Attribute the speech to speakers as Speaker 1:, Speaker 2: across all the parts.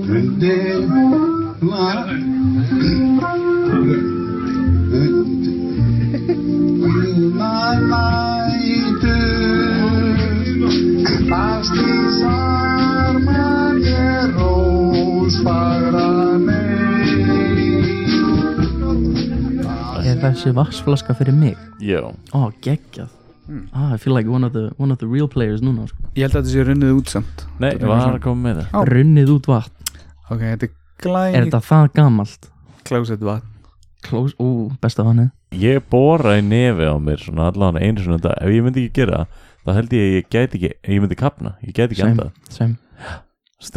Speaker 1: Önde var.
Speaker 2: Er þessi vaksflaska fyrir mig?
Speaker 3: Já,
Speaker 2: Ó, geggjað
Speaker 4: Hmm.
Speaker 2: ah, I feel like one of the, one of the real players núna sko.
Speaker 4: Ég held að þetta sé runnið út samt
Speaker 3: nei, var að koma með það
Speaker 4: Á.
Speaker 2: Runnið út vatn
Speaker 4: Ok, þetta er
Speaker 2: Er
Speaker 4: glæni
Speaker 2: þetta það gamalt?
Speaker 4: klósett vatn
Speaker 2: Close, ú, besta vanið
Speaker 3: Ég bóra í nefi á mér svona allan einu svona dag Ef ég myndi ekki gera það, þá held ég að ég gæti ekki Ég myndi kapna, ég gæti ekki
Speaker 2: Same,
Speaker 3: enda
Speaker 2: same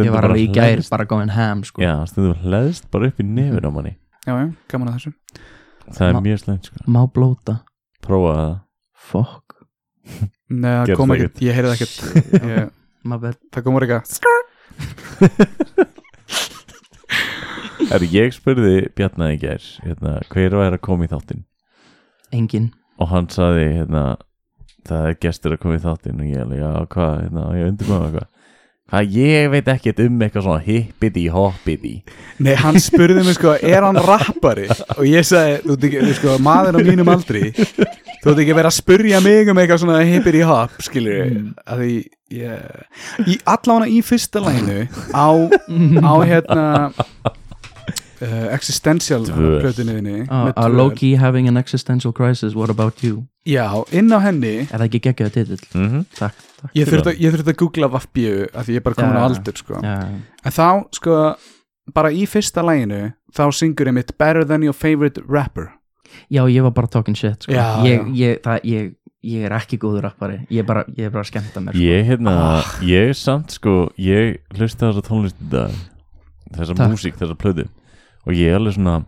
Speaker 2: Ég var alveg í gær bara going ham sko.
Speaker 3: Já, stundum hleðst bara upp í nefin á manni
Speaker 4: Já, já, gaman að þessu
Speaker 3: Það er
Speaker 2: Ma-
Speaker 3: mjög slæmt sko
Speaker 2: Má blóta
Speaker 3: Prófa það
Speaker 2: Fuck
Speaker 4: Nei, það
Speaker 3: Gerðist
Speaker 4: kom
Speaker 3: það
Speaker 4: ekkert, ég heyrði það ekkert Ég-
Speaker 2: My bad
Speaker 4: Það kom orðið eitthvað
Speaker 3: Er ég spurði Bjarna í gær hérna, Hver væri að koma í þáttinn
Speaker 2: Engin
Speaker 3: Og hann saði hérna Það er gestur að koma í þáttinn Og ég alveg, já, hvað, hérna, á ég undir maður eitthvað Hvað, ég veit ekkert um eitthvað svona hippity hoppity
Speaker 4: Nei, hann spurði mig sko, er hann rappari? Og ég sagði, þú veit ekki, sko, maður á mínum aldri Þú veit ekki að vera að spurja mig um eitthvað svona hippir í hopp, skilur
Speaker 2: Mm.
Speaker 4: Að því, ég Í allána í fyrsta lænu Á, á hérna uh, Existential
Speaker 3: Dvöl.
Speaker 4: plötunniðinni
Speaker 2: Ah,
Speaker 4: með
Speaker 2: A
Speaker 4: Dvöl.
Speaker 2: low-key having an existential crisis What about you?
Speaker 4: Já, inn á henni
Speaker 2: Er það ekki geggjaðu titill?
Speaker 3: mm
Speaker 2: Takk, takk
Speaker 4: Ég þurfti, að- ég þurfti að googla vaffbíu Að því ég er bara komin
Speaker 2: Já.
Speaker 4: á aldur, sko
Speaker 2: Já,
Speaker 4: En þá, sko, bara í fyrsta læginu Þá syngur ég mitt Better than your favorite rapper
Speaker 2: já, ég var bara talking shit sko.
Speaker 4: Já,
Speaker 2: ég,
Speaker 4: já.
Speaker 2: Ég, það, ég, ég er ekki góður rappari Ég er bara, ég er bara að skemmta mér sko.
Speaker 3: Ég hérna,
Speaker 4: Ah.
Speaker 3: ég samt sko ég hlusta þessa tónlist í dag þessa
Speaker 2: Takk.
Speaker 3: músík, þessa plöðu og ég er alveg svona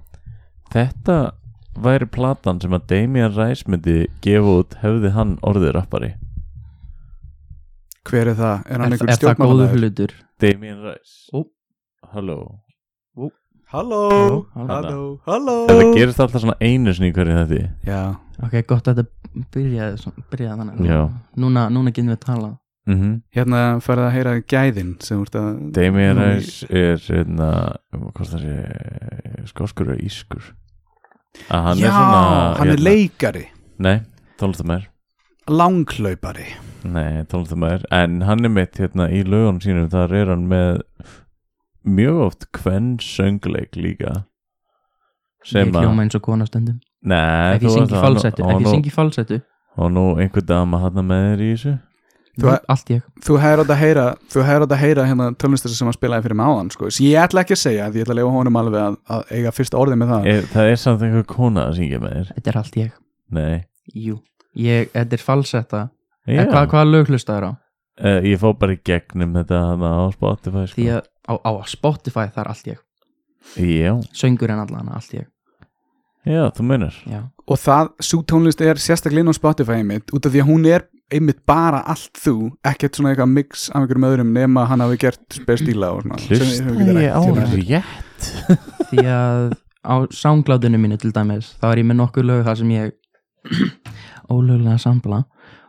Speaker 3: þetta væri platan sem að Damien Rice myndi gefa út hefði hann orðið rappari
Speaker 4: Hver er það? Er hann
Speaker 2: Er,
Speaker 4: einhver
Speaker 2: er það
Speaker 4: stjórnmálamaður?
Speaker 2: góður hlutur?
Speaker 3: Damien Rice
Speaker 2: Ó.
Speaker 3: Halló
Speaker 4: Halló,
Speaker 2: Halló,
Speaker 4: halló, halló
Speaker 3: Þetta gerist alltaf svona einu sinni í hverju þetta
Speaker 4: Já,
Speaker 2: Ok, gott að þetta byrjaði, svona- byrjaði þannig
Speaker 3: Já.
Speaker 2: Núna, núna getum við að tala
Speaker 3: mm -hmm.
Speaker 4: hérna færðu að heyra gæðin sem úr þetta
Speaker 3: Damien
Speaker 4: Nú, ég-
Speaker 3: Rice er hérna, hvað það sé skoskur og ískur að hann
Speaker 4: Já,
Speaker 3: er svona hérna-
Speaker 4: hann er leikari,
Speaker 3: Nei, tónlistamær
Speaker 4: langlaupari
Speaker 3: Nei, tónlistamæður En hann er mitt hérna í lögunum sínum Þar er hann með mjög oft hvern söngleik líka
Speaker 2: Ég
Speaker 3: Sem að
Speaker 2: hljóma eins og kona stundum
Speaker 3: Nei,
Speaker 2: Ef ég syngi falsettu, ef ég
Speaker 3: Og nú,
Speaker 2: syngi falsettu
Speaker 3: og nú einhver dama hann með þér í þessu
Speaker 4: Þú er-
Speaker 2: Allt ég
Speaker 4: Þú hefur átt að heyra, þú hefur átt að heyra hérna tónlistar sem hann spilaði fyrir máðan sko. sem ég ætla ekki að segja, því ég ætla að lefa honum alveg að, að eiga fyrsta orðið með það
Speaker 3: er, Það er samt einhver kona að syngja með þér
Speaker 2: Þetta er allt ég
Speaker 3: Nei
Speaker 2: Jú, ég, þetta er falsetta
Speaker 3: Já,
Speaker 2: yeah. Hvað, hvaða lög hlustaður á?
Speaker 3: eh, Ég fó bara í gegnum þetta hann á Spotify
Speaker 2: Því
Speaker 3: sko.
Speaker 2: að á, á Spotify það er allt ég
Speaker 3: Já,
Speaker 2: Söngurinn allan, allt ég
Speaker 3: já, þú meinar
Speaker 2: Já,
Speaker 4: og það, svo tónlist er sérstaklega inn á Spotify einmitt, út af því að hún er einmitt bara allt þú, ekkert svona eitthvað mix af einhverjum öðrum nema hann hafi gert spesdíla og svona Sem
Speaker 3: Hlusta
Speaker 4: hefur ekki
Speaker 3: ég á
Speaker 4: rætt.
Speaker 3: rétt
Speaker 2: því að á soundcloudinu mínu til dæmis þá er ég með nokkur lög þar sem ég ólöglega sampla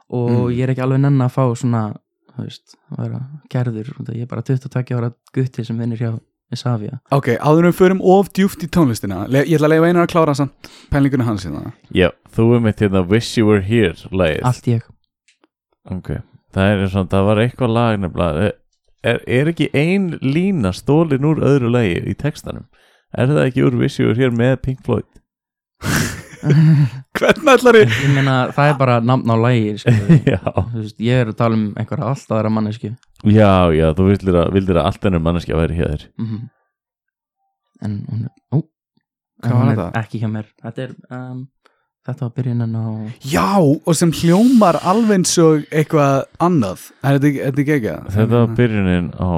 Speaker 4: Mm.
Speaker 2: og ég er ekki alveg nenn að fá svona þú veist, að vera kærður út af því ég er bara 22 ára gutti sem vinnir hjá Isavia
Speaker 4: Ok, áður en við förum of djúft í tónlistina le- Ég ætla að leifa einar að klára samt pælinguna hans hérna.
Speaker 3: Já, þú er mitt hérna Wish You Were Here lagið
Speaker 2: allt ég,
Speaker 3: Ok, það er svona, það var eitthvað lag nefnilega er, er ekki ein lína stólin úr öðru lagi í textanum? Er það ekki úr Wish You Were Here með Pink Floyd?
Speaker 4: Hvernig ætlar ég?
Speaker 2: ég meina það er bara nafn á lægi sko.
Speaker 3: Já,
Speaker 2: Þú veist, ég er að tala um einhverja allt aðra manneski
Speaker 3: já, já, þú vildir að, vildir að allt ennum manneskja væri hér
Speaker 2: mm en hún er, ó, en
Speaker 4: Hvað
Speaker 2: hún
Speaker 4: var
Speaker 2: er
Speaker 4: þetta?
Speaker 2: ekki hjá mér þetta er um, þetta var byrjunin á
Speaker 4: Já, og sem hljómar alveg eins og eitthvað annað Er þetta ekki- er þetta ekki ekki? Hérna.
Speaker 3: Þetta
Speaker 2: Mm.
Speaker 3: var byrjunin á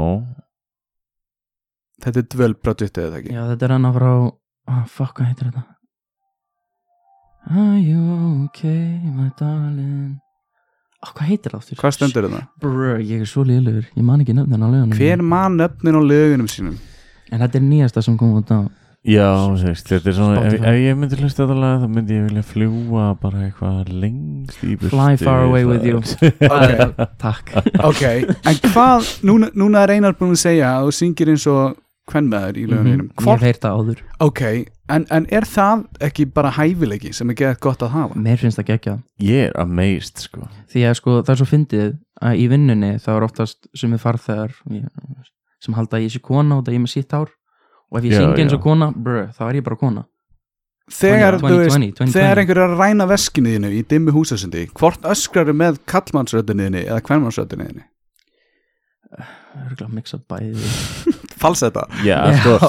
Speaker 4: Þetta er dvöl produttið eða ekki?
Speaker 2: Já, þetta er hann að frá ah, Fuck, hvað heitir þetta? Are you okay, my darling ah, Hvað heitir það aftur?
Speaker 4: Hvað stendur þetta?
Speaker 2: Brr, ég er svo liðlegur,
Speaker 3: Mm.
Speaker 2: ég man ekki nefnin á lögunum
Speaker 4: Hver mann öfnin á lögunum sínum?
Speaker 2: En þetta er nýjasta sem kom út á
Speaker 3: Já, þú veist, þetta er svona ef,
Speaker 2: Spotify.
Speaker 3: ef ég myndi hlusta þetta lag þá myndi ég vilja fljúa bara eitthvað lengst í burtu
Speaker 2: Fly far away with you.
Speaker 4: Ok.
Speaker 2: Takk
Speaker 4: ok, en hvað núna, núna er Einar búin að segja að þú syngir eins og kvennmaður í lögunum
Speaker 2: Mhm. Ég hef heyrt það áður
Speaker 4: ok, en, en er það ekki bara hæfileiki sem er geðað gott að hafa
Speaker 2: Mér finnst það geggjað
Speaker 3: Ég er amazed, sko
Speaker 2: því að sko það er svo fyndið að í vinnunni þá er oftast sumið farþegar ég- sem halda að ég sé kona og það ég er með sitt ár og ef ég
Speaker 3: Já,
Speaker 2: syngi eins
Speaker 3: já.
Speaker 2: og kona brr, þá er ég bara kona
Speaker 4: þegar,
Speaker 2: 20,
Speaker 4: þú veist,
Speaker 2: 20, 20.
Speaker 4: þegar einhver er að ræna veskinu þínu í dimmi húsasundi hvort öskraru með kallmannsröddinu þínu eða kvennmannsröddinu þínu
Speaker 2: Örugglega að mixa bæði
Speaker 4: falsetta
Speaker 3: Já, sko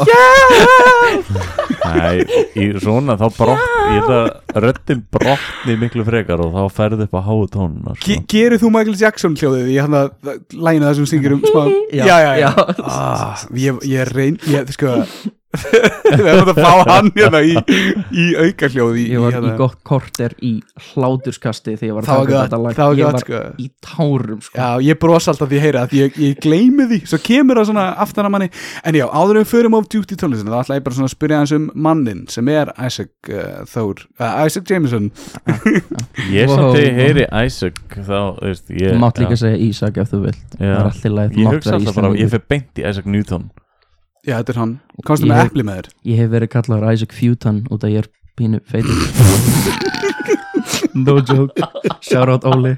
Speaker 3: Nei, í svona þá brott Ég held að röddin brottni miklu frekar og þá ferði upp á háu tónuna sko.
Speaker 4: Ge- Gerir þú Michael Jackson hljóðið í hann að læna það sem syngur um smá
Speaker 2: Já, já.
Speaker 4: Ah, ég, ég reyn, ég, sko Við erum að fá hann hérna í, í auka hljóði
Speaker 2: ég var í gott korter í hláturskasti þegar ég var að
Speaker 4: Það
Speaker 2: taka
Speaker 4: hérna- var gott,
Speaker 2: þetta lag
Speaker 4: það var
Speaker 2: ég
Speaker 4: gott,
Speaker 2: var
Speaker 4: sko.
Speaker 2: í tárum sko.
Speaker 4: Já, ég brosa alltaf því að heyra að ég, ég gleymi því Svo kemur það svona aftan að manni En já, áður en við förum of djúpt í tónlistina þá ætla ég bara svona að spyrja hans um mannin sem er Isaac uh, Thor uh, Isaac Jameson
Speaker 3: Ég sem
Speaker 2: Wow.
Speaker 3: wow. þið heyri Isaac þá, þú veist, ég
Speaker 2: Þú mátt líka
Speaker 3: já,
Speaker 2: segja Ísak ef þú vilt
Speaker 3: já.
Speaker 2: það er allir læg
Speaker 3: Ég hugsa alltaf bara, ég fer beint í Isaac Newton
Speaker 4: Já, þetta er hann Komstu
Speaker 2: Ég
Speaker 4: með
Speaker 2: hef-
Speaker 4: epli með þér
Speaker 2: ég hef verið kallaður Isaac Futan út að ég er pínu feitur no joke shout out Óli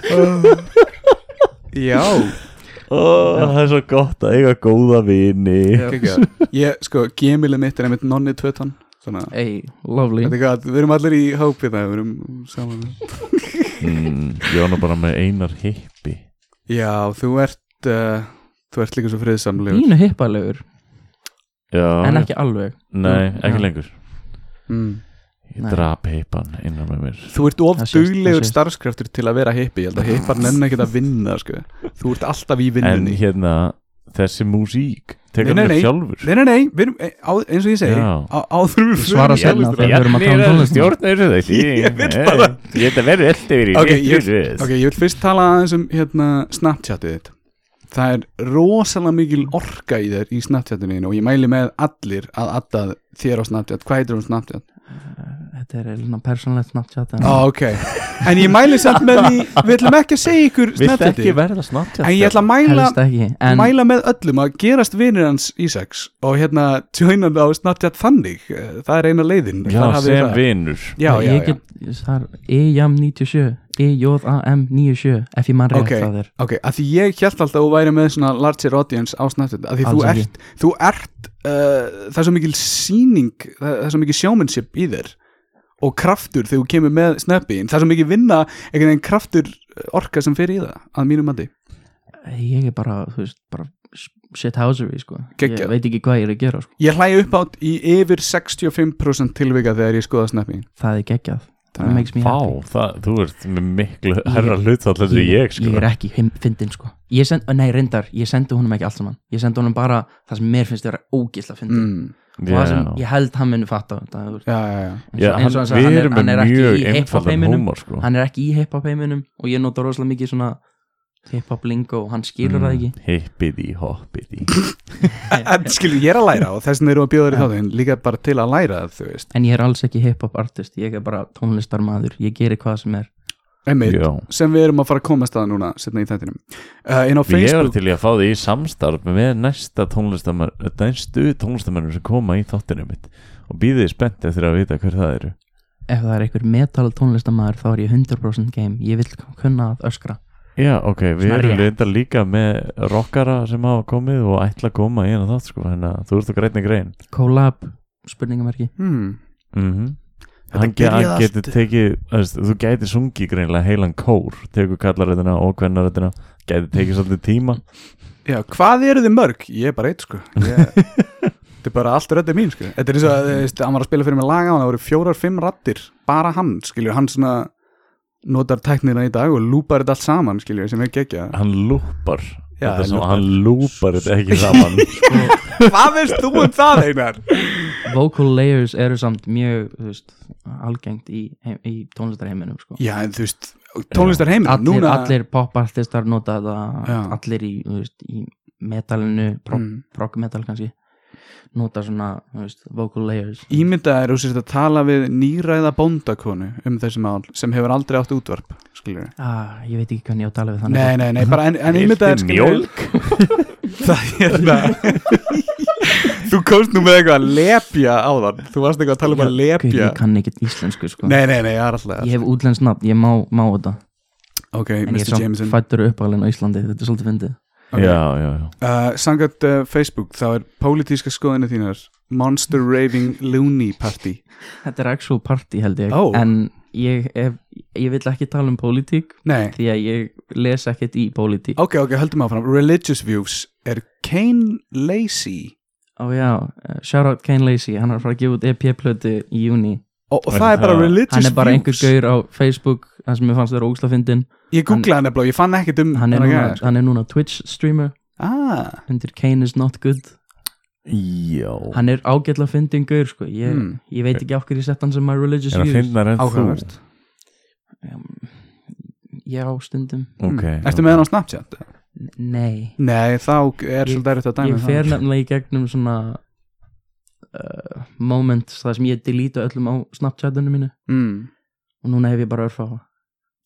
Speaker 4: Já,
Speaker 3: oh, Það er svo gott að eiga góða vini
Speaker 4: Kekja. Ég, sko, gemilið mitt er einmitt nonni tvötan Svona,
Speaker 2: hey, lovely
Speaker 4: þetta er gott, við erum allir í hópið það, við erum saman
Speaker 3: mm, Ég var nú bara með einar hippi
Speaker 4: Já, þú ert uh, Þú ert líka svo friðsamlegur
Speaker 2: Pínu hippalegur,
Speaker 3: já,
Speaker 2: en
Speaker 3: já.
Speaker 2: ekki alveg
Speaker 3: Nei, ekki
Speaker 2: Já.
Speaker 3: lengur
Speaker 4: mm.
Speaker 3: Ég
Speaker 2: Nei.
Speaker 3: drap hippan innan með mér
Speaker 4: Þú ert of
Speaker 2: Það sést, það
Speaker 4: duglegur
Speaker 2: sést.
Speaker 4: starfskraftur til að vera hippi Ég held að hippar nenni ekkert að vinna sko. Þú ert alltaf í
Speaker 3: En
Speaker 4: vinnunni
Speaker 3: hérna, þessi músík
Speaker 4: Nei,
Speaker 3: Tekur
Speaker 4: nei,
Speaker 3: mér
Speaker 4: nei.
Speaker 3: sjálfur
Speaker 4: Nei, nei, nei, við erum, eh, á, eins og ég segi
Speaker 3: Já.
Speaker 4: á, Áður við
Speaker 2: Ég svara
Speaker 4: förum í
Speaker 2: seinna
Speaker 4: tónlistina.
Speaker 2: þegar við erum að tala um tónlist
Speaker 3: stjórnur þessi Ég vil bara Ég ætla að vera eftir yfir í
Speaker 4: Ok,
Speaker 3: rétt
Speaker 4: ég,
Speaker 3: fyrir.
Speaker 4: ok, ég vil fyrst tala aðeins um hérna, Snapchatið þitt Það er rosalega mikil orka í þér í Snapchatinu þínu og ég mæli með allir að adda þér á Snapchat Hvað heitir hún á Snapchat?
Speaker 2: Þetta er eða persónlegt Snapchat en
Speaker 4: Ó, ok En ég mæli samt með því, við ætlum ekki að segja ykkur
Speaker 3: Viltu ekki
Speaker 4: Snapchatið
Speaker 3: verða
Speaker 4: En ég
Speaker 3: snartjast
Speaker 4: ætla að mæla,
Speaker 2: helst ekki En
Speaker 4: mæla með öllum að gerast vinir hans í sex og hérna tjóna á Snapchat þannig Eh, Það er eina leiðin
Speaker 3: Já,
Speaker 4: Þar hafið
Speaker 3: sem
Speaker 4: það.
Speaker 3: vinnur
Speaker 4: Já, já,
Speaker 2: ég
Speaker 4: já
Speaker 2: get, E það er EJAM 97 EJAM 97 ef ég mann rétt
Speaker 4: Ok.
Speaker 2: það er
Speaker 4: Ok, að því ég held alltaf að þú væri með svona larger audience á Snapchat að því þú
Speaker 2: Alls ekki.
Speaker 4: ert, þú ert uh, það er svo mikil sýning það, það er svo mikil sjómanship í þér og kraftur þegar þú kemur með snappiðin það er svo mikil vinna, einhvern veginn kraftur eh, orka sem fer í það, að mínu mati
Speaker 2: Ég er bara, þú veist, bara shit housery sko
Speaker 4: Geggjað.
Speaker 2: Ég veit ekki hvað ég er að gera sko
Speaker 4: Ég hlæði upp átt í yfir 65% tilvika þegar ég skoða snappiðin
Speaker 2: Það er geggjað
Speaker 4: Það-
Speaker 2: Það makes me
Speaker 3: Fá,
Speaker 2: happy
Speaker 3: það, þú ert með miklu herra hlutfall en ég sko
Speaker 2: ég er ekki him- fyndin sko ég send, Nei, reyndar, ég sendi honum ekki allt saman Ég sendi honum bara það sem mér finnst vera ógisla fyndin
Speaker 4: mm.
Speaker 2: Og það sem
Speaker 3: Já.
Speaker 2: ég held hann muni fatta þetta, þú veist.
Speaker 4: Já, já, já
Speaker 2: eins
Speaker 3: Já,
Speaker 2: og,
Speaker 3: hann,
Speaker 2: eins og hann sagði,
Speaker 3: við
Speaker 2: hann er,
Speaker 3: erum
Speaker 2: hann er
Speaker 3: með
Speaker 2: ekki
Speaker 3: mjög
Speaker 2: í hip-hop
Speaker 3: einfaldan
Speaker 2: heiminum
Speaker 3: húmor sko
Speaker 2: hann er ekki í hip-hop heiminum og ég nota rosalega mikið svona hip-hop lingo og hann skilur
Speaker 3: Mm,
Speaker 2: það ekki
Speaker 3: Hippiði, hoppiði
Speaker 4: En skilur, ég er að læra og þess vegna erum við að bjóða þér í þáttin líka bara til að læra það, þú veist
Speaker 2: en ég er alls ekki hip-hop artist, ég er bara tónlistarmadur ég gerir hvað sem er
Speaker 4: Einmitt,
Speaker 3: Já.
Speaker 4: sem við erum að fara að komast að núna setna í þættinum uh, inn á
Speaker 3: Ég er
Speaker 4: Facebook
Speaker 3: til í að fá því í samstarf með næsta tónlistamann næstu tónlistamannum sem koma í þáttinu mitt og býðið spennt eftir að vita hver það eru
Speaker 2: ef það er einhver metal tónlistarmadur þá er ég 100% game, ég vil kunna að öskra
Speaker 3: Já, ok, við
Speaker 2: Svona
Speaker 3: erum
Speaker 2: rétt.
Speaker 3: reyndar líka með rockara sem hafa komið og ætla að koma í hérna þátt sko, þannig að þú ert að greina grein
Speaker 2: collab, spurningamarki
Speaker 4: hmm.
Speaker 3: mm -hmm.
Speaker 4: Þetta
Speaker 3: Hann ge- hann
Speaker 4: byrjaði
Speaker 3: getur
Speaker 4: allt-
Speaker 3: tekið, þú veist, þú gæti sungið greinlega heilan kór, tekur kallaröðina og hvernaröðina, gæti tekið svolítið tíma
Speaker 4: Já, hvað eru þið mörg? Ég er bara eitt sko Ég- Þetta er bara allt röddir mín sko Þetta er eins og, þú veist, hann var að spila fyrir mig laga og það voru fjórar, fimm rattir, bara hann skilur, hann svona notar tæknina í dag og lúpar þetta allt saman skilur, sem er geggja
Speaker 3: Hann lúpar,
Speaker 4: Já,
Speaker 3: þetta er
Speaker 4: hann
Speaker 3: svona,
Speaker 4: lúpar.
Speaker 3: hann lúpar þetta ekki saman
Speaker 4: Hvað veist þú um það einar?
Speaker 2: vocal layers eru samt mjög þú veist, algengt í, heim, í tónlistarheiminum sko.
Speaker 4: Já, en þú veist, tónlistar heiminn
Speaker 2: allir,
Speaker 4: núna,
Speaker 2: allir pop-artistar nota það
Speaker 4: Já.
Speaker 2: allir í, þú veist, í metalinu prog,
Speaker 4: Mm.
Speaker 2: prog metal kannski nota svona, þú veist, vocal layers
Speaker 4: Ímyndað er þú sérst að tala við nýræða bóndakonu um þessi mál sem hefur aldrei átt útvarp skilur.
Speaker 2: ah, ég veit ekki hvernig ég á að tala við þannig
Speaker 4: Nei, nei, nei, bara en, en ímyndað er skilur
Speaker 3: mjólk
Speaker 4: það hérna Þú komst nú með eitthvað að lepja á þann Þú varst eitthvað að tala um að
Speaker 2: Guð,
Speaker 4: lepja
Speaker 2: ég kann ekki íslensku sko
Speaker 4: Nei, nei, nei, það er alltaf
Speaker 2: ég hef útlensk nafn, ég má, má þetta
Speaker 4: Ok,
Speaker 2: en ég
Speaker 4: Mr.
Speaker 2: er
Speaker 4: Jameson
Speaker 2: svo fættur uppalinn á Íslandi þetta er svolítið fyndið
Speaker 4: Ok.
Speaker 3: já, já, já
Speaker 4: uh, Sangat uh, Facebook, þá er pólitíska skoðinu þínar Monster Raving Looney Party
Speaker 2: þetta er actual party held ég
Speaker 4: Ó.
Speaker 2: en ég, ef, ég vil ekki tala um pólitík
Speaker 4: Nei,
Speaker 2: því að ég les ekkert í pólitík
Speaker 4: ok, ok, höldum áfram Religious Views er Kane Lacey
Speaker 2: Ó já, uh, shout out Kane Lacey hann er að fara að gefa út EP-plötu í júni
Speaker 4: Og, og
Speaker 3: Er
Speaker 4: það er bara
Speaker 3: það-
Speaker 4: religious
Speaker 2: hann er bara einhver
Speaker 4: views
Speaker 2: gaur á Facebook hann sem ég fannst þér ógslafindin
Speaker 4: Ég googlaði hann nefnilega, ég fann ekkert um
Speaker 2: hann, er
Speaker 4: þennan
Speaker 2: núna-
Speaker 4: gæja, sko.
Speaker 2: hann er núna Twitch streamer
Speaker 4: ah,
Speaker 2: undir Kane is not good
Speaker 3: Já
Speaker 2: hann er ágætla fyndin gaur sko. ég,
Speaker 4: Hmm.
Speaker 2: ég veit ekki af hverju ég sett hann sem my religious
Speaker 3: Er að
Speaker 2: views
Speaker 3: finna enn þú
Speaker 4: Áhugavert.
Speaker 2: Um, já, stundum
Speaker 3: Ok
Speaker 4: Ertu með hann á Snapchat?
Speaker 2: N- nei
Speaker 4: Nei, þá er
Speaker 2: Ég-
Speaker 4: svolítið erfitt að dæmi
Speaker 2: ég fer nefnilega í gegnum svona uh, moments það sem ég delete öllum á Snapchatunum mínu
Speaker 4: mm.
Speaker 2: og núna hef ég bara örfa á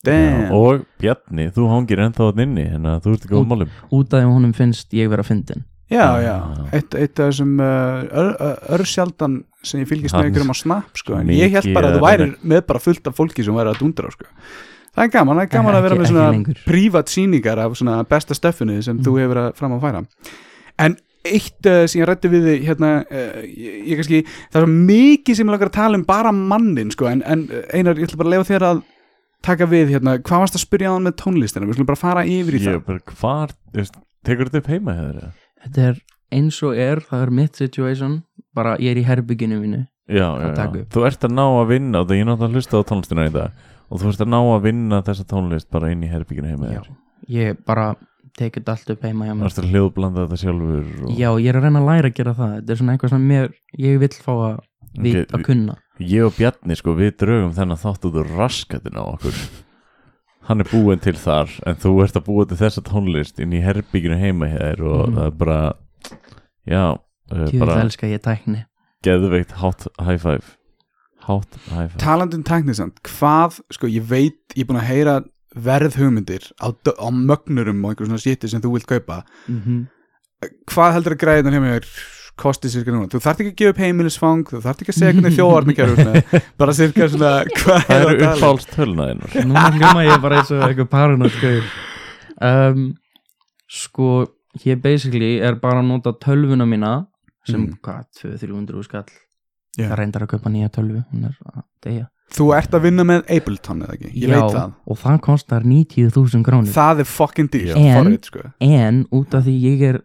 Speaker 4: Damn,
Speaker 3: Og Bjarni, þú hangir ennþá þann inni Þannig að þú ert ekki
Speaker 2: Út-
Speaker 3: ómálum
Speaker 2: út af því að honum finnst ég vera fyndin
Speaker 4: já, já,
Speaker 3: Já.
Speaker 4: eitt, eitt af þessum uh, örsjaldan sem ég fylgist
Speaker 3: Hann-
Speaker 4: með ykkur um á Snap sko, en
Speaker 3: Mikið
Speaker 4: ég held bara að þú
Speaker 3: er-
Speaker 4: værir með bara fullt af fólki sem væri að dundra á, sko. það er gaman, það er gaman að vera
Speaker 2: Ekki-
Speaker 4: með
Speaker 2: ekki
Speaker 4: svona
Speaker 2: lengur.
Speaker 4: prívat síningar af svona besta stöffinu sem þú hefur að fram að færa en eitt uh, sem ég rætti við þig hérna, uh, ég, ég kannski það er svo mikið sem ég lakar að tala um bara mannin sko, en, en uh, Einar, ég ætla bara að lefa þér að taka við hérna, hvað varst að spyrja á hann með tónlistina, við skulum bara fara yfir í
Speaker 3: Ég er bara hvar þú veist, Tekur þetta upp heima hefur
Speaker 2: þetta er eins og er, það er mitt situation bara ég er í herbygginu mínu
Speaker 3: Já, já,
Speaker 2: Að taka
Speaker 3: já
Speaker 2: upp.
Speaker 3: Þú ert að ná að vinna Þegar ég er náttúrulega að hlusta á tónlistina í dag Og þú ert að ná að vinna þessa tónlist Bara inn í herbygginu heima
Speaker 2: Já.
Speaker 3: þér
Speaker 2: ég bara tekið þetta allt upp heima hjá
Speaker 3: Þú
Speaker 2: mér
Speaker 3: ert að hljóðblanda þetta sjálfur og...
Speaker 2: já, ég er að reyna að læra að gera það þetta er svona eitthvað sem mér, ég vill fá að við,
Speaker 3: Ok,
Speaker 2: að kunna
Speaker 3: Ég og Bjarni, sko, við draugum þennan þátt út úr raskatina á okkur Hann er búinn til þar En þú ert að búa til þessa tónlist Inn í herbygginu heima hér Og
Speaker 2: Mhm.
Speaker 3: það er bara Já, uh,
Speaker 2: ég vil
Speaker 3: bara
Speaker 2: elska ég tækni
Speaker 3: geðveikt hátt high five Hátt high five
Speaker 4: talandum tæknisand, um hvað sko ég veit, ég er búin að heyra verð hugmyndir á, dö- á mögnurum og einhver svona sétti sem þú vilt kaupa
Speaker 2: mm -hmm.
Speaker 4: hvað heldur að græða þannig með kostið sirka núna, þú þarft ekki að gefa upp heimilisfang þú þarft ekki að segja hvernig þjóðarni gerur bara sirka svona, hvað
Speaker 3: Það eru
Speaker 4: að tala um?
Speaker 3: uppfálst tölnaðinur
Speaker 2: Núna hljóma ég bara eins og eitthvað paranoid gaur um, Sko, ég basically er bara að nota tölvuna mína sem
Speaker 4: Mm.
Speaker 2: hvað, 200-300 skall
Speaker 4: Já.
Speaker 2: Það reyndar að kaupa nýja tölvu hún er að deyja
Speaker 4: þú ert að vinna með Ableton eða ekki, ég
Speaker 2: Já,
Speaker 4: veit það
Speaker 2: og það kostar 90.000 krónir
Speaker 4: það er fucking dýr,
Speaker 2: En-
Speaker 4: forrið sko
Speaker 2: En út af því ég er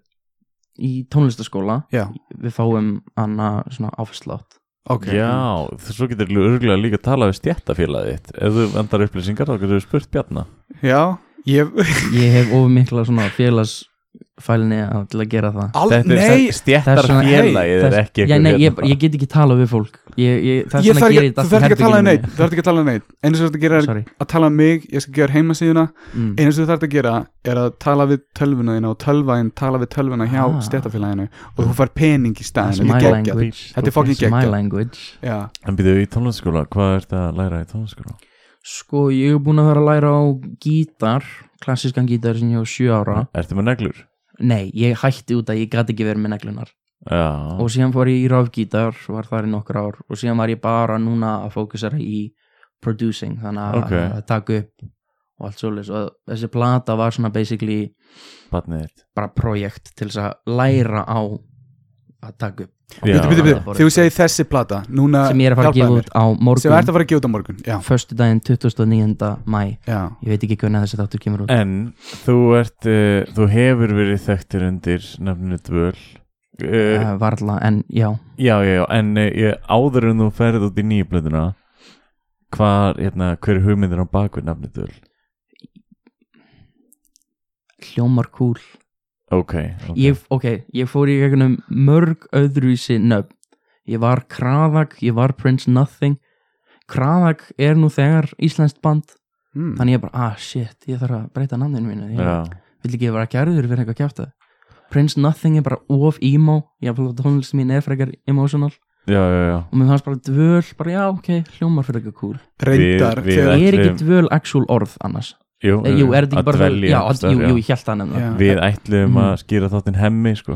Speaker 2: í tónlistaskóla
Speaker 4: já,
Speaker 2: við fáum anna svona afslátt
Speaker 4: ok
Speaker 3: Já, þú- svo getur örgulega líka að tala við stjættafélagið þitt Ef þú endar upplýsingar þá getur þú spurt Bjarna
Speaker 4: já ég,
Speaker 2: Ég hef of mikla svona félagsfælni að- til að gera það
Speaker 4: al,
Speaker 3: Þetta er sem-
Speaker 4: nei,
Speaker 3: stjættarfélagið er
Speaker 2: Þess-
Speaker 3: ekki
Speaker 2: Já,
Speaker 3: eitthvað
Speaker 2: nei, ég,
Speaker 3: hérna.
Speaker 2: ég get ekki talað við fólk ég, ég, Þess
Speaker 4: ég
Speaker 2: vegna gerir
Speaker 4: þarf
Speaker 2: þetta
Speaker 4: ekki, þú þarft ekki að tala um neitt
Speaker 2: herberginu
Speaker 4: þú þarft ekki að tala um neitt, eins og þú þarft að gera
Speaker 2: mínu.
Speaker 4: er
Speaker 2: Sorry
Speaker 4: að tala um mig, ég skal gera heimasíðuna
Speaker 2: mm.
Speaker 4: eins og þú þarft að gera er að tala við tölvuna þína og tölvæn tala við tölvuna hjá ah.
Speaker 2: Ah.
Speaker 4: stéttafélaginu og þú fær pening í
Speaker 2: That's
Speaker 4: staðin
Speaker 2: my language
Speaker 4: Þetta er fucking
Speaker 2: That's My
Speaker 4: geggjað.
Speaker 2: language
Speaker 4: Já,
Speaker 3: En býðu í tónlistaskóla, hvað ertu að læra í tónlistaskóla?
Speaker 2: Sko, ég er búin að vera að læra á gítar Klassískan gítar sem ég var sjö ára
Speaker 3: Ertu með neglur?
Speaker 2: Nei, ég hætti út að ég gæti ekki verið með neglunar
Speaker 3: Já,
Speaker 2: Og síðan fór ég í rafgítar Var þar í nokkur ár Og síðan var ég bara núna að fókusera í Producing, þannig að
Speaker 3: Ok.
Speaker 2: að taka upp Og allt svoleiðis Og þessi plata var svona basically
Speaker 3: barnið þitt
Speaker 2: bara projekt til þess að læra á að taka upp
Speaker 3: Já.
Speaker 4: bitu, bitu, bitu,
Speaker 2: já.
Speaker 4: þú segir þessi plata núna
Speaker 2: sem ég er að fara að gefa
Speaker 4: hjálpaðu mér.
Speaker 2: út á
Speaker 4: sem ert
Speaker 2: morgun
Speaker 4: að fara að gefa út á morgun Já,
Speaker 2: förstu daginn 29. mæ
Speaker 4: já,
Speaker 2: ég veit ekki hvernig þessi þáttur kemur út
Speaker 4: Eh.
Speaker 3: En þú ert uh, Þú hefur verið þekktir undir nefninu dvöl uh,
Speaker 2: uh, varla, en já
Speaker 3: Já, já, já En uh, ég- áður en þú ferð út í nýju blöðuna Hvað, hérna, hver er hugmyndin á bakvið nefninu dvöl?
Speaker 2: hljómar kúl
Speaker 3: Ok, ok
Speaker 2: ég, ok, ég fór í gegnum mörg öðruvísi nöfn ég var Kravak, ég var Prince Nothing Kravak er nú þegar íslenskt band
Speaker 4: mm.
Speaker 2: þannig ég bara, ah shit, ég þarf að breyta nafninu mínu ég
Speaker 3: Já,
Speaker 2: vil ekki vera gerður fyrir eitthvað kjáta Prince Nothing er bara of emo Jafnvel að tónlist mín er frekar emotional
Speaker 3: já, já, já
Speaker 2: Og mér fannst bara dvöl, bara já, ok, hljómar fyrir eitthvað cool
Speaker 4: reyndar
Speaker 3: Við- við-
Speaker 4: þegar-
Speaker 2: Það er ekki
Speaker 3: ætlum-
Speaker 2: dvöl actual orð annars
Speaker 3: Jú,
Speaker 2: Eh, Jú, er þetta
Speaker 3: að
Speaker 2: ekki bara
Speaker 3: dvelja
Speaker 2: Já,
Speaker 3: einhvers
Speaker 2: að, jú,
Speaker 3: staðar,
Speaker 2: jú, ég held það nefnum
Speaker 4: Já.
Speaker 2: það
Speaker 3: Við ætluðum að
Speaker 2: Mm.
Speaker 3: skýra þáttinn hemmi sko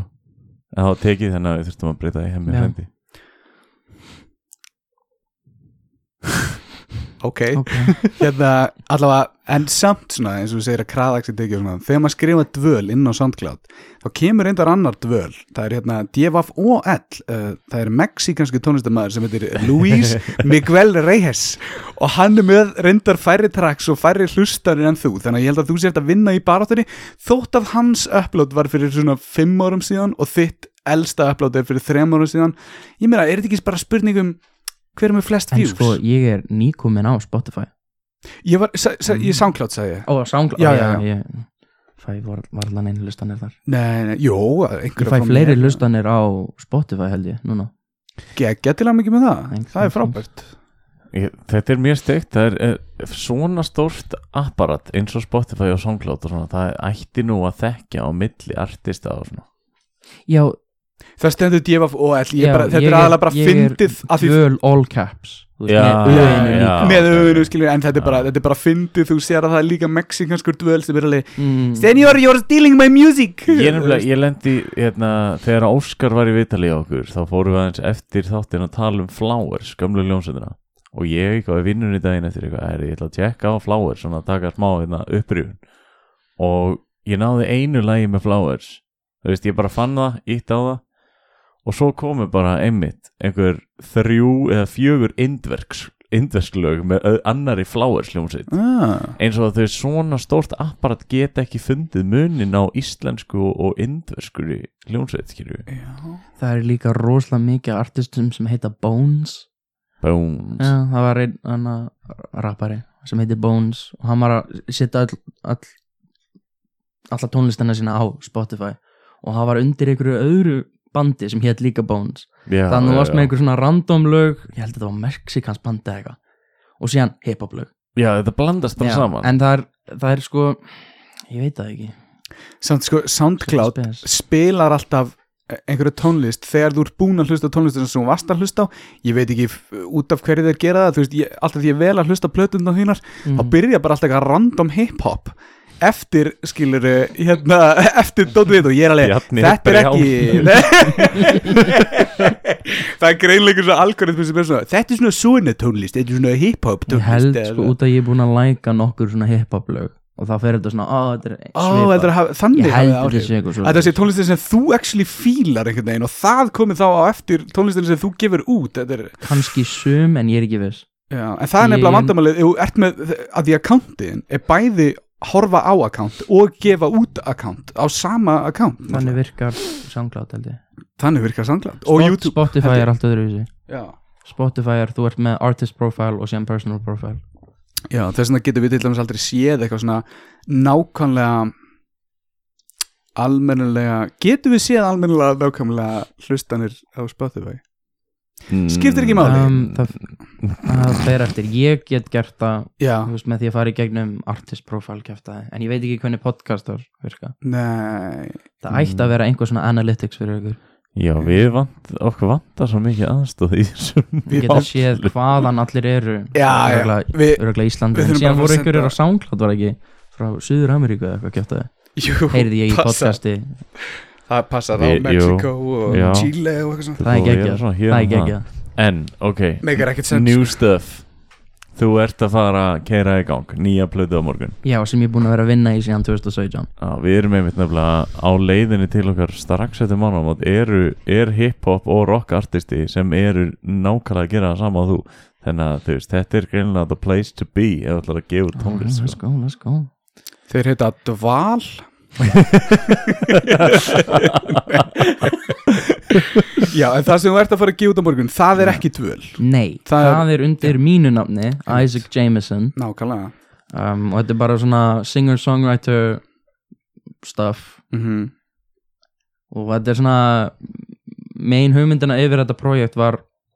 Speaker 3: En það var tekið þannig að við þurftum að breyta í hemmi
Speaker 2: Já.
Speaker 3: frændi
Speaker 4: ok,
Speaker 2: Ok,
Speaker 4: hérna allavega, en samt svona eins og við segir að kraðaxi tekið og svona, þegar maður skrifa dvöl inn á SoundCloud, þá kemur reyndar annar dvöl, það er hérna DFOL uh, það er mexíkansku tónlistamæður sem heitir Luis Miguel Reyes og hann er með reyndar færri tracks og færri hlustanir en þú, þannig að ég held að þú sért að vinna í baráttunni, þótt að hans upload var fyrir svona fimm árum síðan og þitt elsta upload er fyrir þrem árum síðan, ég meina, er þetta ekki bara spurningum hver er með flest
Speaker 2: en
Speaker 4: views?
Speaker 2: sko, ég er nýkomin á Spotify
Speaker 4: Ég var, sa, sa, ég SoundCloud sagði ég
Speaker 2: Ó, SoundCloud
Speaker 4: Já, já, já.
Speaker 2: Ég, fæ var, varlan einu lustanir þar
Speaker 4: Nei, nei, jú,
Speaker 2: Ég
Speaker 4: einhverja
Speaker 2: fæ fleiri lustanir á Spotify held ég, núna
Speaker 4: Getilega mikið með það,
Speaker 2: Nei,
Speaker 4: það er
Speaker 2: thanks,
Speaker 4: frábært
Speaker 3: Ég- Þetta er mjög steikt Það er, er svona stórt apparat eins og Spotify og SoundCloud og svona, það ætti nú að þekkja á milli artista og svona
Speaker 2: Já,
Speaker 4: Það stendur djöfaf og all,
Speaker 2: já
Speaker 4: ég bara, þetta
Speaker 2: ég
Speaker 4: er aðalega bara fyndið af því-
Speaker 2: Dvöl all caps þú veist,
Speaker 3: Já,
Speaker 2: með augunum
Speaker 3: já.
Speaker 2: líka.
Speaker 4: með
Speaker 3: ok,
Speaker 4: auðvunum,
Speaker 3: ok.
Speaker 4: skilur, en þetta er bara, þetta er bara fyndið, þú sér að það er líka mexikanskur dvöl sem er alveg,
Speaker 2: Mm.
Speaker 4: senior, you're stealing my music
Speaker 3: Ég nefnilega, ég lendi hérna, þegar Óskar var í vitali á okkur þá fórum við aðeins eftir þáttinn að tala um Flowers, gömlu ljónsöndina og ég eitthvað við vinnunni daginn eftir eitthvað er, ég ætla að tjekka á Flowers svona að taka smá hérna, upprýfun og ég náði einu lagi með Flowers þú veist, ég bara fann það, ítt á það og svo komu bara einmitt einhver þrjú eða fjögur indverks, indversklög með ö- annarri Flowers ljónsönd
Speaker 4: ah,
Speaker 3: eins og að þau svona stórt apparat geta ekki fundið munin á íslensku og indverskuri hljónsveit, skilju
Speaker 2: Það er líka rosalega mikið af artistum sem heita Bones
Speaker 3: Bones
Speaker 2: Já, það var einn annar rappari sem heitir Bones og hann var að setja all, all, alla tónlistina sína á Spotify og hann var undir einhverju öðru bandi sem hétt líka Bones
Speaker 3: já,
Speaker 2: þannig að þú varst með
Speaker 3: já.
Speaker 2: einhver svona random lög ég held að þetta var Mexikans bandi eða eitthvað og síðan hip-hop lög
Speaker 3: já, þetta blandast bara
Speaker 2: Já,
Speaker 3: saman
Speaker 2: en það er, það er sko ég veit það ekki
Speaker 4: Samt sko, SoundCloud
Speaker 2: Spes.
Speaker 4: spilar alltaf einhverju tónlist þegar þú ert búin að hlusta á tónlistina sem þú varst að hlusta á ég veit ekki f- út af hverju þeir gera það þú veist, ég, alltaf því ég vel að hlusta plötundar þínar þá
Speaker 2: Mhm.
Speaker 4: byrja bara alltaf eitthvað random hip-hop eftir, skilur, hérna eftir Dóttu Vít og ég er alveg
Speaker 3: Bjarni
Speaker 4: þetta er
Speaker 3: Brjál.
Speaker 4: ekki það er greinleikur svo algoritmi sem er svona, þetta er svona svona tónlist þetta er svona hip-hop
Speaker 2: ég
Speaker 4: tónlist
Speaker 2: held
Speaker 4: eða-
Speaker 2: sko út að ég er búin að læka nokkur svona hip-hop lög og það fer þetta svona, á, þetta er
Speaker 4: Ó,
Speaker 2: svipað."
Speaker 4: þetta er að hafa- þannig
Speaker 2: ég
Speaker 4: hafið
Speaker 2: held
Speaker 4: það
Speaker 2: þetta
Speaker 4: áhrif.
Speaker 2: sé eitthvað
Speaker 4: Að
Speaker 2: svona
Speaker 4: Þetta sé tónlistin sem þú actually fílar einhvern veginn og það komið þá á eftir tónlistin sem þú gefur út þetta er,
Speaker 2: kannski sum en ég er ekki viss
Speaker 4: já, en það er
Speaker 2: Ég-
Speaker 4: nefnilega vandamálið ef þú ert með að því akkántin er bæði horfa á akkant og gefa út akkant á sama akkant
Speaker 2: þannig virkar SoundCloud held ég
Speaker 4: þannig virkar sanglant og
Speaker 2: Spot-
Speaker 4: YouTube
Speaker 2: Spotify
Speaker 4: held ég.
Speaker 2: er allt öðruvísi
Speaker 4: já.
Speaker 2: Spotify er, þú ert með artist profile og síðan personal profile
Speaker 4: já, þess vegna getum við til dæmis aldrei séð eitthvað svona nákvæmlega almennilega getum við séð almennilega nákvæmlega hlustanir á Spotify
Speaker 3: Mm.
Speaker 4: skiptir ekki máli.
Speaker 2: um, það, það fer eftir ég get gert það
Speaker 4: já,
Speaker 2: þú veist, með því að fara í gegnum artist profile kæftaði, en ég veit ekki hvernig podcastar virka,
Speaker 4: nei
Speaker 2: það ætti að vera einhver svona analytics fyrir ykkur,
Speaker 3: já, við vant, okkur vantar svo mikið aðstóð í þessum
Speaker 2: við getum séð hvaðan allir eru
Speaker 4: já, já,
Speaker 2: örgulega,
Speaker 4: við,
Speaker 2: örgulega Íslandi,
Speaker 4: við
Speaker 2: en
Speaker 4: þurfum
Speaker 2: síðan
Speaker 4: bara að
Speaker 2: voru
Speaker 4: fara að
Speaker 2: ykkur
Speaker 4: senda-
Speaker 2: á SoundCloud var ekki frá Suður Ameríku eða eitthvað kæftaði
Speaker 4: jú,
Speaker 2: heyrði ég í
Speaker 4: passa.
Speaker 2: podcasti,
Speaker 4: Það passar á
Speaker 3: Ég- jú.
Speaker 4: Mexiko og
Speaker 3: Já.
Speaker 4: Chile og eitthvað svona
Speaker 2: það er
Speaker 3: Og við
Speaker 2: geggjað.
Speaker 3: erum svona
Speaker 2: það
Speaker 3: hér
Speaker 2: er
Speaker 3: og
Speaker 2: ekki ekki
Speaker 3: en, ok,
Speaker 4: Megar ekkert sens
Speaker 3: new stuff þú ert að fara að keira í gang nýja plötu á morgun
Speaker 2: Já, sem ég er búin að vera að vinna í síðan 2017
Speaker 3: Já, við erum einmitt nefnilega á leiðinni til okkar strax eftir mannamót eru, er hip-hop og rock artisti sem eru nákvæmlega að gera það sama og þú þannig að þú veist, þetta er greinlega the place to be ef þú ætlar að gefa út tónlist
Speaker 2: Let's
Speaker 3: sko.
Speaker 2: go, let's go
Speaker 4: Þeir heita Dval Já, en það sem þú ert að fara að gefa út á morgun Það er ekki dvöl
Speaker 2: Nei,
Speaker 4: Það
Speaker 2: það,
Speaker 4: er-
Speaker 2: er undir mínu nafni Isaac Jameson
Speaker 4: Nákvæmlega
Speaker 2: um, og þetta er bara svona singer-songwriter stuff
Speaker 4: mm
Speaker 2: og þetta er svona main hugmyndina yfir þetta projekt var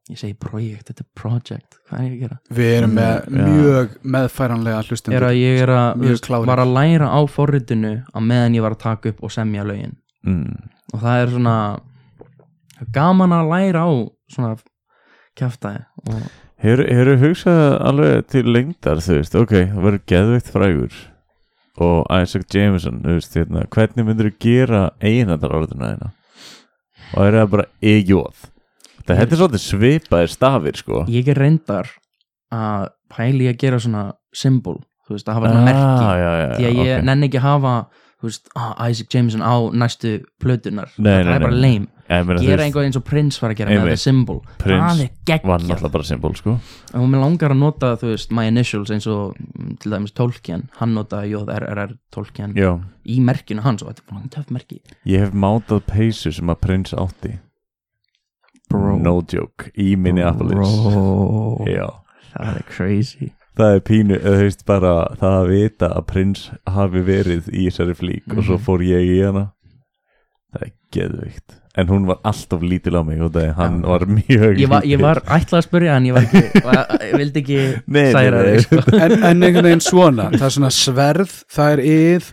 Speaker 2: ég segi projekt, þetta er project hvað er ég að gera?
Speaker 4: Við erum með
Speaker 3: Mm, já.
Speaker 4: mjög meðfæranlega hlustendur
Speaker 2: Er að ég er að,
Speaker 4: Mjög
Speaker 2: þú veist,
Speaker 4: klárir.
Speaker 2: var að læra á forritinu á meðan ég var að taka upp og semja lögin
Speaker 3: mm.
Speaker 2: og það er svona gaman að læra á svona kjaftaði og
Speaker 3: Hefur- Hefur þú hugsað alveg til lengdar þú veist, ok, það verður geðveikt frægur og Isaac Jameson þú veist, hérna, hvernig myndir þú gera eiginandar orðuna þeirna og er það bara EJ Það hættir svolítið svipaðir stafir sko
Speaker 2: ég er reyndar að pæli að gera svona symbol, þú veist, að hafa svona merki
Speaker 3: Ah, já, já,
Speaker 2: því að ég
Speaker 3: ok.
Speaker 2: nenni ekki að hafa þú veist, ah, Isaac Jameson á næstu plötunar,
Speaker 3: Nei,
Speaker 2: það
Speaker 3: nei,
Speaker 2: er bara
Speaker 3: nei.
Speaker 2: lame
Speaker 3: Já, ég meina, þú
Speaker 2: gera
Speaker 3: veist,
Speaker 2: einhvað eins og Prince var að gera með
Speaker 3: Einmitt.
Speaker 2: þetta symbol
Speaker 3: Prince
Speaker 2: það er
Speaker 3: var
Speaker 2: geggjað
Speaker 3: náttúrulega bara symbol sko
Speaker 2: og mér langar að nota, þú veist, my initials eins og mm, til dæmis Tolkien, hann notaði JRR Tolkien
Speaker 3: Já,
Speaker 2: í merkinu hans og þetta er bara töff merki
Speaker 3: ég hef mátað peysu sem að prins átti No joke, í Minneapolis
Speaker 2: Bro,
Speaker 3: Já
Speaker 2: það er crazy
Speaker 3: það er pínu, eða þú veist bara það að vita að prins hafi verið í þessari flík og svo fór ég í hana það er geðvikt en hún var alltaf lítil á mig og það er hann var mjög
Speaker 2: ég var, ég
Speaker 3: lítill.
Speaker 2: var ætlað að spyrja en ég var ekki, var, ég vildi ekki
Speaker 3: Nei, nei,
Speaker 2: særa
Speaker 3: nei.
Speaker 2: þig sko.
Speaker 4: en, en einhvern veginn svona það er svona sverð, það er yð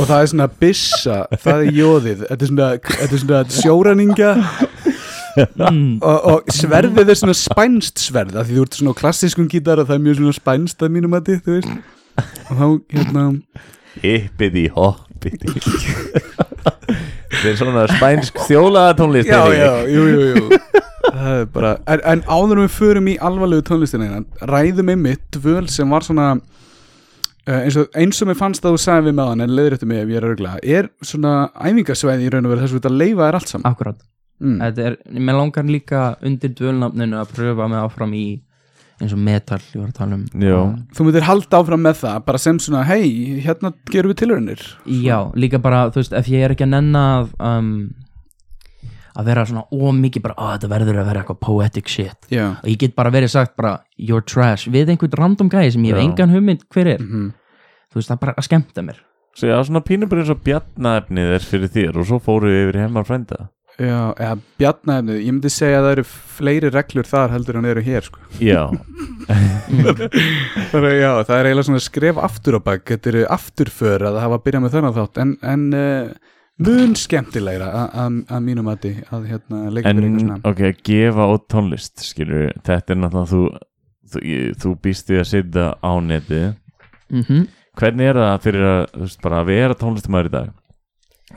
Speaker 4: og það er svona bissa það er jóðið, þetta er svona, þetta er svona sjóraninga
Speaker 2: mm,
Speaker 4: og, og sverðið er svona spænst sverð af því þú ert svona á klassískum gítar og það er mjög svona spænst að mínum að þið, þú veist og þá hérna
Speaker 3: hippið í hoppið í það er svona spænsk þjólaða tónlist
Speaker 4: já,
Speaker 3: Eirík.
Speaker 4: já, jú, jú, jú það er bara, en, en áður en við förum í alvarlegu tónlistina hérna, ræðum einmitt dvöl sem var svona eh, eins og, eins og mér fannst að þú sagði við með hann en leiðréttu mig ef ég er örgla er svona æfingasvæði í raun og verið þess að þetta leifa er allt saman
Speaker 2: akkurat
Speaker 4: mm.
Speaker 2: þetta er, mér langar líka undir dvölnafninu að pröfa mig áfram í eins og metal, ég var að tala um
Speaker 3: já,
Speaker 4: þú myndir halda áfram með það bara sem svona, hei, hérna gerum við tilraunir
Speaker 2: já, líka bara, þú veist, ef ég er ekki að nenna að, um, að vera svona ómikið bara, að þetta verður að vera eitthvað poetic shit
Speaker 4: já,
Speaker 2: og ég get bara verið sagt bara, you're trash við einhvern random gæði sem ég hef
Speaker 3: Já.
Speaker 2: engan hugmynd hver er,
Speaker 4: Mhm.
Speaker 2: þú veist, það er bara að skemmta mér
Speaker 3: svo já, svona pínu bara eins og bjarnaefnið er fyrir þér og svo fóru við yfir í hemmar frænda
Speaker 4: já eða bjarnæfnið, ég myndi segja að það eru fleiri reglur þar heldur en eru hér sko.
Speaker 3: já,
Speaker 4: Það er, já, það er eiginlega svona skref aftur á bak Þetta eru afturför að hafa að byrja með þennan þátt En, en uh, mun skemmtilegra a- a- að mínum mati Að hérna leika
Speaker 3: en
Speaker 4: fyrir eitthvað svona
Speaker 3: ok, að gefa út tónlist skilur, þetta er náttúrulega þú, þú, ég- þú býst við að sitja á netið
Speaker 2: mhm
Speaker 3: hvernig er það fyrir að, þú veist, bara, að vera tónlistamæður í dag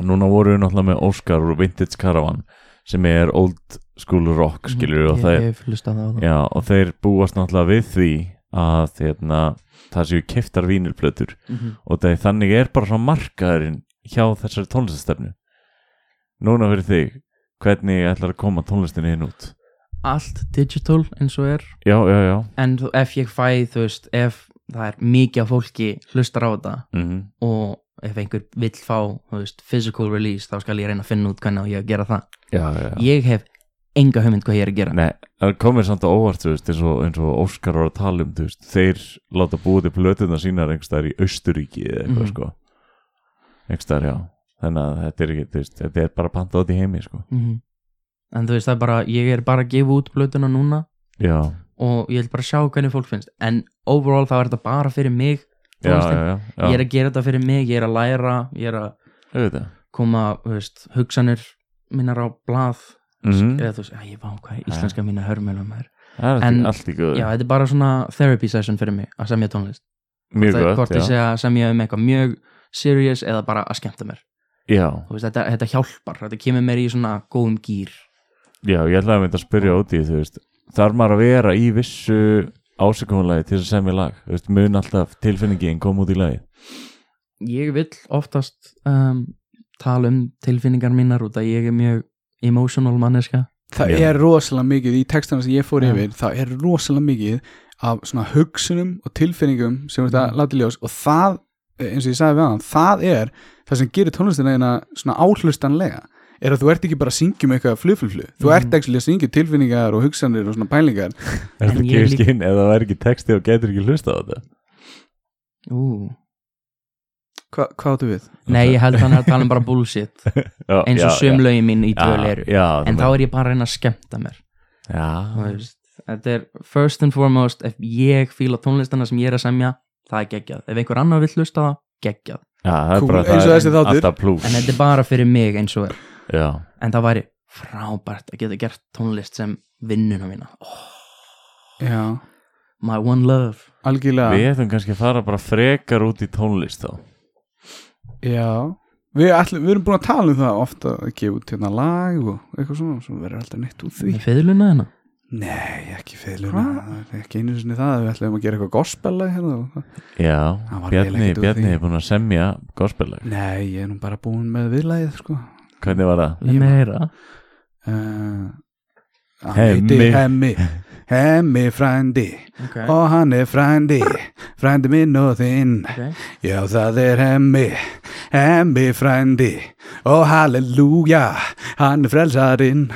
Speaker 3: núna voru við náttúrulega með Óskar og Vintage Caravan sem er old school rock skilur og, þeir,
Speaker 2: Mm-hmm. Ég hef hlustað á það
Speaker 3: Mm, já, og þeir búast náttúrulega við því að hérna, það séu keftar vínirplötur
Speaker 2: Mhm.
Speaker 3: og það, þannig er bara svona markaðurinn hjá þessari tónlistastefnu núna fyrir þig hvernig ætlar að koma tónlistinni inn út
Speaker 2: Allt digital eins og er
Speaker 3: já, já, já
Speaker 2: En þú- ef ég fæ, þú veist, ef það er mikið af fólki hlustar á þetta
Speaker 3: mm
Speaker 2: Og ef einhver vill fá, þú veist, physical release Þá skal ég reyna að finna út hvernig á ég að gera það
Speaker 3: já, já, já.
Speaker 2: Ég hef enga hugmynd hvað ég er að gera
Speaker 3: Nei, það komir samt á óvart þú veist, eins, og, eins og Óskar var að tala um þú veist, þeir láta búið til plötuna sínar einhverstaðar í Austuríki eða eitthvað
Speaker 2: Mhm.
Speaker 3: sko. einhverstaðar, já þannig að þetta er, ekki, þú veist, þetta er bara panta át í heimi sko.
Speaker 2: Mhm. En þú veist, það er bara, ég er bara að gefa út blötuna núna
Speaker 3: já,
Speaker 2: Og ég vil bara sjá hvernig fólk finnst En overall þá er þetta bara fyrir mig
Speaker 3: já, já,
Speaker 2: tónlistin.
Speaker 3: já, já.
Speaker 2: Ég er að gera þetta fyrir mig, ég er að læra Ég er að
Speaker 3: auðvitað
Speaker 2: koma, þú veist, hugsanir minnar á blað
Speaker 3: Mhm.
Speaker 2: eða þú veist, að ég vá hvað er íslenska mín að hörmjölum er
Speaker 3: það er
Speaker 2: En-
Speaker 3: en, allt í góðu,
Speaker 2: já, þetta er bara svona therapy session fyrir mig að semja tónlist
Speaker 3: mjög
Speaker 2: það er
Speaker 3: gott
Speaker 2: hvort ég
Speaker 3: já.
Speaker 2: segja að semja um eitthvað mjög serious eða bara að skemmta mér
Speaker 3: Já,
Speaker 2: þú veist, þetta, þetta hjálpar, þetta kemur mér í svona góðum gýr
Speaker 3: já, ég ætlaði að mynda að spyrja út í því, þú veist, þarf maður að vera í vissu ásökumunlagi til þess að semja lag, þú veist, mun alltaf tilfinningin kom út í lagi
Speaker 2: ég vill oftast um, tala um tilfinningar mínar út að ég er mjög emotional manneska
Speaker 4: Það
Speaker 3: Já.
Speaker 4: er rosalega mikið, í textana sem ég fór
Speaker 2: Já.
Speaker 4: yfir Það er rosalega mikið af svona hugsunum og tilfinningum Sem þetta
Speaker 2: Mhm.
Speaker 4: láti ljós Og það, eh, eins og ég sagði við hann Það er það sem gerir tónlistina eina svona áhlustanlega er að þú ert ekki bara að syngja um eitthvað flugflugflug þú
Speaker 2: Mhm.
Speaker 4: ert ekki að syngja tilfinningar og hugsanir og svona pælingar
Speaker 3: Er
Speaker 2: En
Speaker 3: þetta
Speaker 2: ég
Speaker 3: gefið
Speaker 2: líka-
Speaker 3: skinn eða það væri ekki texti og getur ekki hlusta á þetta?
Speaker 2: Ú.
Speaker 4: Hva, hvað áttu við?
Speaker 2: nei, ég held hann er að tala um bara bullshit
Speaker 3: Já,
Speaker 2: eins og
Speaker 3: já,
Speaker 2: sömlaugin mín í dvöl
Speaker 3: já,
Speaker 2: eru
Speaker 3: já,
Speaker 2: en þá er ég bara að reyna að skemmta mér
Speaker 3: já,
Speaker 2: Þú veist, þetta er first and foremost ef ég fíla tónlistana sem ég er að semja það er geggjað, ef einhver annar vill hlusta á það geggjað,
Speaker 3: Já, það er
Speaker 4: Kúl,
Speaker 3: bara það
Speaker 4: eins og
Speaker 3: er
Speaker 4: þessi þáttur.
Speaker 3: Alltaf plús
Speaker 2: en þetta er bara fyrir mig eins og er
Speaker 3: Já,
Speaker 2: en það væri frábært að geta gert tónlist sem vinnuna mína oh,
Speaker 4: já,
Speaker 2: my one love
Speaker 4: algjörlega
Speaker 3: við ætlum kannski að fara bara frekar út í tónlist þá
Speaker 4: já Við, ætlum, við erum búin að tala um það ofta að gefa út hérna lag og eitthvað svona sem verður alltaf neitt út því
Speaker 2: með fiðluna hérna. hennar
Speaker 4: Nei, ekki feiluna ekki einu sinni það, við ætlum að gera eitthvað gospel hérna og það
Speaker 3: Já,
Speaker 4: Hann var eiginlega
Speaker 3: Bjarni,
Speaker 4: ekkert úr
Speaker 3: Bjarni
Speaker 4: því.
Speaker 3: er búin að semja gospellag
Speaker 4: Nei, ég er nú bara búin með viðlagið sko
Speaker 3: Hvernig var það?
Speaker 2: leið mig heyra
Speaker 4: uh,
Speaker 3: Hemmi.
Speaker 4: Hemmi Hemmi, Hemmi frændi
Speaker 2: okay.
Speaker 4: og hann er frændi frændi minn og þinn
Speaker 2: okay.
Speaker 4: já það er Hemmi Hemmi frændi og halleluja hann er frelsarinn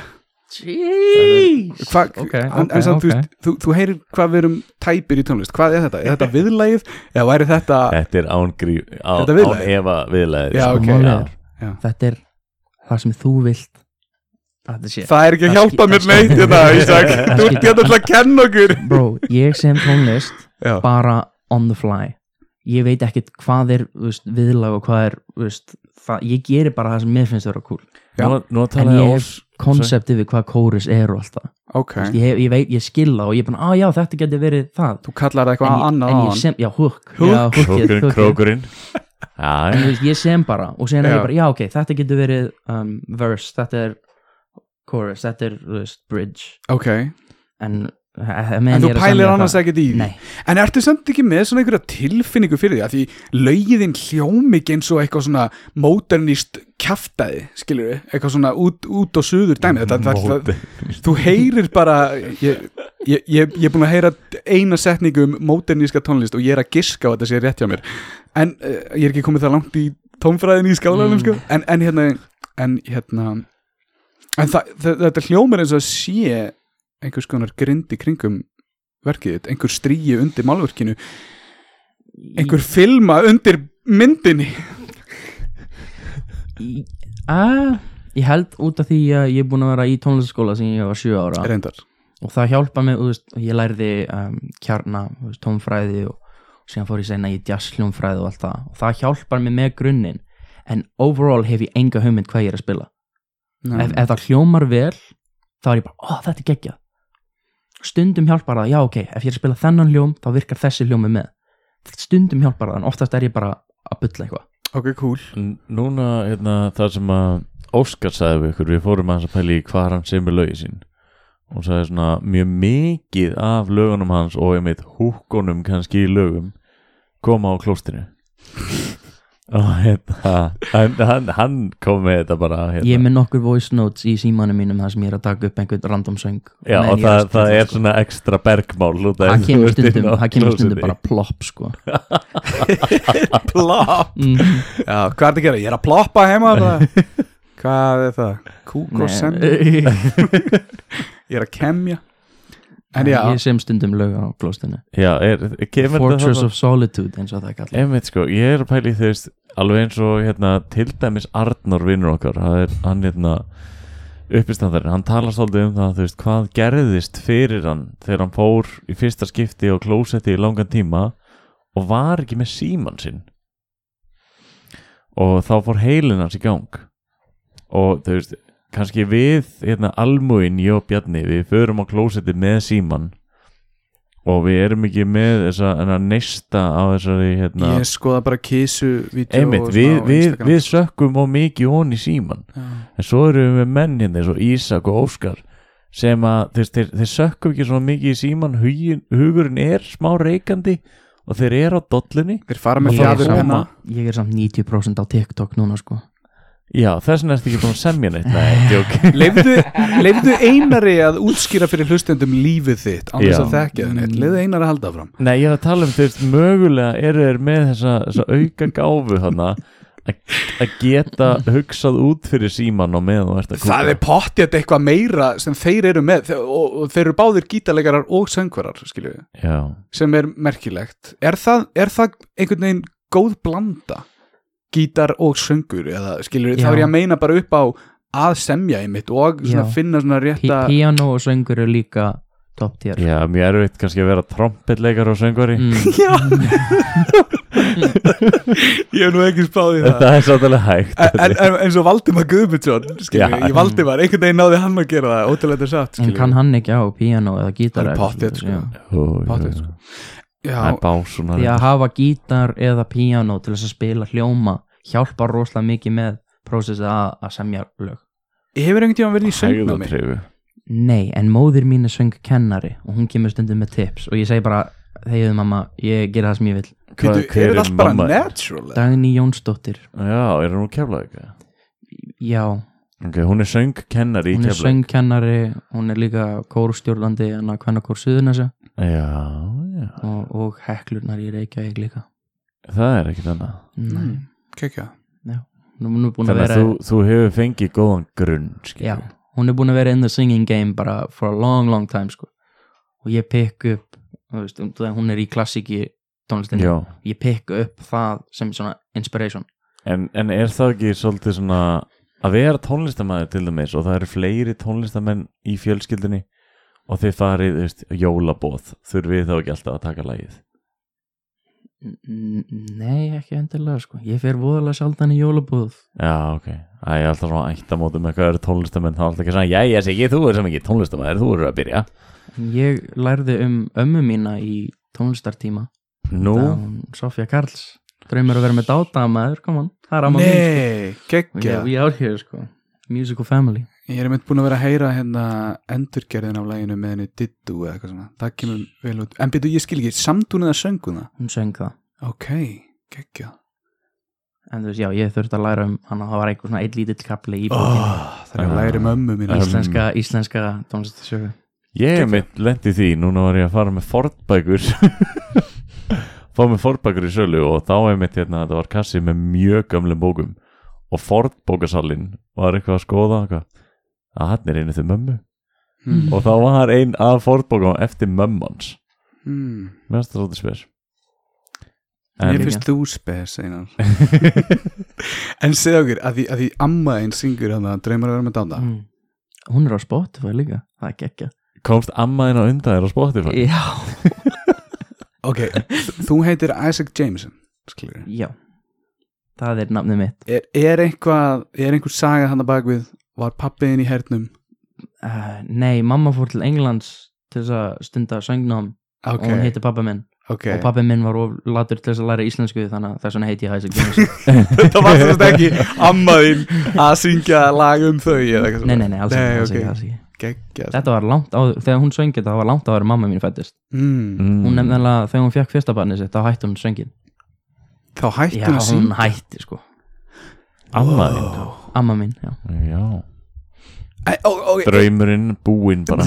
Speaker 2: jeez
Speaker 4: Hva,
Speaker 2: Ok,
Speaker 4: en,
Speaker 2: ok,
Speaker 4: en samt,
Speaker 2: ok.
Speaker 4: þú, veist, þú, þú heyrir hvað við erum tæpir í tónlist hvað er þetta? Er þetta viðlagið? eða væri þetta
Speaker 3: Þetta er án, grí, á,
Speaker 4: Þetta er
Speaker 3: án
Speaker 4: viðlagið.
Speaker 3: efa Sko, viðlæðið
Speaker 4: Já, ok,
Speaker 2: já.
Speaker 4: Já.
Speaker 2: þetta er það sem þú vilt að þetta sé
Speaker 4: það er ekki að hjálpa mér neitt þetta Ísak, þú ert hérna til að kenna okkur
Speaker 2: bro, ég sem tónlist
Speaker 4: já,
Speaker 2: bara on the fly ég veit ekkit hvað er þú veist, viðlag og hvað er þú veist, það, ég gerir bara það sem mér finnst vera cool
Speaker 4: Já.
Speaker 3: Nú, nú
Speaker 2: en
Speaker 3: talaði
Speaker 2: ég
Speaker 3: ég
Speaker 2: hef konseptið við hvað kóris er og allt það
Speaker 4: ok
Speaker 2: Þú veist, ég, hef, ég veit, ég skilða og ég er bara, að já, þetta getur verið það
Speaker 4: þú kallar það
Speaker 2: en
Speaker 4: eitthvað
Speaker 2: ég,
Speaker 4: annað
Speaker 2: en
Speaker 4: á
Speaker 2: ég
Speaker 4: hann
Speaker 2: sem, já, hook,
Speaker 4: Hook?
Speaker 2: Já, hookið,
Speaker 3: Krókurinn,
Speaker 2: hookið.
Speaker 3: krókurinn Já,
Speaker 2: En,
Speaker 3: já.
Speaker 2: þú veist, ég sem bara og sen er
Speaker 4: Já.
Speaker 2: ég bara, já, ok, þetta getur verið um, verse, þetta er chorus, þetta er, þú veist, bridge
Speaker 4: ok,
Speaker 2: en,
Speaker 4: en þú pælir annars
Speaker 2: ekki
Speaker 4: ekkert í því
Speaker 2: nei,
Speaker 4: en ertu samt ekki með svona einhverja tilfinningu fyrir því að því lögiðin hljómi ekki eins og eitthvað svona modernist kjaftaði, skilur við eitthvað svona út, út og suður dæmi þetta, þetta,
Speaker 3: Móti.
Speaker 4: þetta, þú heyrir bara ég, ég, ég, ég er búin að heyra eina setningu um moderníska tónlist og ég er að giska á að þetta sé rétt hjá mér en uh, ég er ekki komið það langt í tónfræðin í skálanum
Speaker 2: Mm.
Speaker 4: sko. en, en hérna en hérna en það, það, þetta hljómar eins og að sé einhvers konar grind í kringum verkið, þitt, einhver stríi undir málverkinu einhver filma undir myndinni
Speaker 2: Í- að, ég held út af því að ég er búin að vera í tónlistaskóla sem ég var 7 ára
Speaker 4: reyndar
Speaker 2: og það hjálpa mig, þú veist, ég lærði um, kjarna, þú veist, tónfræði og, og síðan fór ég seinna í jazzljónfræði og allt það og það hjálpar mig með grunnin en overall hef ég enga hugmynd hvað ég er að spila
Speaker 3: Mm.
Speaker 2: ef, ef það hljómar vel þá er ég bara, ó þetta er geggjað stundum hjálpar það, já ok ef ég er að spila þennan hljóm, þá virkar þessi hljómi með stundum hjálpar það, en oftast er ég bara að bylla eitthvað
Speaker 4: ok, cool
Speaker 3: N- Núna, hérna, það sem að Óskar sagði við ykkur, við fórum aðeins að pæla í hvað hann semur lögi sín og sagði svona mjög mikið af lögunum hans og ég meitt húkkunum kannski í lögum koma á klóstinu og hérna hann, hann, hann kom með þetta bara
Speaker 2: ég er
Speaker 3: hérna.
Speaker 2: með nokkur voice notes í símanum mínum þar sem ég er að taka upp einhvern random söng
Speaker 3: Já,
Speaker 2: meðan ég
Speaker 3: og það,
Speaker 2: að spila,
Speaker 3: það er
Speaker 2: sko.
Speaker 3: svona ekstra bergmál út af
Speaker 2: það
Speaker 3: þessu
Speaker 2: kemur
Speaker 3: þú ert
Speaker 2: stundum,
Speaker 3: inn á
Speaker 2: það kemur stundum
Speaker 3: klósetti.
Speaker 2: bara plopp sko
Speaker 4: plop
Speaker 2: mm,
Speaker 4: Já, hvað er það að gera? Ég er að ploppa heima það. Hvað er það? Kúk og sem
Speaker 2: Nei.
Speaker 4: Ég er að kemja En já,
Speaker 2: ég sem stundum lög á klóstinu
Speaker 3: Já, er, kemur
Speaker 2: Fortress
Speaker 3: þetta
Speaker 2: of Solitude eins og það er kallað
Speaker 3: Einmitt sko, ég er að pæli þú veist alveg eins og hérna til dæmis Arnór vinnur okkar, hann er hann hérna uppistandarinn, hann talar svolítið um það þú veist hvað gerðist fyrir hann þegar hann fór í fyrsta skipti og klósetti í langan tíma og var ekki með síman sinn og þá fór heilin hans í gang og þú veist kannski við hérna almúin ég og Bjarni, við förum á klósetti með síman og við erum ekki með þessa þennan neista á þessari hérna
Speaker 4: ég skoða bara kísu
Speaker 3: Einmitt, við, við, við sökkum á mikið honi í síman en svo erum við með menn hérna eins og Ísak og Óskar sem að þeir, þeir, þeir sökkum ekki svona mikið í síman hugin, hugurinn er smá reikandi og þeir eru á dollinni
Speaker 4: Þeir fara með
Speaker 2: ég er,
Speaker 4: fjadur penna
Speaker 2: samt, ég er samt 90% á TikTok núna sko
Speaker 3: já þess vegna ertu ekki búin að semja neitt nei, djók.
Speaker 4: Leifðu, leifðu einari að útskýra fyrir hlustendum lífið þitt án þess
Speaker 3: Já.
Speaker 4: að þekkja þenni Leifðu einari að halda fram
Speaker 3: nei ég er að tala um þeir mögulega eru þeir með þessa, þessa auka gáfu hana að geta hugsað út fyrir síman og meðan þú ert að
Speaker 4: Það er pottjætt eitthvað meira sem þeir eru með þe- og, og þeir eru báðir gítalegarar og söngvarar skilju,
Speaker 3: já,
Speaker 4: sem er merkilegt er það, er það einhvern veginn góð blanda gítar og söngur eða skilur
Speaker 2: Já.
Speaker 4: þá er ég að meina bara upp á að semja í mitt og svona
Speaker 2: Já.
Speaker 4: finna svona
Speaker 2: P
Speaker 4: rétta
Speaker 2: Piano og söngur eru líka top tier
Speaker 3: Já, mjög erfitt kannski að vera trompetleikar og söngvari
Speaker 2: mm,
Speaker 4: Já Ég hef nú ekki spáð í það
Speaker 3: Þetta er sáttalega hægt
Speaker 4: En, en, en eins og Valdimar Guðmundsson skilur,
Speaker 3: Já.
Speaker 4: ég Valdimar, einhvern veginn náði hann að gera það ótrúlega þetta satt
Speaker 2: en
Speaker 4: skilur.
Speaker 2: kann hann ekki á píano eða gítar
Speaker 4: Hann er
Speaker 2: eða
Speaker 4: pottþétt,
Speaker 2: eitthvað
Speaker 4: sko.
Speaker 2: svoleiðis, já.
Speaker 3: Ó, já.
Speaker 4: Pottþétt, sko.
Speaker 3: Það er
Speaker 4: Já,
Speaker 3: bás svona
Speaker 2: því að hafa gítar eða píano til þess að spila hljóma hjálpar rosalega mikið með prósessi að, að semja lög
Speaker 4: hefur einhvern tíma verið í söngnámi
Speaker 3: Hægðatrifu
Speaker 2: nei, en móðir mín er söngkennari og hún kemur stundum með tips og ég segi bara þegiðu mamma, ég gera það sem ég vil
Speaker 4: Býtu, er þetta allt bara natural eða?
Speaker 2: Dagný Jónsdóttir,
Speaker 3: Já, er hún úr Keflavík?
Speaker 2: já
Speaker 3: Ok, hún er söngkennari í
Speaker 2: hún er
Speaker 3: Keflavík
Speaker 2: söngkennari, hún er líka hérna kórstjórlandi en að hvenna kór suðunasa
Speaker 3: Já, já,
Speaker 2: og, og heklurnar í Reykjavík líka
Speaker 3: það er ekkit annað
Speaker 2: nei,
Speaker 4: Mm, Kekja
Speaker 2: nú, nú er búin að
Speaker 3: Hmm. Þannig að
Speaker 2: vera
Speaker 3: þú, þú hefur fengið góðan grunn skilur
Speaker 2: Já,
Speaker 3: við.
Speaker 2: hún er búin að vera in the singing game bara for a long, long time sko. og ég pikk upp þú veist, um, það- hún er í klassiki tónlistinni,
Speaker 3: Já,
Speaker 2: ég pikk upp það sem svona inspiration
Speaker 3: en, en er það ekki svolítið svona að vera tónlistamæður til dæmis og það eru fleiri tónlistamenn í fjölskyldinni og þið farið, þú veist, jólabóð þurfið þá ekki alltaf að taka lagið
Speaker 2: N- n- Nei, ekki endilega sko. ég fer voðalega sjaldan í jólabúð
Speaker 3: Já, ok. Það er alltaf svona ættamótum með hvað eru tónlistamenn, þá er alltaf ekki svona, já, ég sé ekki, þú er sem ekki tónlistamæður, þú eru að byrja.
Speaker 2: En ég lærði um ömmu mína í tónlistartíma
Speaker 3: Nú,
Speaker 2: Sofía Karls draumur að vera með dátamaður, kom hann það er amma mín
Speaker 4: Nei,
Speaker 2: sko. yeah.
Speaker 4: kekja
Speaker 2: we out here sko. musical family
Speaker 4: Ég er einmitt búin að vera að heyra hérna endurgerðin af læginu með henni Dittu eða eitthvað svona. Það kemur vel út. En byrju, ég skil ekki, samtúnið að sönguna.
Speaker 2: hún söng það
Speaker 4: Ok, geggja.
Speaker 2: en þú veist, já, ég þurfti að læra um hann og það var eitthvað svona eitt lítill kapli í bókinni
Speaker 4: Oh, það er að læra um ömmu mína.
Speaker 3: Ísland.
Speaker 2: íslenska, íslenska tónlistasögu
Speaker 3: ég er mitt lendi því, núna var ég að fara með fornbækur, fá með fornbækur í sölu og þá er mitt hérna, þetta var kassi með mjög gamlum bókum og fornbókasalinn var eitthvað að skoða, eitthvað, að hann er einu til mömmu
Speaker 4: Mm.
Speaker 3: og þá var ein að fornbókum eftir mömmans,
Speaker 4: Mm.
Speaker 3: mér finnst það svolítið spes.
Speaker 4: Ég
Speaker 3: En,
Speaker 4: finnst þú spes einan. en segð okkur, að því, að því amma einn syngur hann að draumar að vera með dáta.
Speaker 2: mm. hún er á Spotify líka það er gekkja
Speaker 3: komst ammaðin á undan þér á Spotify?
Speaker 2: já,
Speaker 4: Ok, þú heitir Isaac Jameson, skilur.
Speaker 2: já, það er nafnið mitt
Speaker 4: Er, er eitthvað, er einhver saga hann að bak við, var pappiðin í hernum?
Speaker 2: uh, nei, mamma fór til Englands til þess að stunda söngnám
Speaker 4: Ok,
Speaker 2: og hún heiti pappa minn
Speaker 4: ok.
Speaker 2: og pappa minn var of latur til þess að læra íslensku þannig að þess vegna heiti ég Isaac Jameson
Speaker 4: Þetta var semst ekki ammaðinn að syngja lag um þau eða eitthvað
Speaker 2: nei, nei, nei, alls ekki, alls
Speaker 4: ok.
Speaker 2: ekki, alls ekki.
Speaker 4: Geggjað.
Speaker 2: þetta var langt áður, þegar hún söngi þetta það var langt áður en mamma mín fættist
Speaker 4: Mm.
Speaker 3: Mm.
Speaker 2: hún nefnilega, þegar hún fekk fyrsta barnið sitt þá hætti hún söngin
Speaker 4: Þá hætti
Speaker 2: já,
Speaker 4: hún að
Speaker 2: hún
Speaker 4: syngja.
Speaker 2: hætti sko,
Speaker 3: Ammaðinn
Speaker 2: amma mín já.
Speaker 3: Mm, Já
Speaker 4: Æ, ó, ó,
Speaker 3: Draumurinn búinn bara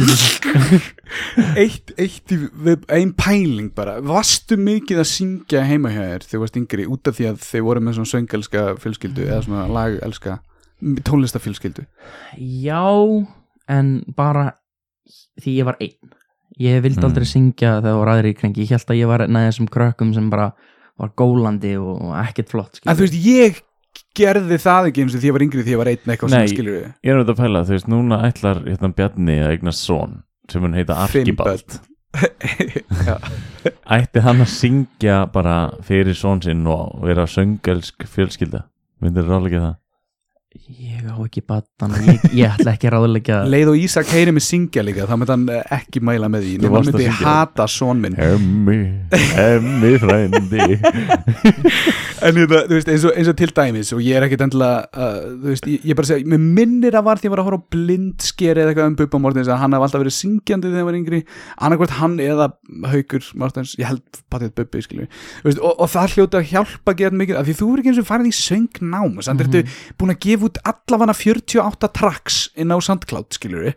Speaker 4: Eitt, eitt í, við, ein pæling bara. Vastu mikið að syngja heima hjá þér þegar þú varst yngri út af því að þau voru með svona söngelska fjölskyldu eða svona lagelska tónlistafjölskyldu?
Speaker 2: Já, en bara því ég var einn Ég vildi
Speaker 3: Mm.
Speaker 2: aldrei syngja þegar það voru aðri í kringi Ég held að ég var einn af þessum krökkum sem bara var gólandi og og ekkert flott skilur.
Speaker 4: En þú veist, ég gerði það ekki eins og því ég var yngri því ég var einn eitthvað
Speaker 3: Nei.
Speaker 4: sem skilur við.
Speaker 3: Ég er auðvitað að pæla, þú veist, núna ætlar hérna Bjarni að eigna son sem hann heita Arkibald Ætti hann að syngja bara fyrir son sinn og vera söngelsk fjölskylda Myndir ráðlega það
Speaker 2: Ég á ekki battan og ég, ég ætla ekki að ráðleika
Speaker 4: leið og Ísak heyri mig syngja líka þá myndi hann eh, ekki mæla með því
Speaker 3: Þú
Speaker 4: nema hann
Speaker 3: varst að
Speaker 4: myndi
Speaker 3: syngja.
Speaker 4: hata són minn
Speaker 3: Hemmi, hemmi frændi
Speaker 4: en ég, þú veist, eins, og, eins og til dæmis og ég er ekkit endilega uh, þú veist, ég, ég bara segja, mér minnir að var því að ég var að horfa á blindskeri eða eitthvað um Bubba Mortens að hann hafði alltaf verið syngjandi þegar hann var yngri annarkvært hann eða Haukur Mortens ég held patið Bubbi skilur við. Þú veist, og, og það hljóti að hjálpa að gera mikið af því þú er ekki eins og farið í söngnám samt ertu búin að gefa út allafana 48 tracks inn á SoundCloud skilur við.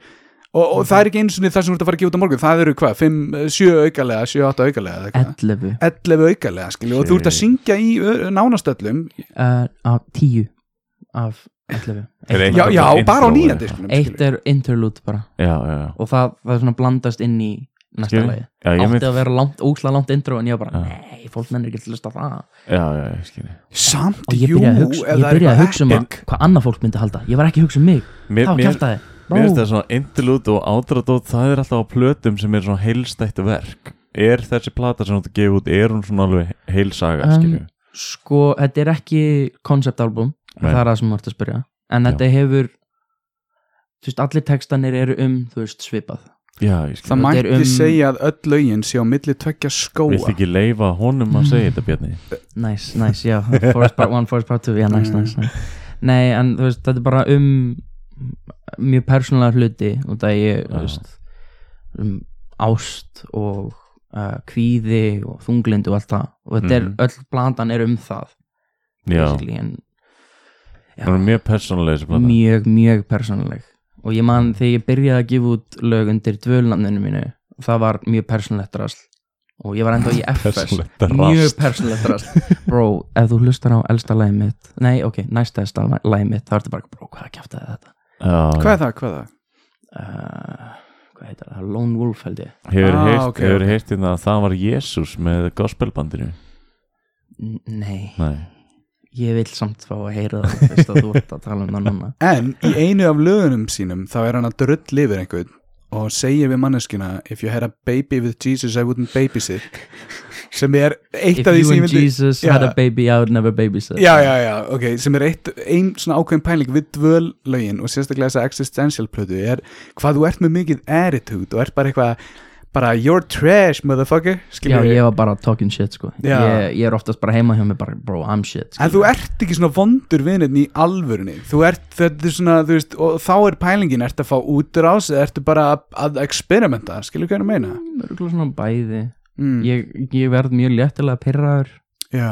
Speaker 4: og, og það er ekki eins og það sem þú ert að fara að gefa út á morgun það eru hvað, 5, 7 aukalega 7, 8 aukalega eða eitthvað.
Speaker 2: 11
Speaker 4: 11 aukalega skilju og þú ert að syngja í ö, nánastöllum
Speaker 2: uh, af 10 af 11 Eitt-
Speaker 3: Er eitt-
Speaker 4: já, já,
Speaker 3: Intro,
Speaker 4: bara á
Speaker 3: eða
Speaker 4: nýjandi
Speaker 3: eitthvað.
Speaker 4: skilju
Speaker 2: Eitt er interlude bara
Speaker 3: Já, já, já
Speaker 2: og það, það er svona blandast inn í næsta
Speaker 3: Skil.
Speaker 2: lagi
Speaker 3: Já, ég
Speaker 2: Átti
Speaker 3: mynd,
Speaker 2: að vera langt, ókslega langt intro en ég var bara,
Speaker 3: Já.
Speaker 2: nei, fólk nennir ekki til að hlusta á það
Speaker 3: já, já, ég skynni
Speaker 4: samt
Speaker 2: og ég
Speaker 4: jú
Speaker 2: byrjaði að hugsa,
Speaker 4: ef
Speaker 2: ég
Speaker 4: það er
Speaker 2: byrjaði að
Speaker 4: eitthvað
Speaker 2: hugsa um að,
Speaker 4: epic.
Speaker 2: hvað annað fólk myndi halda ég var ekki að hugsa um mig, það
Speaker 3: mér,
Speaker 2: var
Speaker 3: mér,
Speaker 2: kjátt að þið
Speaker 3: Mér finnst það svona interlude og outradót það er alltaf á plötum sem er svona heilstætt verk Er þessi plata sem þú ert að gefa út, er hún svona alveg heilsaga,
Speaker 2: Um,
Speaker 3: um, skilju?
Speaker 2: sko, þetta er ekki konceptalbum,
Speaker 3: Nei.
Speaker 2: það er það sem maður ert að spyrja en þetta hefur þú veist, allir textanir eru um þú veist, svipað
Speaker 3: Já, ég skilju
Speaker 4: það
Speaker 2: þetta er
Speaker 4: mætti
Speaker 2: um-
Speaker 4: segja að öll lögin sé á milli tvekja
Speaker 3: Vilt
Speaker 4: skóa
Speaker 3: ekki leifa honum að segja þetta, Bjarni?
Speaker 2: Næs, næs, já, Forest Part 1, Forest Part 2 Já, næs,
Speaker 4: Mm.
Speaker 2: næs, næs Nei, en þú veist, þetta er bara um mjög persónulega hluti og það ég,
Speaker 3: Já.
Speaker 2: þú veist um ást og uh, kvíði og þunglindi og allt það og þetta
Speaker 3: Mhm.
Speaker 2: er, öll blandan er um það
Speaker 3: Já,
Speaker 2: basically, en Já.
Speaker 3: hún er mjög persónulega þessi plata
Speaker 2: mjög, mjög persónuleg og ég man þegar ég byrjaði að gefa út lög undir dvölnafninu mínu það var mjög persónulegt rasl og ég var enda í FS
Speaker 3: Persónulegt rasl.
Speaker 2: mjög persónulegt rasl bro, ef þú hlustar á elsta lagið mitt nei, ok, næsta elsta lagið mitt þá ertu bara, bro, hvað kæftaði þetta
Speaker 4: hvað
Speaker 3: Já,
Speaker 4: er það, hvað er það?
Speaker 2: uh, hvað heitir það, Lone Wolf held ég
Speaker 3: hefur
Speaker 4: Ah,
Speaker 3: heyrt,
Speaker 4: ok,
Speaker 3: hefur
Speaker 4: ok.
Speaker 3: heyrt hérna að það var Jésús með gospelbandinu
Speaker 2: N nei,
Speaker 3: Nei,
Speaker 2: ég vil samt fá að heyra það fyrst að þú ert að tala um það núna
Speaker 4: en í einu af lögunum sínum þá er hann að drull yfir einhvern og segja við manneskina if you had a baby with Jesus I wouldn't babysit sem er eitt
Speaker 2: If
Speaker 4: af því
Speaker 2: you
Speaker 4: sem ég
Speaker 2: and
Speaker 4: vildi
Speaker 2: Jesus had
Speaker 4: Já.
Speaker 2: a baby, I would never babysit
Speaker 4: já, já, já, ok, sem er eitt ein svona ákveðin pæling við dvöl lögin og sérstaklega þess að existential plötu er hvað þú ert með mikið attitude og ert bara eitthvað bara you're trash motherfucker
Speaker 2: Já,
Speaker 4: skilur
Speaker 2: ég var bara talking shit sko
Speaker 4: Já.
Speaker 2: ég, ég er oftast bara heima hjá mig bara Bro, I'm shit
Speaker 4: En þú ert ekki svona vondur vinnirni í alvörunni Þú ert, þetta er svona, þú veist Og þá er pælingin, ertu að fá útrás Eða ertu bara að, að experimenta Skilur hvað ég er að meina
Speaker 2: Mörgulega svona bæði
Speaker 4: mm.
Speaker 2: ég, ég verð mjög léttilega pirraður
Speaker 4: Já,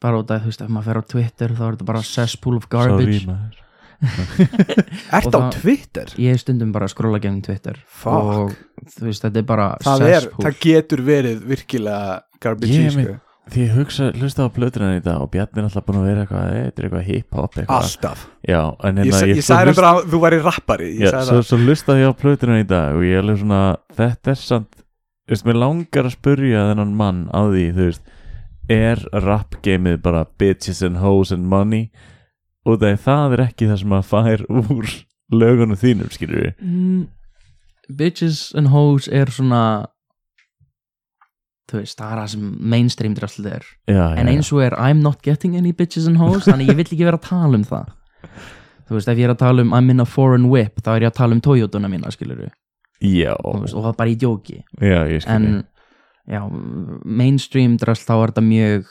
Speaker 2: Bara út af, þú veist, ef maður fer á Twitter Þá er þetta bara cesspool of
Speaker 3: sorry
Speaker 2: garbage
Speaker 3: maður
Speaker 4: ertu
Speaker 2: Og
Speaker 4: á
Speaker 2: það-
Speaker 4: Twitter
Speaker 2: Ég er stundum bara að skrolla gegnum Twitter
Speaker 4: Fuck.
Speaker 2: Og þú veist, þetta er bara
Speaker 4: Það er,
Speaker 2: cesspool
Speaker 4: það getur verið virkilega garbage
Speaker 3: Ég
Speaker 4: í, sko.
Speaker 3: meina- Því ég hugsa, hlusta á plötuna í dag og Bjarni er alltaf búin að vera eitthvað, "Eh, þetta er eitthvað hip-hop eitthvað
Speaker 4: Alltaf
Speaker 3: Já, en
Speaker 4: Ég,
Speaker 3: hérna
Speaker 4: ég, ég
Speaker 3: svo
Speaker 4: sagði
Speaker 3: hlusta-
Speaker 4: bara að þú væri rappari Ég
Speaker 3: Já,
Speaker 4: sagði
Speaker 3: svo, svo hlusta ég á plötuna í dag og ég er alveg svona, þetta er samt þú veist, mér langar að spurja þennan mann á því, þú veist er rap gameið bara bitches and hoes and money og það er, það er ekki það sem að fær úr lögunum þínum, skilur við
Speaker 2: mm, Bitches and hoes er svona Þú veist, það er það sem mainstream drastlið er
Speaker 3: já,
Speaker 2: en
Speaker 3: já,
Speaker 2: eins og er I'm not getting any bitches and hoes þannig ég vill ekki vera að tala um það þú veist, ef ég er að tala um I'm in a foreign whip þá er ég að tala um Toyotuna mína, skilur
Speaker 3: já,
Speaker 2: veist, og það er bara í djóki
Speaker 3: já, ég skilur
Speaker 2: en já, mainstream drast þá er þetta mjög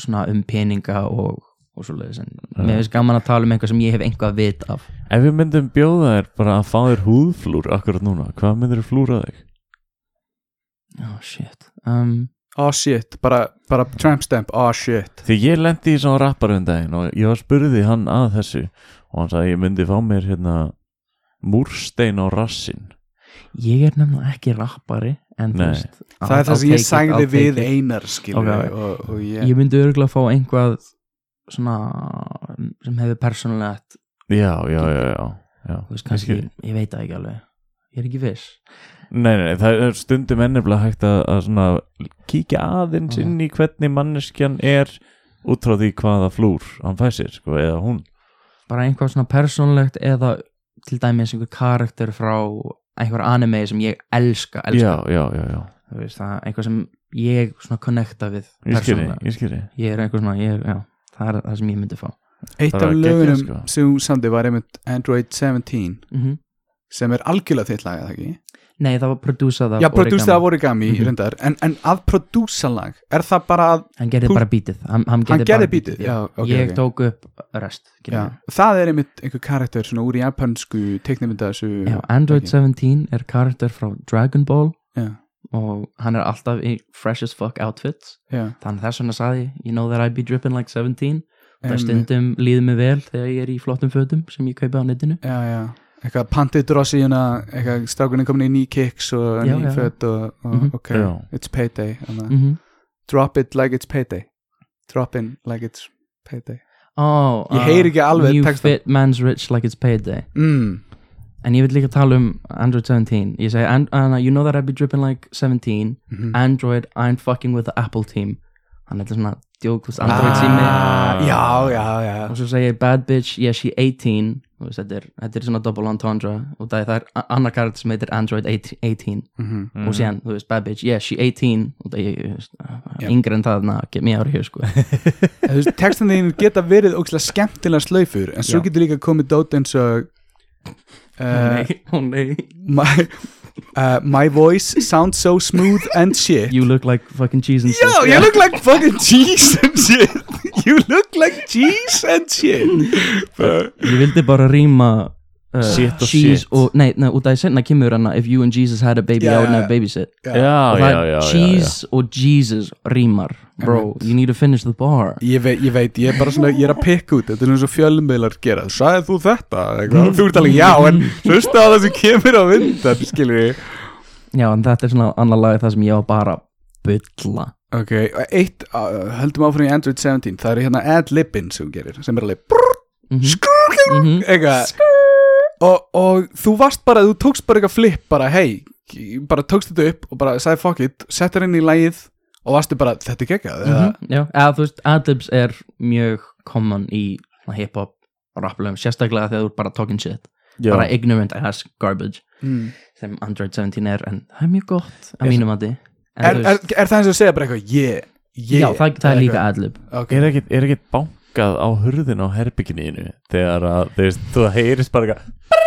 Speaker 2: svona um peninga og, og svoleiðis en mér finnst gaman að tala um eitthvað sem ég hef einhvað vit af
Speaker 3: Ef við myndum bjóða þér bara að fá þér húðflúr akkurat núna, hvað myndir þú flúra þig?
Speaker 2: oh shit um,
Speaker 4: það Oh shit, bara, bara tramp stamp Oh shit
Speaker 3: Því ég lendi í svona rapparundaginn og ég var spurði hann að þessu og hann sagði ég myndi fá mér hérna múrstein á rassin
Speaker 2: ég er nefnilega ekki rappari en þú
Speaker 3: Nei.
Speaker 2: veist
Speaker 4: Það er
Speaker 2: I'll
Speaker 4: það sem
Speaker 2: take
Speaker 4: ég
Speaker 2: it, I'll
Speaker 4: sagði
Speaker 2: take
Speaker 4: við
Speaker 2: it.
Speaker 4: einar skilur
Speaker 2: Ok, ok.
Speaker 4: og, og ég,
Speaker 2: ég myndi örgulega fá einhvað svona sem hefur persónulegt
Speaker 3: Já, já, já, já, já.
Speaker 2: þú veist,
Speaker 3: Ég
Speaker 2: kannski,
Speaker 3: skil.
Speaker 2: ég veit það ekki alveg ég er ekki viss
Speaker 3: Nei, nei, nei, það er stundum ennefnilega hægt að, að svona kíkja aðeins
Speaker 2: Já.
Speaker 3: inn í hvernig manneskjan er út frá því hvaða flúr hann fær sér, sko, eða hún
Speaker 2: bara einhvað svona persónlegt eða til dæmis einhver karakter frá einhver anime sem ég elska, elska.
Speaker 3: Já, já, já, já,
Speaker 2: Þú veist, það, er einhver sem ég svona connecta við
Speaker 3: ég skilji,
Speaker 2: persónulega.
Speaker 3: ég skilji
Speaker 2: ég er einhver svona, ég er, já, það er það sem ég myndi fá
Speaker 4: Eitt
Speaker 3: bara
Speaker 4: af
Speaker 3: geggjað,
Speaker 4: lögunum
Speaker 3: sko.
Speaker 4: sem hún samdi var einmitt Android 17
Speaker 2: mm
Speaker 4: sem er algjörlega þitt lag, eða ekki?
Speaker 2: nei, það var prodúsað af
Speaker 4: Já, prodúsað af Origami
Speaker 2: Mhm.
Speaker 4: reyndar, en, en að prodúsa lag er það bara að
Speaker 2: hann gerði
Speaker 4: Þú-
Speaker 2: bara bítið hann, hann gerði,
Speaker 4: hann gerði
Speaker 2: bara
Speaker 4: bítið
Speaker 2: já.
Speaker 4: já, ok,
Speaker 2: ég
Speaker 4: ok.
Speaker 2: tók upp rest
Speaker 4: já.
Speaker 2: já.
Speaker 4: það er einmitt einhver karakter svona úr japansku teiknimynda þessu
Speaker 2: Já, Android
Speaker 4: Ok.
Speaker 2: 17 er karakter frá Dragon Ball
Speaker 4: já,
Speaker 2: og hann er alltaf í fresh as fuck outfits
Speaker 4: já,
Speaker 2: þannig þess vegna sagði ég, you know that I be dripping like 17 það
Speaker 4: einmitt.
Speaker 2: stundum líður mig vel þegar ég er í flottum fötum sem ég kaupi á netinu
Speaker 4: já, já eitthvað pantið drossi hérna eitthvað strákunni komin í ný kicks og
Speaker 2: Já,
Speaker 4: ný
Speaker 2: já.
Speaker 4: fött og, og
Speaker 2: Mhm.
Speaker 4: ok,
Speaker 3: Já.
Speaker 4: it's payday hana.
Speaker 2: mm -hmm.
Speaker 4: drop it like it's payday drop in like it's payday
Speaker 2: oh,
Speaker 4: Ég heyri ekki alveg
Speaker 2: New
Speaker 4: textann.
Speaker 2: fit man's rich like it's payday
Speaker 4: mm,
Speaker 2: en ég vil líka tala um Android 17 ég segi, and, uh, you know that I be dripping like 17
Speaker 4: mm
Speaker 2: Android, I'm fucking with the Apple team hann er þetta svona djók, þú veist, android sími
Speaker 4: Ah, já, já, já
Speaker 2: og svo segja ég bad bitch, yeah she 18 þú veist, þetta er, þetta er svona double entendre og það er, það er annar kart sem heitir android 18
Speaker 4: Mhm.
Speaker 2: og síðan, þú veist, bad bitch, yeah she 18 og það er, ég, þú veist,
Speaker 4: Já.
Speaker 2: yngri en það na, get me out of here, sko
Speaker 4: Þú veist, textan þín geta verið ógstilega skemmtilega slaufur en svo
Speaker 2: Já.
Speaker 4: getur líka komið dót eins og uh,
Speaker 2: nei, ó nei
Speaker 4: my, uh, my voice sounds so smooth and shit
Speaker 2: you look like fucking cheese and
Speaker 4: Yo, you look like fucking cheese and shit You look like cheese and shit Bara-
Speaker 2: ég vildi bara rýma uh,
Speaker 3: Shit og
Speaker 2: cheese
Speaker 3: shit.
Speaker 2: og, nei, nei, út af því senna kemur hann if you and Jesus had a baby,
Speaker 4: Já,
Speaker 2: I would
Speaker 4: já,
Speaker 2: never babysit
Speaker 3: já, já,
Speaker 2: og
Speaker 3: já,
Speaker 2: það
Speaker 3: já,
Speaker 2: er
Speaker 3: já.
Speaker 2: cheese og Jesus rýmar bro, you need to finish the bar
Speaker 4: Ég veit, ég veit, ég er bara svona, ég er að pikka út Þetta er eins og fjölmiðlar gera Sæði þú þetta? Eitthvað, þú ert alveg já En hlusta á það sem kemur á vindan Skilur ég
Speaker 2: já, en þetta er svona annar lag það sem ég var bara að bylla
Speaker 4: Ok, eitt, uh, höldum áfram í Android 17 Það eru hérna ad-libbin sem hún gerir Sem er alveg brrr,
Speaker 2: Mhm.
Speaker 4: eitthvað og, og þú varst bara, þú tókst bara eitthvað flip Bara, hei, bara tókst þetta upp Og bara sagði fuck it, settir inn í lægið Og varstu bara, þetta er geggjað eða,
Speaker 2: Mhm, já, eða þú veist, adlibs er mjög common í svona hip-hop rapplum, sérstaklega þegar þú er bara talking shit
Speaker 3: já. Hmm.
Speaker 2: bara ignorant ass garbage
Speaker 4: mm.
Speaker 2: sem Android 17 er, en það er mjög gott að
Speaker 3: Er-
Speaker 2: mínum að þið
Speaker 4: er, er, er það eins og að segja bara eitthvað yeah, yeah
Speaker 2: Já, það, það er líka adlib
Speaker 4: okay.
Speaker 3: er ekkert er ekkit bankað á hurðin á herbygginu þínu þegar að þú veist, þú heyrist bara eitthvað,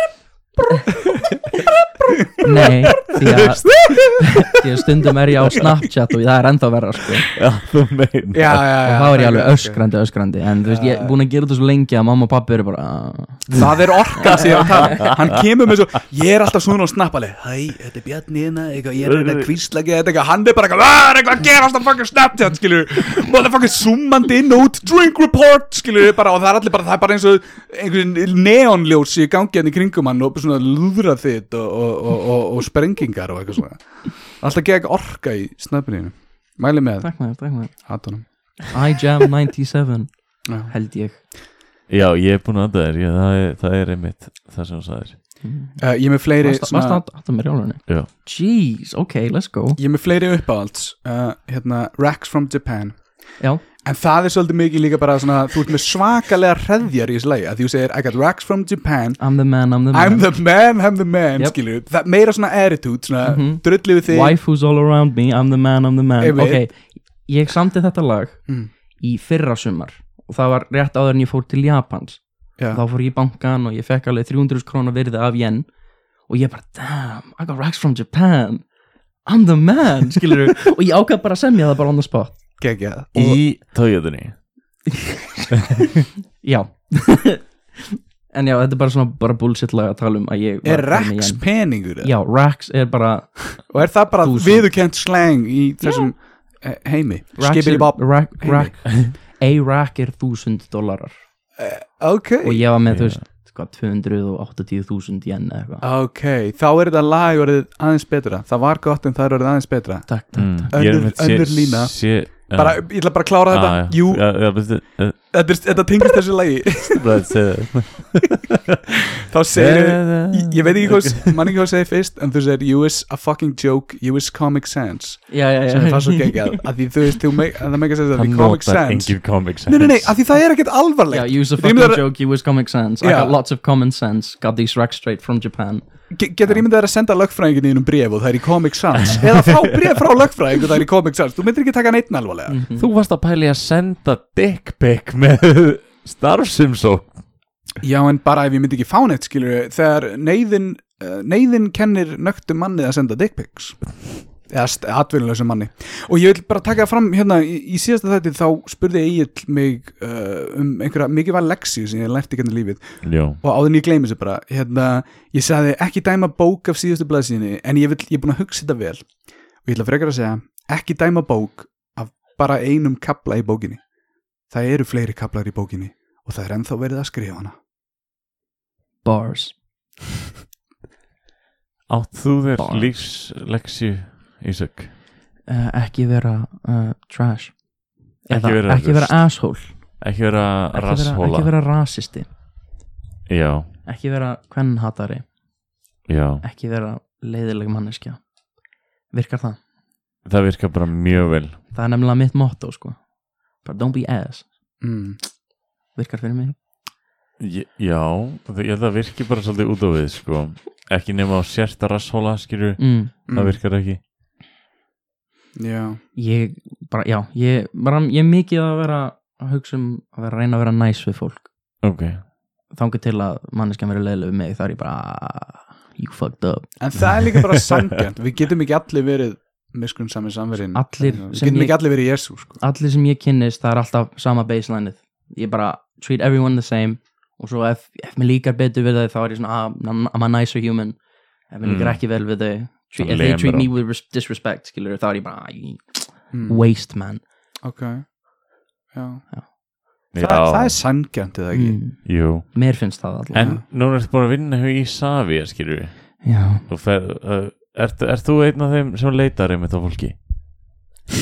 Speaker 2: Nei, því að, því að stundum er ég á Snapchat og það er ennþá verra sko.
Speaker 3: já, þú meina
Speaker 4: já, já,
Speaker 2: og
Speaker 4: já,
Speaker 2: þá er ég alveg
Speaker 4: ok.
Speaker 2: öskrandi, öskrandi en þú veist, ég er búin að gera þetta svo lengi að mamma og pappi eru bara "Ah."
Speaker 4: Það er orkan sem ég er að tala um. Hann kemur með svo, ég er alltaf svona og snappali Hæ, þetta er Bjarni hérna, eitthvað, ég er að reyna að kvísla ekki þetta eitthvað Hann er bara eitthvað, "Ah, er eitthvað að gera alltaf fucking Snapchat, skilur Motherfucking zoomandi inn út, drink report, skilur bara, Og það er allir bara, það er bara eins og einhvern neonljós í gangi hann í kringum hann Og svona lúðra þitt og, og, og, og, og sprengingar og eitthvað svona Alltaf gegn orka í snappinu Mæli með,
Speaker 2: Takk maður, takk maður
Speaker 4: hatunum
Speaker 2: iJam 97,
Speaker 4: Já.
Speaker 2: held ég
Speaker 3: já, ég er búin að anda þér, já, það er, það er einmitt það sem þú sagðir
Speaker 4: Uh, Ég er með fleiri
Speaker 2: Varst varstu að átta mér í álunni?
Speaker 3: Já.
Speaker 2: Jeez, ok, let's go
Speaker 4: Ég er með fleiri uppáhalds uh, hérna, Racks from Japan
Speaker 2: Já,
Speaker 4: En það er svolítið mikið líka bara svona Þú ert með svakalega hreðjar í þessu lagi að Því þú segir I got racks from Japan
Speaker 2: I'm the man, I'm the man
Speaker 4: I'm the man, I'm the man
Speaker 2: Yep.
Speaker 4: yep. skilur, Það er meira svona attitude svona, mm
Speaker 2: Mhm.
Speaker 4: Drullið við þig
Speaker 2: Wife's all around me, I'm the man, I'm the man
Speaker 4: Ég veit.
Speaker 2: Ok, ég samti þetta lag
Speaker 4: Mm.
Speaker 2: í fyrra sumar og það var rétt áður en ég fór til Japans
Speaker 4: Já.
Speaker 2: þá fór ég í bankan og ég fekk alveg 300 krónar virði af yen og ég bara, damn, I got racks from Japan I'm the man, skilur og ég ákvað bara að semja það bara on the spot
Speaker 4: Geggjað.
Speaker 3: í tójöðunni
Speaker 2: já en já, þetta er bara svona bara bullshit lag að tala um að ég var
Speaker 4: Er
Speaker 2: með
Speaker 4: racks
Speaker 2: yen.
Speaker 4: peningur eða?
Speaker 2: já, racks er bara
Speaker 4: Og er það bara
Speaker 2: Þúsund.
Speaker 4: viðurkent slang í þessum yeah. heimi
Speaker 2: racks
Speaker 4: Skipir
Speaker 2: er,
Speaker 4: í bob
Speaker 2: rack,
Speaker 4: Heimi.
Speaker 2: rack, a rack er 1000 dólarar
Speaker 4: Ok,
Speaker 2: og ég var með, þú
Speaker 3: Já.
Speaker 2: veist, sko, hvað, 280.000 yen eða eitthvað
Speaker 4: ok, þá er þetta lag orðið aðeins betra Það var gott en það er orðið aðeins betra
Speaker 2: takk, takk,
Speaker 3: Mm,
Speaker 2: takk
Speaker 3: ég er
Speaker 4: Önnur-
Speaker 3: einmitt sé-
Speaker 4: önnur lína.
Speaker 3: sé- já.
Speaker 4: bara, Ég ætla bara að klára þetta
Speaker 3: Ah, já.
Speaker 4: Jú,
Speaker 3: Já, já, veistu, eh,
Speaker 4: þetta, er- þetta tengist þessu lagi
Speaker 3: bara að segja
Speaker 4: Þá segir
Speaker 3: það.
Speaker 2: Mm.
Speaker 4: Ég, ég veit ekki hvað, mann ekki hvað segir fyrst en þú segir, you is a fucking joke you is comic sans
Speaker 2: já, já, já
Speaker 4: sem er það svo geggjað, að því þú veist þú me- að það meika sér það, því
Speaker 3: Það
Speaker 4: comic
Speaker 3: notar
Speaker 4: sans
Speaker 3: engin comic sense
Speaker 4: nei, nei, nei, að því það er ekkert
Speaker 2: Yeah,
Speaker 4: alvarlegt
Speaker 2: use a
Speaker 4: Dream
Speaker 2: fucking
Speaker 4: that-
Speaker 2: joke. You was comic sense. I
Speaker 4: Yeah.
Speaker 2: got lots of common sense. Got these racks straight from Japan.
Speaker 4: Ge- getur ímyndað þér að senda lögfræðingin í einum bref og það er í comic sans eða fá bref frá lögfræðing og það er í comic sans þú myndir ekki taka neitt alvarlega
Speaker 2: Mhm.
Speaker 3: Þú varst að pæli að senda dick pic með starfsimsók
Speaker 4: já, en bara ef ég myndi ekki fá neitt skilur þegar neyðin uh, neyðin kennir nögtum manni að senda dick pics eða atvinnulegsum manni og ég vil bara taka það fram hérna í, í síðasta þætti þá spurði Egil mig uh, um einhverja mikið var leksi sem ég lærti hérna lífið
Speaker 3: Jó,
Speaker 4: og áður en ég gleymi þessu bara hérna, ég sagði ekki dæma bók af síðustu blaðsíðinni en ég, vil, ég er búin að hugsa þetta vel og ég ætla frekar að segja ekki dæma bók af bara einum kapla í bókinni það eru fleiri kaplar í bókinni og það er ennþá verið að skrifa hana
Speaker 2: Bars.
Speaker 3: átt þú þér
Speaker 2: Bara.
Speaker 3: lífsleksju Ísök
Speaker 2: Uh, ekki vera uh, trash.
Speaker 3: Ekki
Speaker 2: Eða
Speaker 3: vera
Speaker 2: ekki vera
Speaker 3: rusl.
Speaker 2: asshole.
Speaker 3: Ekki vera
Speaker 2: Ekki vera,
Speaker 3: rasshóla
Speaker 2: ekki vera rasisti.
Speaker 3: Já,
Speaker 2: Ekki vera kvennhatari.
Speaker 3: já,
Speaker 2: Ekki vera leiðileg manneskja. Virkar það?
Speaker 3: það virkar bara mjög vel
Speaker 2: Það er nefnilega mitt motto, sko. bara don't be ass
Speaker 4: mm.
Speaker 2: virkar fyrir mig
Speaker 3: Ég- Já, það- ég held að það virki bara svolítið út á við sko. ekki nema á sérsta rasshóla skilur,
Speaker 2: mm.
Speaker 3: það virkar ekki
Speaker 4: já,
Speaker 2: ég bara, já, ég, bara, ég er mikið að vera að hugsa um að vera að reyna að vera næs við fólk
Speaker 3: Ok,
Speaker 2: þangu til að manneskjan verið leiðileg við mig þá er ég bara, "Ah, you fucked up
Speaker 4: en það er líka bara sangjant við getum ekki allir verið miskun sami samverðin
Speaker 2: Allir
Speaker 4: við
Speaker 2: sem
Speaker 4: getum
Speaker 2: ég-
Speaker 4: ekki allir verið Jésu sko.
Speaker 2: allir sem ég kynnist, það er alltaf sama baselineið ég bara treat everyone the same og svo ef, ef mér líkar betur við þau þá er ég svona, ah, I'm- I'm a nicer human ef mér líkar
Speaker 3: Mm.
Speaker 2: ekki vel við þau treat,
Speaker 3: Það
Speaker 2: if they
Speaker 3: lemur
Speaker 2: treat
Speaker 3: á.
Speaker 2: me with res- disrespect skilur, þá er ég bara, ah,
Speaker 4: mm.
Speaker 2: waste man
Speaker 4: ok já.
Speaker 3: já,
Speaker 4: Þa, það er sangjant eða ekki
Speaker 2: mm.
Speaker 3: jú
Speaker 2: mér finnst það alltaf
Speaker 5: Mm.
Speaker 3: En núna ertu búin að vinna hjá Ísafi, skilur við
Speaker 2: já,
Speaker 3: Þú fer, uh, ert, ert þú einn af þeim sem leitar einmitt á fólki?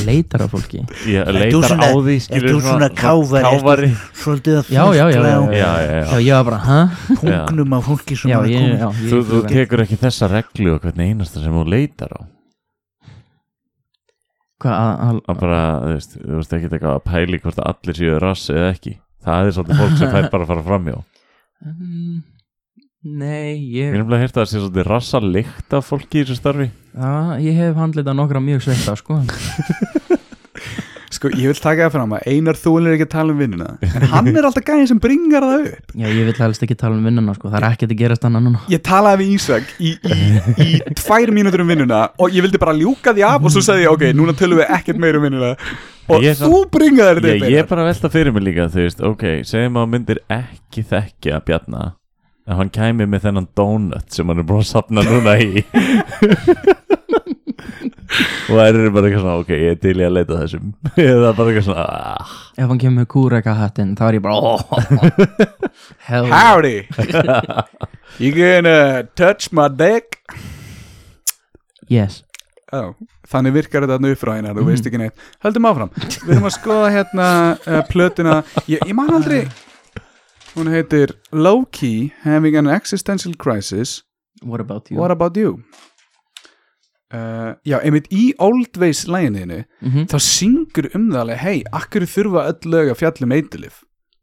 Speaker 2: leitar af fólki
Speaker 3: Ég
Speaker 5: Ert þú
Speaker 3: leitar
Speaker 5: svona-
Speaker 3: á því
Speaker 5: ert þú
Speaker 3: skilur
Speaker 5: svona káfari, ert þú-
Speaker 3: káfari.
Speaker 5: Svolítið
Speaker 2: já,
Speaker 5: að
Speaker 2: já, já, já,
Speaker 3: Já,
Speaker 5: fyrstlega
Speaker 3: já, já.
Speaker 2: já, ég var bara, hæ?
Speaker 5: á pungnum á fólki sem
Speaker 2: já,
Speaker 5: er
Speaker 2: ég,
Speaker 5: komið
Speaker 2: já, ég
Speaker 3: Þú, þú
Speaker 2: klukkan.
Speaker 3: tekur ekki þessa reglu og hvernig einasta sem þú leitar á
Speaker 2: hvað, að- að-
Speaker 3: að bara, þú veist, þú veist ekki eitthvað að pæli hvort að allir séu rass eða ekki það er svolítið fólk sem fær bara að fara framjá
Speaker 2: Mm, nei, ég
Speaker 3: Mér er umlega að hérta að það sé svolítið rassa lykt af fólki í þessu starfi
Speaker 2: Já, ég hef handlitað nokkra mjög sveita sko.
Speaker 4: sko, ég vil taka það fram að Einar Þúlin er ekki að tala um vinnina en hann er alltaf gæðin sem bringar það upp
Speaker 2: Já, ég vil helst ekki tala um vinnuna sko. Það er ekkert að gerast annað núna
Speaker 4: ég talaði við Ísak í, í, í tvær mínútur um vinnuna og ég vildi bara ljúka því af og svo sagði ég ok, núna tölum við ekkert meir um vinnuna og
Speaker 3: Ég er
Speaker 4: þú bringaði þetta
Speaker 3: Ég,
Speaker 4: upp
Speaker 3: ég er
Speaker 4: Einar.
Speaker 3: bara að velta fyrir mig líka, þú veist, ok segjum að þú myndir ekki þekkja Bjarna að hann kæmi með þennan donut sem hann er búin að sapna núna í og það er bara eitthvað svona, ok, ég er til í að leita að þessum eða bara eitthvað svona ah,
Speaker 2: Ef hann kemur með kúreka hattinn Þá er ég bara oh, Hell
Speaker 4: howdy you gonna touch my dick
Speaker 2: yes
Speaker 4: oh. þannig virkar þetta þarna upp frá Einar, þú veist ekki neitt höldum áfram, við erum að skoða hérna uh, plötuna, ég, ég man aldrei hún heitir Low Key Having an Existential Crisis
Speaker 2: What about you?
Speaker 4: What About You uh, já, einmitt í Old Ways læginniðinu
Speaker 2: mm
Speaker 4: þá syngur um það alveg hei, akkur þurfa öll lög að fjalla um eitilif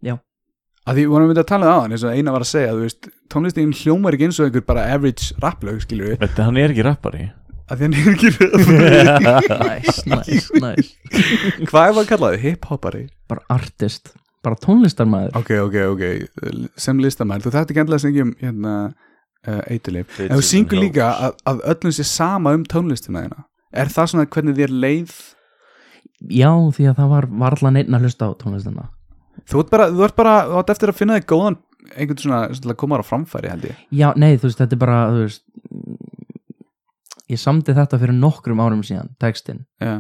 Speaker 2: Já.
Speaker 4: að því vorum við að tala á hann eins og eina var að segja, þú veist, tónlistin hljómar ekki eins og einhver bara average rapplög skilur við,
Speaker 3: Þetta hann er ekki rappari
Speaker 4: að því hann er ekki rappari.
Speaker 2: Nice, nice, nice
Speaker 4: hvað er maður að kalla þið, hip-hoppari
Speaker 2: Bara artist Bara tónlistarmaður
Speaker 4: ok, ok, ok, sem listamæl þú þætti ekki endilega að syngja um hérna, uh, eitilif, en þú syngur líka að, að öllum sé sama um tónlistina þína er það svona hvernig þér leið
Speaker 2: Já, því að það var varla neitt að hlusta á tónlistina
Speaker 4: þú ert bara, þú ert bara, þú ert eftir að finna þig góðan einhvern svona, svona komar á framfæri held ég
Speaker 2: Já, nei, þú veist, þetta er bara þú veist, Ég samdi þetta fyrir nokkrum árum síðan Textin
Speaker 4: já,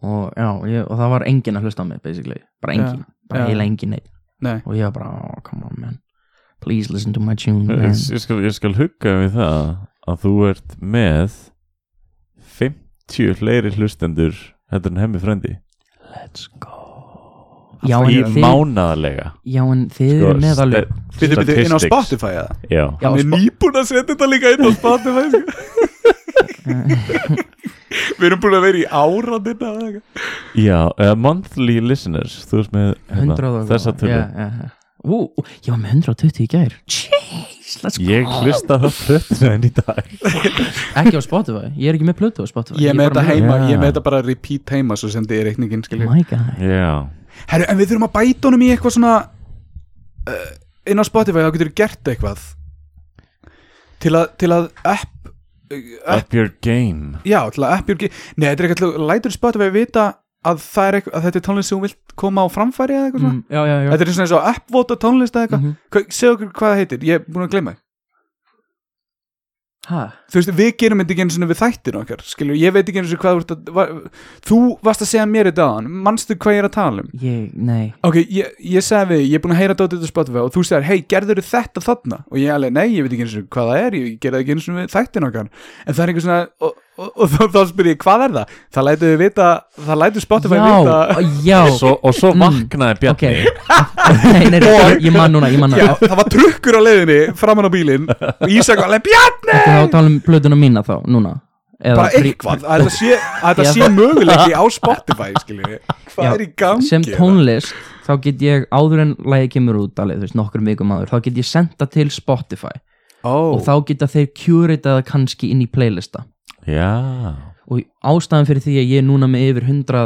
Speaker 2: og, já, ég, og það var enginn að hlusta á mig basically Bara enginn, bara
Speaker 4: já.
Speaker 2: heila enginn neitt
Speaker 4: nei
Speaker 2: Og ég var bara, oh, come on man Please listen to my tune man.
Speaker 3: Ég, ég skal, ég skal hugga við það að þú ert með 50 fleiri hlustendur heldur en hemmi frendi
Speaker 2: Let's go Já, en
Speaker 3: í
Speaker 2: þið,
Speaker 3: mánaðarlega
Speaker 2: já, en þið eru með alveg
Speaker 4: Byrju, byrju, inn á
Speaker 3: Sko, statistics.
Speaker 4: Spotify eða?
Speaker 2: Já,
Speaker 3: Já,
Speaker 4: Sko, Hann er
Speaker 2: sko-
Speaker 4: nýbúin að setja þetta líka inn á Spotify sko. Við erum búin að vera í áraðina
Speaker 3: já uh, monthly listeners Þú veist með hérna,
Speaker 2: 100 og
Speaker 3: þessa tölu
Speaker 2: yeah, yeah, yeah. Ú, ú, ég var með 120 í gær Jeez, let's go
Speaker 3: Ég hlusta það plötuna enn í dag
Speaker 2: Ekki á Spotify, ég er ekki með plötu á Spotify
Speaker 4: Ég er með
Speaker 2: bara Oh
Speaker 4: þetta heima,
Speaker 3: Já.
Speaker 4: ég er með þetta bara repeat heima Svo sendi ég reikningin skilju
Speaker 2: My guy
Speaker 3: Já,
Speaker 4: Herru, en við þurfum að bæta honum í eitthvað svona uh, Inn á Spotify, þá getur við gert eitthvað Til að, til að app
Speaker 3: up your game
Speaker 4: Já, til að app jörgi Nei, þetta er eitthvað, til að- lætur Spotify vita Að, það er eitthvað, að þetta er tónlist sem hún vilt koma á framfæri eða eitthvað svona
Speaker 2: mm, Já, já, já
Speaker 4: Þetta er svona eins og appvota tónlist eða eitthvað
Speaker 2: Mhm.
Speaker 4: Hva- Segðu okkur hvað það heitir, ég er búin að gleyma því
Speaker 2: Ha,
Speaker 4: þú veist, við gerum þetta ekki eins og við þættir okkar skilur, ég veit ekki eins og hvað þú ert að var, þú varst að segja mér þetta aðan manstu hvað ég er að tala um
Speaker 2: ég, nei
Speaker 4: ok, ég, ég segi við, ég er búin að heyra dótið á Spotify og þú segir, hei, gerður þetta þarna og ég alveg, nei, ég veit ekki eins og hvað það er ég gerði það ekki eins og við þættir okkar en það er einhver svona, og, og, og, þá- þá spyr ég hvað er það, það lætur við vita það lætur Spotify
Speaker 2: Já, oh,
Speaker 4: vita
Speaker 2: já
Speaker 3: svo, Og svo
Speaker 2: Mm.
Speaker 3: vaknaði
Speaker 2: Ok,
Speaker 3: Bjarni
Speaker 2: nei, nei, ég, ég man núna, ég man
Speaker 4: Já,
Speaker 2: núna
Speaker 4: það var trukkur á leiðinni framan á bílinn og Ísak var alveg, Bjarni
Speaker 2: Þetta er þá að tala um plötuna mína þá, núna Eða
Speaker 4: bara
Speaker 2: frí-
Speaker 4: eitthvað, að þetta sé, að þetta
Speaker 2: Já,
Speaker 4: sé möguleiki á Spotify, skiljið hvað
Speaker 2: Já,
Speaker 4: er í gangi
Speaker 2: sem
Speaker 4: hérna?
Speaker 2: tónlist þá get ég áður en lagið kemur út alveg, þú veist, nokkur mikum áður, þá get ég senda til Spotify
Speaker 4: Ó,
Speaker 2: og þá geta þeir curataða kannski inn í playlista
Speaker 3: Já,
Speaker 2: og ástæðan fyrir því að ég er núna með yfir 100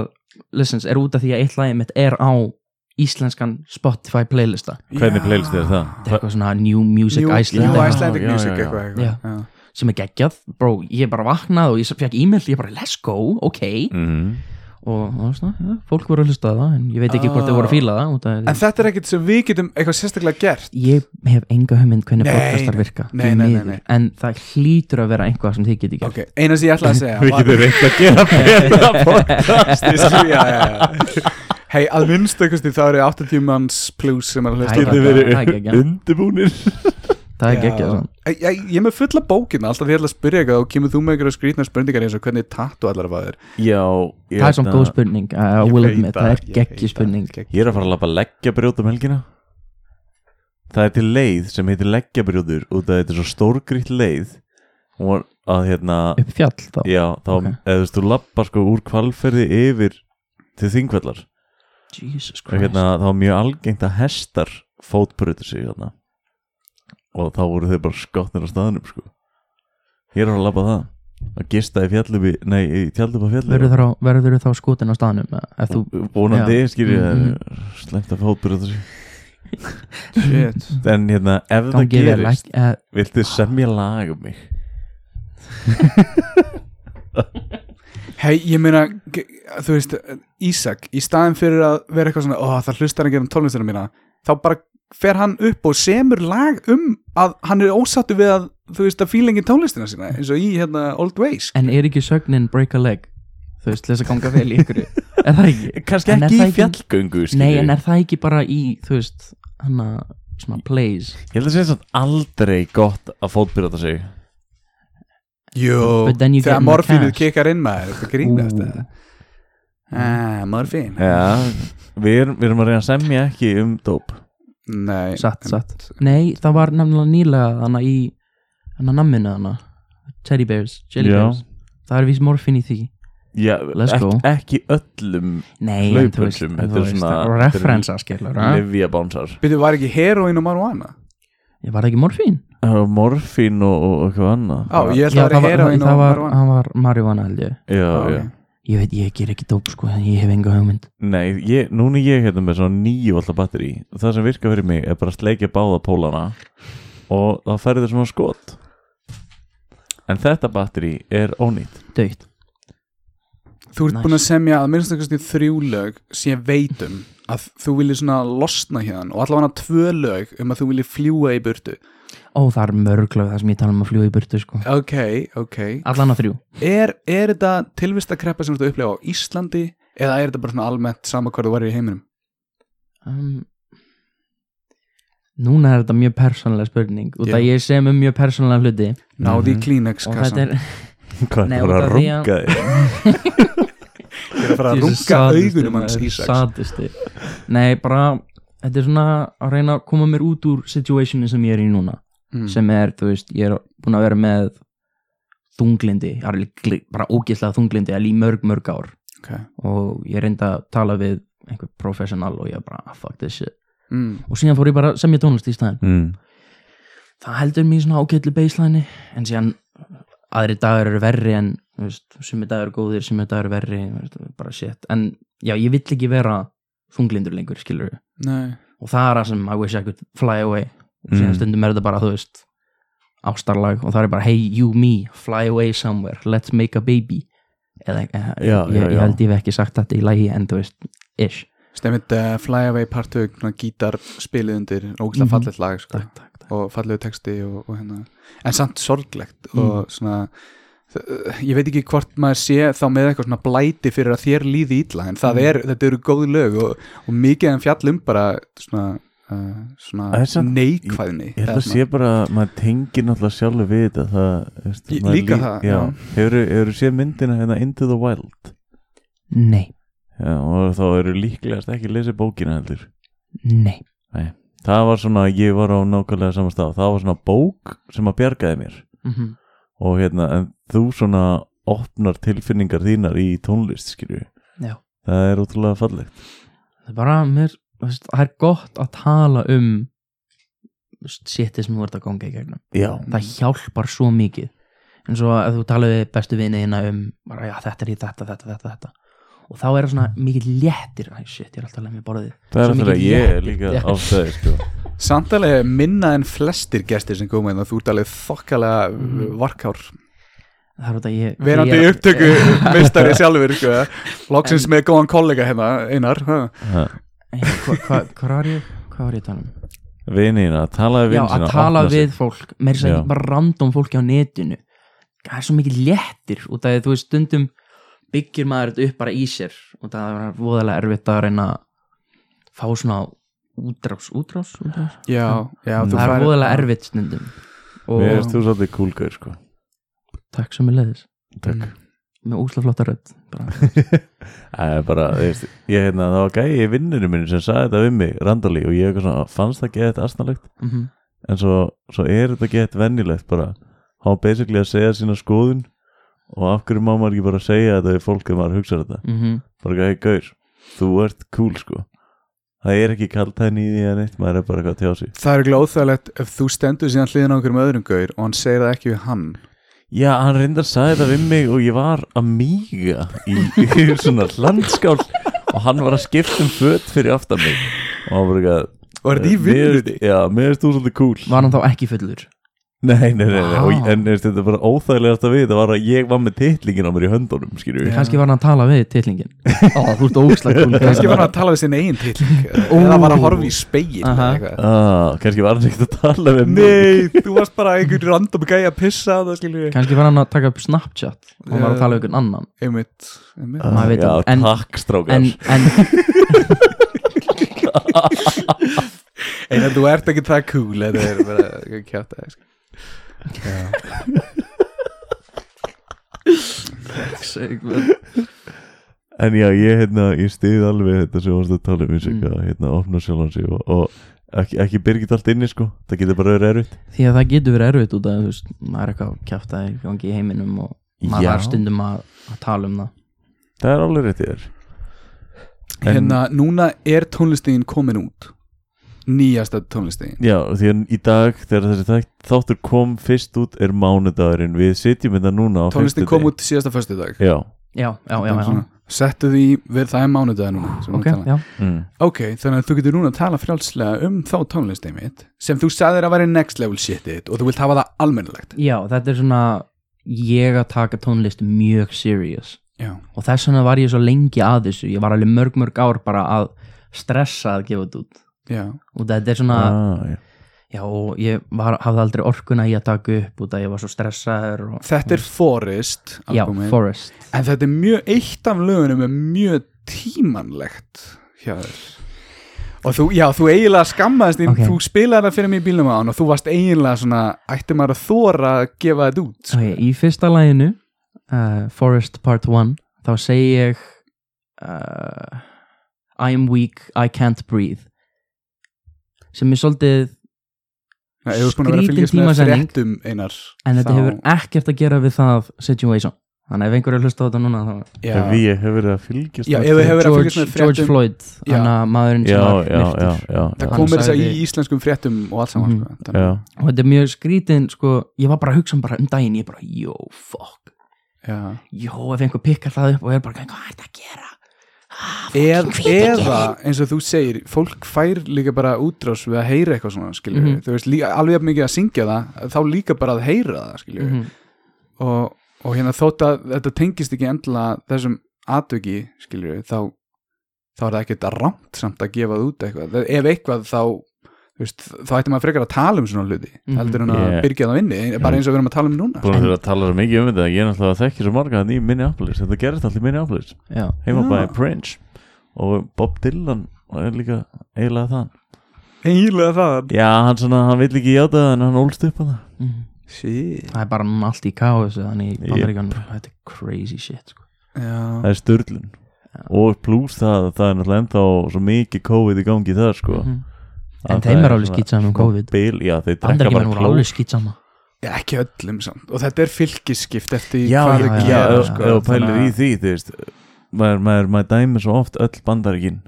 Speaker 2: listens er út af því að eitt lagið mitt er á íslenskan Spotify playlista
Speaker 3: hvernig
Speaker 4: Já.
Speaker 3: playlist er það?
Speaker 2: þetta er eitthvað svona New Music
Speaker 4: New,
Speaker 2: Iceland
Speaker 4: New
Speaker 2: eitthvað.
Speaker 4: Icelandic
Speaker 3: Já, já,
Speaker 4: Music
Speaker 3: já.
Speaker 4: eitthvað,
Speaker 2: Já.
Speaker 4: eitthvað. Já.
Speaker 2: sem er geggjað, bró, ég bara vaknaði og ég fekk e-mail, ég bara let's go, ok
Speaker 3: Mm.
Speaker 2: og það var svona, ja, fólk voru að hlusta á það en ég veit ekki hvort þau voru að fíla það út af
Speaker 4: En
Speaker 2: því-
Speaker 4: þetta er ekkert sem við getum eitthvað sérstaklega gert
Speaker 2: ég hef enga hugmynd hvernig
Speaker 4: Nei,
Speaker 2: podcastar
Speaker 4: nei.
Speaker 2: virka
Speaker 4: Nei,
Speaker 2: því
Speaker 4: nei, nei,
Speaker 2: miður.
Speaker 4: nei.
Speaker 2: en það hlýtur að vera einhvað sem þið geti gert
Speaker 4: Ok, eina sem ég ætlaði að segja
Speaker 3: Við
Speaker 4: var-
Speaker 3: getum reynt að gera betra podcast
Speaker 4: Ég skil- já, já, já. Hei, að minnstakusti þá eru 80 manns plus sem er að
Speaker 2: Æ,
Speaker 4: hlusta
Speaker 3: Getum
Speaker 2: Það er
Speaker 3: verið
Speaker 2: geggjað.
Speaker 3: undirbúnir
Speaker 2: það er
Speaker 4: Já.
Speaker 2: geggjað svona.
Speaker 4: Æ, Ég, ég er með fulla bókina alltaf því ég ætla að spyrja eitthvað og kemur þú með einhverja skrýtna spurningar eins og hvernig tattu allar að faður
Speaker 3: Já, ég,
Speaker 2: það er svona
Speaker 3: hérna,
Speaker 2: góð spurning að
Speaker 4: Ég
Speaker 2: will
Speaker 4: veit
Speaker 2: admit,
Speaker 4: það,
Speaker 2: það er
Speaker 4: ég veit
Speaker 2: geggjið
Speaker 4: það.
Speaker 2: spurning
Speaker 3: ég er að fara að labba leggjabrjót um helgina Það er til leið sem heitir leggjabrjótur út af þetta er svo stórgrýtt leið Hún var að hérna
Speaker 2: upp í fjall þá
Speaker 3: Já, þá
Speaker 2: Ok.
Speaker 3: eða þú veist, þú labbar sko úr kvalferði yfir til þingvellar
Speaker 2: Jesus
Speaker 3: og
Speaker 2: Christ
Speaker 3: hérna, þá var mjög algengt að hestar fótbrutu sig hérna. og þá voru þeir bara skotnir á staðnum sko. ég er að labba það að gista í fjallum nei, í tjaldum á fjallum
Speaker 2: verður þá, verður þá skotin á staðnum eða ef þú,
Speaker 3: vonandi,
Speaker 2: Já.
Speaker 3: skýr ég
Speaker 2: Mm,
Speaker 3: slemt að fótbrutu sig
Speaker 4: Shit
Speaker 3: en hérna, ef það
Speaker 2: gangi vel
Speaker 3: gerist
Speaker 2: ekki- eh,
Speaker 3: viltu semja lag um mig
Speaker 4: Hei, ég meina, ge- þú veist Ísak, í staðin fyrir að vera eitthvað svona ó, það hlustar ekki um tónlistina mína þá bara fer hann upp og semur lag um að hann er ósattu við að þú veist að fíla engin tónlistina sína eins og í hérna Old Ways
Speaker 2: en er ekki sögnin break a leg þú veist, til þess að ganga vel í ykkur er það ekki?
Speaker 3: kannski
Speaker 2: En er
Speaker 3: ekki
Speaker 2: það
Speaker 3: í
Speaker 2: ekki-
Speaker 3: fjallgöngu skilur
Speaker 2: nei,
Speaker 3: við.
Speaker 2: en er það ekki bara í, þú veist hann að, svona plays
Speaker 3: ég held að segja samt aldrei gott að fótbruta sig
Speaker 4: Jú,
Speaker 2: But then you get
Speaker 4: þegar
Speaker 2: more
Speaker 4: morfínuð
Speaker 2: cash.
Speaker 4: kikkar inn maður, þetta grínast eða? Ah, morfín
Speaker 3: já, við erum, við erum að reyna að semja ekki um dóp
Speaker 4: Nei,
Speaker 2: satt, satt nei, það var nefnilega nýlega þannig í hann að namminu þannig teddy bears, jelly
Speaker 3: Já.
Speaker 2: bears það er vís morfin í því
Speaker 3: já,
Speaker 2: Let's
Speaker 3: ekki,
Speaker 2: go.
Speaker 3: ekki öllum
Speaker 2: nei, en þú veist,
Speaker 3: Hlaupöllum,
Speaker 2: en
Speaker 3: þetta er
Speaker 2: þú veist
Speaker 3: svona-
Speaker 2: það er referensa skilur ha?
Speaker 3: Livia bánsar
Speaker 4: Býttu, var ekki heroin og marihuana?
Speaker 2: ég var það ekki morfin
Speaker 3: Uh, Morfín og, og eitthvað annað
Speaker 4: Á, ég ætla
Speaker 2: Já,
Speaker 4: að vera
Speaker 2: það var,
Speaker 4: heroin
Speaker 2: það
Speaker 4: og
Speaker 2: var, ah,
Speaker 4: marihuana
Speaker 2: hann var marihuana held ég
Speaker 3: já,
Speaker 4: Á,
Speaker 3: já.
Speaker 4: ok.
Speaker 2: Ég veit, ég ger ekki dóp sko, en ég hef enga hugmynd
Speaker 3: Nei, ég, núna er ég hérna með svona nýju alltaf batteri Það sem virkar fyrir mig er bara að sleikja báða pólana Og þá færði svona skot En þetta batteri er ónýtt
Speaker 2: Dauðt
Speaker 4: Þú ert
Speaker 2: Nice.
Speaker 4: búin að semja að minnst einhverjum þrjú lög sem ég veit um að þú viljið svona losna hérna og allavega tvö lög um að þú viljið fljúa í burtu
Speaker 2: Ó, það er mörglega það sem ég tala um að fljúa í burtu sko
Speaker 4: Ok, ok
Speaker 2: Allan að þrjú
Speaker 4: Er, er þetta tilvistakreppa sem þú ert að upplega á Íslandi eða er þetta bara svona almennt sama hvað þú varir í heiminum?
Speaker 2: um, Núna er þetta mjög persónlega spurning Út að
Speaker 4: Já.
Speaker 2: ég sem um mjög persónlega hluti
Speaker 4: Náði í
Speaker 2: Mhm.
Speaker 4: Kleenex
Speaker 2: Og þetta
Speaker 4: kassan
Speaker 2: er
Speaker 3: Hvað
Speaker 2: Nei,
Speaker 3: er bara
Speaker 2: út af
Speaker 3: að
Speaker 2: því að-
Speaker 3: runga þig?
Speaker 4: Ég er að fara að
Speaker 2: Jesus,
Speaker 4: runga
Speaker 2: sadisti,
Speaker 4: augunum hans
Speaker 2: maður,
Speaker 4: Ísaks
Speaker 2: Sadisti Nei, bara Þetta er svona að reyna að koma mér út úr situationi sem ég er í núna
Speaker 4: Mm.
Speaker 2: sem er, þú veist, ég er búin að vera með þunglindi, bara ógeðslega þunglindi alveg í mörg, mörg ár
Speaker 4: Mm, Ok.
Speaker 2: og ég reyndi að tala við einhver professional og ég bara ah, fuck this shit
Speaker 4: Mm.
Speaker 2: og síðan fór ég bara að semja tónlist í staðin
Speaker 3: mm.
Speaker 2: það heldur mér í svona ágætlu baseline en síðan aðri dagar eru verri en þú veist, sumi dagar eru góðir, sumi dagar eru verri þú veist, bara shit, en já, ég vill ekki vera þunglindur lengur, skilur
Speaker 4: Nei,
Speaker 2: og það er það sem I wish I could fly away og
Speaker 3: Mm.
Speaker 2: síðan stundum er þetta bara, þú veist ástarlag og það er bara hey you me, fly away somewhere, let's make a baby eða eh,
Speaker 3: Já,
Speaker 2: ég,
Speaker 3: já,
Speaker 2: ég
Speaker 3: já.
Speaker 2: held ég hef ekki sagt þetta í lægi en þú veist, ish
Speaker 4: stemmit uh, Fly Away Part 2 svona gítarspilið undir ógislega
Speaker 2: Mhm.
Speaker 4: fallet lag sko,
Speaker 2: takk, takk, takk.
Speaker 4: og fallegu texti og, og hérna en samt sorglegt
Speaker 3: Mhm.
Speaker 4: og svona þ- ég veit ekki hvort maður sé þá með eitthvað svona blæti fyrir að þér líði ítla en
Speaker 3: Mhm.
Speaker 4: það er, þetta eru góð lög og, og mikið en fjallum bara svona, uh,
Speaker 3: Það
Speaker 4: svona
Speaker 3: er samt-
Speaker 4: neikvæðni
Speaker 3: Ég held að
Speaker 4: eða svona-
Speaker 3: sé bara að maður tengir náttúrulega sjálfur við þetta það, veist,
Speaker 4: Í-
Speaker 3: maður
Speaker 4: líka
Speaker 3: Já,
Speaker 4: það, já.
Speaker 3: hefur, hefur séð myndina hérna Into the Wild
Speaker 2: Nei,
Speaker 3: Já, og þá eru líklegast ekki lesið bókina heldur
Speaker 2: nei
Speaker 3: það var svona, ég var á nákvæmlega saman stað það var svona bók sem að bjargaði mér
Speaker 2: mm -hmm.
Speaker 3: og hérna, en þú svona opnar tilfinningar þínar í tónlist skilju
Speaker 2: Já.
Speaker 3: það er ótrúlega fallegt
Speaker 2: það er bara mér, þú veist, það er gott að tala um þú veist, shitið sem þú ert að ganga í gegnum
Speaker 3: já,
Speaker 2: það hjálpar svo mikið eins og að þú tala við bestu vini þína um bara, já, þetta er í þetta, þetta, þetta, þetta og þá er það svona mikið léttir Æ, shit, ég er alltaf leið með borðið
Speaker 3: það
Speaker 2: Svo
Speaker 3: er það að
Speaker 2: mikið
Speaker 3: ég er
Speaker 2: létt-
Speaker 3: líka
Speaker 2: Já.
Speaker 3: ástæði sko.
Speaker 4: Samt alveg minna en flestir gestir sem koma en þú ert alveg þokkalega
Speaker 3: Mhm.
Speaker 4: mm. varkár
Speaker 2: það er út að ég
Speaker 4: Verandi
Speaker 2: ég er-
Speaker 4: upptöku mistari sjálfur sko. Loksins með góðan kollega hérna einar ha.
Speaker 3: Ha.
Speaker 2: Hva- hva- hvað var ég, hvað var ég að tala um
Speaker 3: vinina, talaði
Speaker 2: já,
Speaker 3: vinina
Speaker 2: að tala við fólk meira þess að
Speaker 3: Já.
Speaker 2: ekki bara random fólki á netinu það er svo mikið léttir út af því að þú veist stundum byggir maður þetta upp bara í sér og það er voðalega erfitt að reyna að fá svona útrás, útrás, útrás.
Speaker 4: Já, já þú
Speaker 2: það er
Speaker 4: færir-
Speaker 2: voðalega erfitt stundum og
Speaker 3: mér erst þú svolítið kúlgör sko.
Speaker 2: takk sem er leiðis
Speaker 3: takk
Speaker 4: Mm.
Speaker 2: með úslaflotta rödd bara.
Speaker 3: Það er bara, þú veist, ég hérna, það var gæi í vinninu minni sem sagði þetta við mig, randali og ég eitthvað svona, fannst það gett astnalegt
Speaker 2: Mhm.
Speaker 3: en svo, svo er þetta gett venjulegt bara, hann var basically að segja sína skoðun og af hverju má maður ekki bara segja þetta við fólk ef maður hugsa þetta
Speaker 2: Mhm.
Speaker 3: bara gæi, gaur, þú ert cool sko, það er ekki kaltæðin í því að neitt, maður er bara eitthvað að tjá sig
Speaker 4: Það er glóðþægilegt ef þú stendur síðan hliðin á einhverjum öðrum gaur og hann segir það ekki við hann
Speaker 3: Já, hann reyndar sagði þetta við mig og ég var að míga í, í svona landskál og hann var að skipta um föt fyrir aftan mig og hann var eitthvað
Speaker 4: Og er þetta í vinnunni?
Speaker 3: Mér- Já, mér finnst þú svolítið cool
Speaker 2: var hann þá ekki fullur
Speaker 3: Nei, nei, nei, nei.
Speaker 2: Vá.
Speaker 3: Og, en veist, þetta er bara óþægilegast að við það var að ég var með titlingin á mér í höndunum skilju yeah.
Speaker 2: kannski var hann að tala við titlingin á, þú ert óslagkúl
Speaker 4: Kannski var hann að tala við sinni eigin til eða var að horfa í speil
Speaker 2: Aha.
Speaker 3: ah, Kannski var hann ekkert að tala við mig
Speaker 4: Nei, þú varst bara einhverjum random gæja að pissa það skilur við
Speaker 2: kannski var hann að taka upp Snapchat og var að tala við einhvern annan
Speaker 4: Einmitt, einmitt.
Speaker 2: maður veit
Speaker 3: Ah, Já,
Speaker 2: það. En-
Speaker 3: takk strákar
Speaker 2: en, en
Speaker 4: En þú ert ekki það cool Þetta er bara kjátt að
Speaker 2: Segment.
Speaker 3: En já, ég, hérna, ég stið alveg þetta sem varst að tala um eins
Speaker 2: Mm.
Speaker 3: og eitthvað, hérna, opna sjálfan sig og, og ekki, ekki byrgit allt inni sko, það getur bara verið erfitt
Speaker 2: því að það getur verið erfitt út af þú veist, maður er eitthvað kjátt að gangi í heiminum og maður
Speaker 3: Já.
Speaker 2: er stundum að, að tala um það
Speaker 3: Það er alveg rétt í þér En-
Speaker 4: Hérna, núna er tónlistegin komin út Nýjasta tónlistegin
Speaker 3: Já, því að í dag þegar þessi þætt- þáttur kom fyrst út er mánudagurinn, við sitjum þetta núna á
Speaker 4: Tónlistin
Speaker 3: fimmtudegi.
Speaker 4: kom út síðasta föstu dag
Speaker 3: Já,
Speaker 2: já, já, já, já.
Speaker 4: Settu því, við, það er mánudag núna sem við
Speaker 2: ok,
Speaker 4: erum að tala.
Speaker 2: já,
Speaker 3: mm.
Speaker 4: ok, þannig að þú getur núna að tala frjálslega um þá tónlistegin mitt sem þú sagðir að væri next level shitið og þú vilt hafa það almennilegt
Speaker 2: já, þetta er svona ég að taka tónlist mjög serious
Speaker 4: Já,
Speaker 2: og þess vegna var ég svo lengi að þessu ég var alveg mörg mörg ár bara að stressa að gefa þetta út
Speaker 4: já,
Speaker 2: og þetta er svona,
Speaker 3: ah, já.
Speaker 2: já, og ég var, hafði aldrei orkuna í að taka upp út að ég var svo stressaður og,
Speaker 4: Þetta er Forest
Speaker 2: já,
Speaker 4: albúmið.
Speaker 2: Forest
Speaker 4: En þetta er mjög, eitt af lögunum er mjög tímanlegt hjá þér Og þú, já, þú eiginlega skammaðist þín,
Speaker 2: Ok.
Speaker 4: þú spilaði það fyrir mig í bílnum á hann og þú varst eiginlega svona, ætti maður að þóra að gefa þetta út sko.
Speaker 2: Ok, í fyrsta læginu uh, Forest Part 1 þá segi ég uh, I am weak, I can't breathe sem er svolítið
Speaker 4: Nei, ef þú ert búin að vera að
Speaker 2: skrítin
Speaker 4: fylgjast með
Speaker 2: tímasetning.
Speaker 4: fréttum einar
Speaker 2: en þetta
Speaker 4: þá-
Speaker 2: hefur ekkert að gera við það situation þannig ef einhverju hlusta á þetta núna þá,
Speaker 4: Já,
Speaker 3: Ef ég hefur verið að fylgjast
Speaker 4: já
Speaker 3: með
Speaker 4: ef þú hefur verið að
Speaker 2: George,
Speaker 4: fylgjast með
Speaker 2: George
Speaker 4: fréttum
Speaker 2: Floyd
Speaker 4: Já.
Speaker 2: hann að maðurinn sem
Speaker 3: já,
Speaker 2: var
Speaker 3: já, já,
Speaker 2: myrtur
Speaker 3: já, já.
Speaker 4: Það
Speaker 2: Hann
Speaker 4: komir þess að í
Speaker 2: sagði-
Speaker 4: íslenskum fréttum og allt saman
Speaker 2: Mhm.
Speaker 4: sko. Þannig-
Speaker 3: já.
Speaker 2: og þetta er mjög skrítin sko, ég var bara að hugsa um bara um daginn ég bara, yo, fuck
Speaker 4: já.
Speaker 2: jó, ef einhver pikkar það upp og er bara hvað er þetta að gera
Speaker 4: Eð, eða eins og þú segir fólk fær líka bara útrás við að heyra eitthvað svona skilju
Speaker 2: Mhm.
Speaker 4: þú veist líka, alveg jafn mikið að syngja það þá líka bara að heyra það skilju
Speaker 2: Mhm.
Speaker 4: og, og hérna þótt að þetta tengist ekki endilega þessum atvöki skilju þá, þá er það ekkert rámt samt að gefa það út eitthvað ef eitthvað þá þú veist, þá ætti maður frekar að tala um svona hluti
Speaker 2: Mhm.
Speaker 4: heldur en að
Speaker 3: Yeah.
Speaker 4: byrja það vinni bara eins og við erum að tala um núna
Speaker 3: Búin að þurfa að tala svo mikið um þetta Ég er náttúrulega að þekki svo marga þannig í Minneapolis Þetta gerist allir í Minneapolis
Speaker 2: já,
Speaker 3: Heima
Speaker 4: Já.
Speaker 3: bæði Prince Og Bob Dylan er líka eiginlega þann
Speaker 4: eiginlega það
Speaker 3: Já, hann svona, hann vill ekki játa það En hann ólst upp að það
Speaker 2: mhm
Speaker 4: sí.
Speaker 2: það er bara núna allt í káus þannig í
Speaker 3: Yep.
Speaker 2: bandaríkjónum þetta er crazy shit sko.
Speaker 4: já,
Speaker 3: Það er störlun Og pluss það, það er náttúrulega ennþá Svo mikið COVID í gangi það sko
Speaker 2: Mhm.
Speaker 3: Að
Speaker 2: en þeim
Speaker 3: það
Speaker 2: er alveg
Speaker 3: svona- sko,
Speaker 2: skýt saman um COVID
Speaker 3: Bil, já, þeir drekka
Speaker 2: bandaríkjónum
Speaker 3: bara
Speaker 2: voru alveg
Speaker 3: klór
Speaker 2: skýt saman
Speaker 4: Já, ekki öllum samt og þetta er fylgisskipt eftir
Speaker 3: já, já,
Speaker 4: hvað þau
Speaker 2: já,
Speaker 3: já,
Speaker 4: gera
Speaker 3: já,
Speaker 4: sko,
Speaker 3: sko, eða pælir
Speaker 4: þannig
Speaker 3: í
Speaker 4: að-
Speaker 3: því þú veist, maður, maður, maður dæmi svo oft öll bandaríkin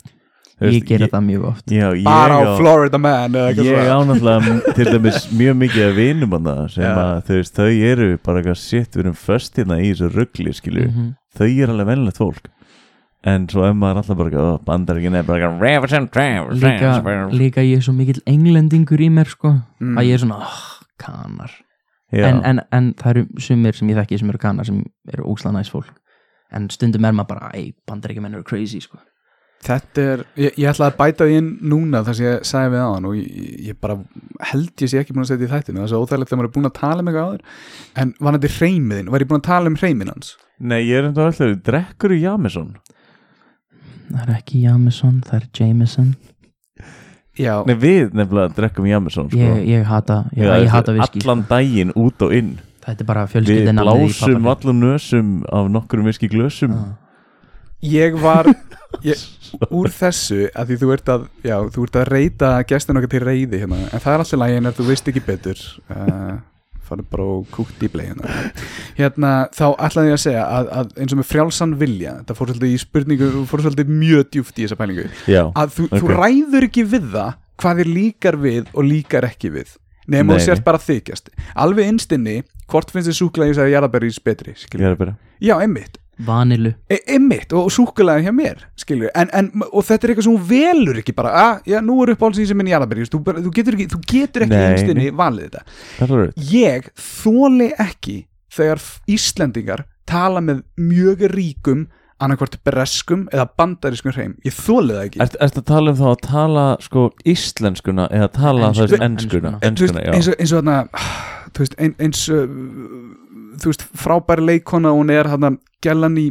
Speaker 3: Þú
Speaker 2: ég
Speaker 3: veist,
Speaker 2: gera það mjög oft
Speaker 3: já, ég,
Speaker 4: bara á
Speaker 3: á-
Speaker 4: Florida Man eða eitthvað
Speaker 3: ég
Speaker 4: svona.
Speaker 3: ánáttúrulega til dæmis mjög mikið að vinum hana sem
Speaker 4: Já.
Speaker 3: að þau, veist, þau eru bara eitthvað sitt við erum föstina í þessu ruggli skilju,
Speaker 2: Mhm.
Speaker 3: þau eru alveg venlegt fólk en svo ef maður er alltaf bara eitthvað, bandaríkin er bara eitthvað represent,
Speaker 2: líka,
Speaker 3: represent,
Speaker 2: líka ég er svo mikill englendingur í mér sko
Speaker 4: Mm.
Speaker 2: að ég er svona, oh, kanar
Speaker 3: já,
Speaker 2: en, en, en það eru sumir sem ég þekki sem eru kanar sem eru ógsla næs fólk en stundum er maður bara, ei, bandaríkjumenn eru crazy sko.
Speaker 4: Þetta er, ég, ég ætla að bæta því inn núna þar sem ég sagði við aðan og ég, ég bara held ég sé ekki búin að setja í þættinu það er svo óþægilegt þegar maður er búin að tala um eitthvað áður en var þetta reymiðin, var ég búin að tala um reymin hans
Speaker 3: nei ég er enda alltaf drekkur í Jameson
Speaker 2: það er ekki Jameson, það er Jameson
Speaker 3: Sko.
Speaker 4: Já,
Speaker 3: Nei, við nefnilega drekkum Jameson sko.
Speaker 2: ég, ég hata, ég,
Speaker 3: Já,
Speaker 2: ég hata viski
Speaker 3: Allan daginn út og inn
Speaker 2: þetta er bara
Speaker 3: Við
Speaker 2: fjölskyldin
Speaker 3: blásum allan nösum af nokkrum viski glösum
Speaker 2: Ah.
Speaker 4: ég var ég, úr þessu að því þú ert að já, þú ert að reyta gestin okkar til reyði hérna, en það er alltaf lægin er þú veist ekki betur uh, farið bara og kúkt í blegina hérna, þá ætlaði ég að segja að, að eins og með frjálsan vilja þetta fór svolítið í spurningu, fór svolítið mjög djúft í þessa pælingu
Speaker 3: Já,
Speaker 4: að þú,
Speaker 3: Ok.
Speaker 4: þú ræður ekki við það hvað þér líkar við og líkar ekki við nefnum
Speaker 3: Nei,
Speaker 4: þú sért
Speaker 3: nei.
Speaker 4: bara að þykjast alveg innstinni, hvort finnst þið súklaðis að jarðabæris betri,
Speaker 3: ég er
Speaker 4: skilur
Speaker 3: að byrja
Speaker 4: já, einmitt,
Speaker 2: vanilu
Speaker 4: e einmitt og súklaði hjá mér, skilur en, en, og þetta er eitthvað sem hún velur ekki bara að, já, nú er upp alls í sem minn jarðabæris þú, bara- þú getur ekki, þú getur ekki
Speaker 3: Nei,
Speaker 4: innstinni valið þetta,
Speaker 3: Það er rétt
Speaker 4: ég þóli ekki þegar f- Íslendingar tala með mjög ríkum annarkvart breskum eða bandarískum hreim, ég þóli það ekki
Speaker 3: Ertu ert að tala um þá að tala sko íslenskuna eða tala
Speaker 2: Ensku-
Speaker 3: þess enskuna
Speaker 2: enskuna.
Speaker 4: Þú veist,
Speaker 3: Enskuna,
Speaker 4: eins
Speaker 3: já
Speaker 4: og, eins og þarna þú veist, ein, eins uh, þú veist, frábær leikona hún er þarna gælan í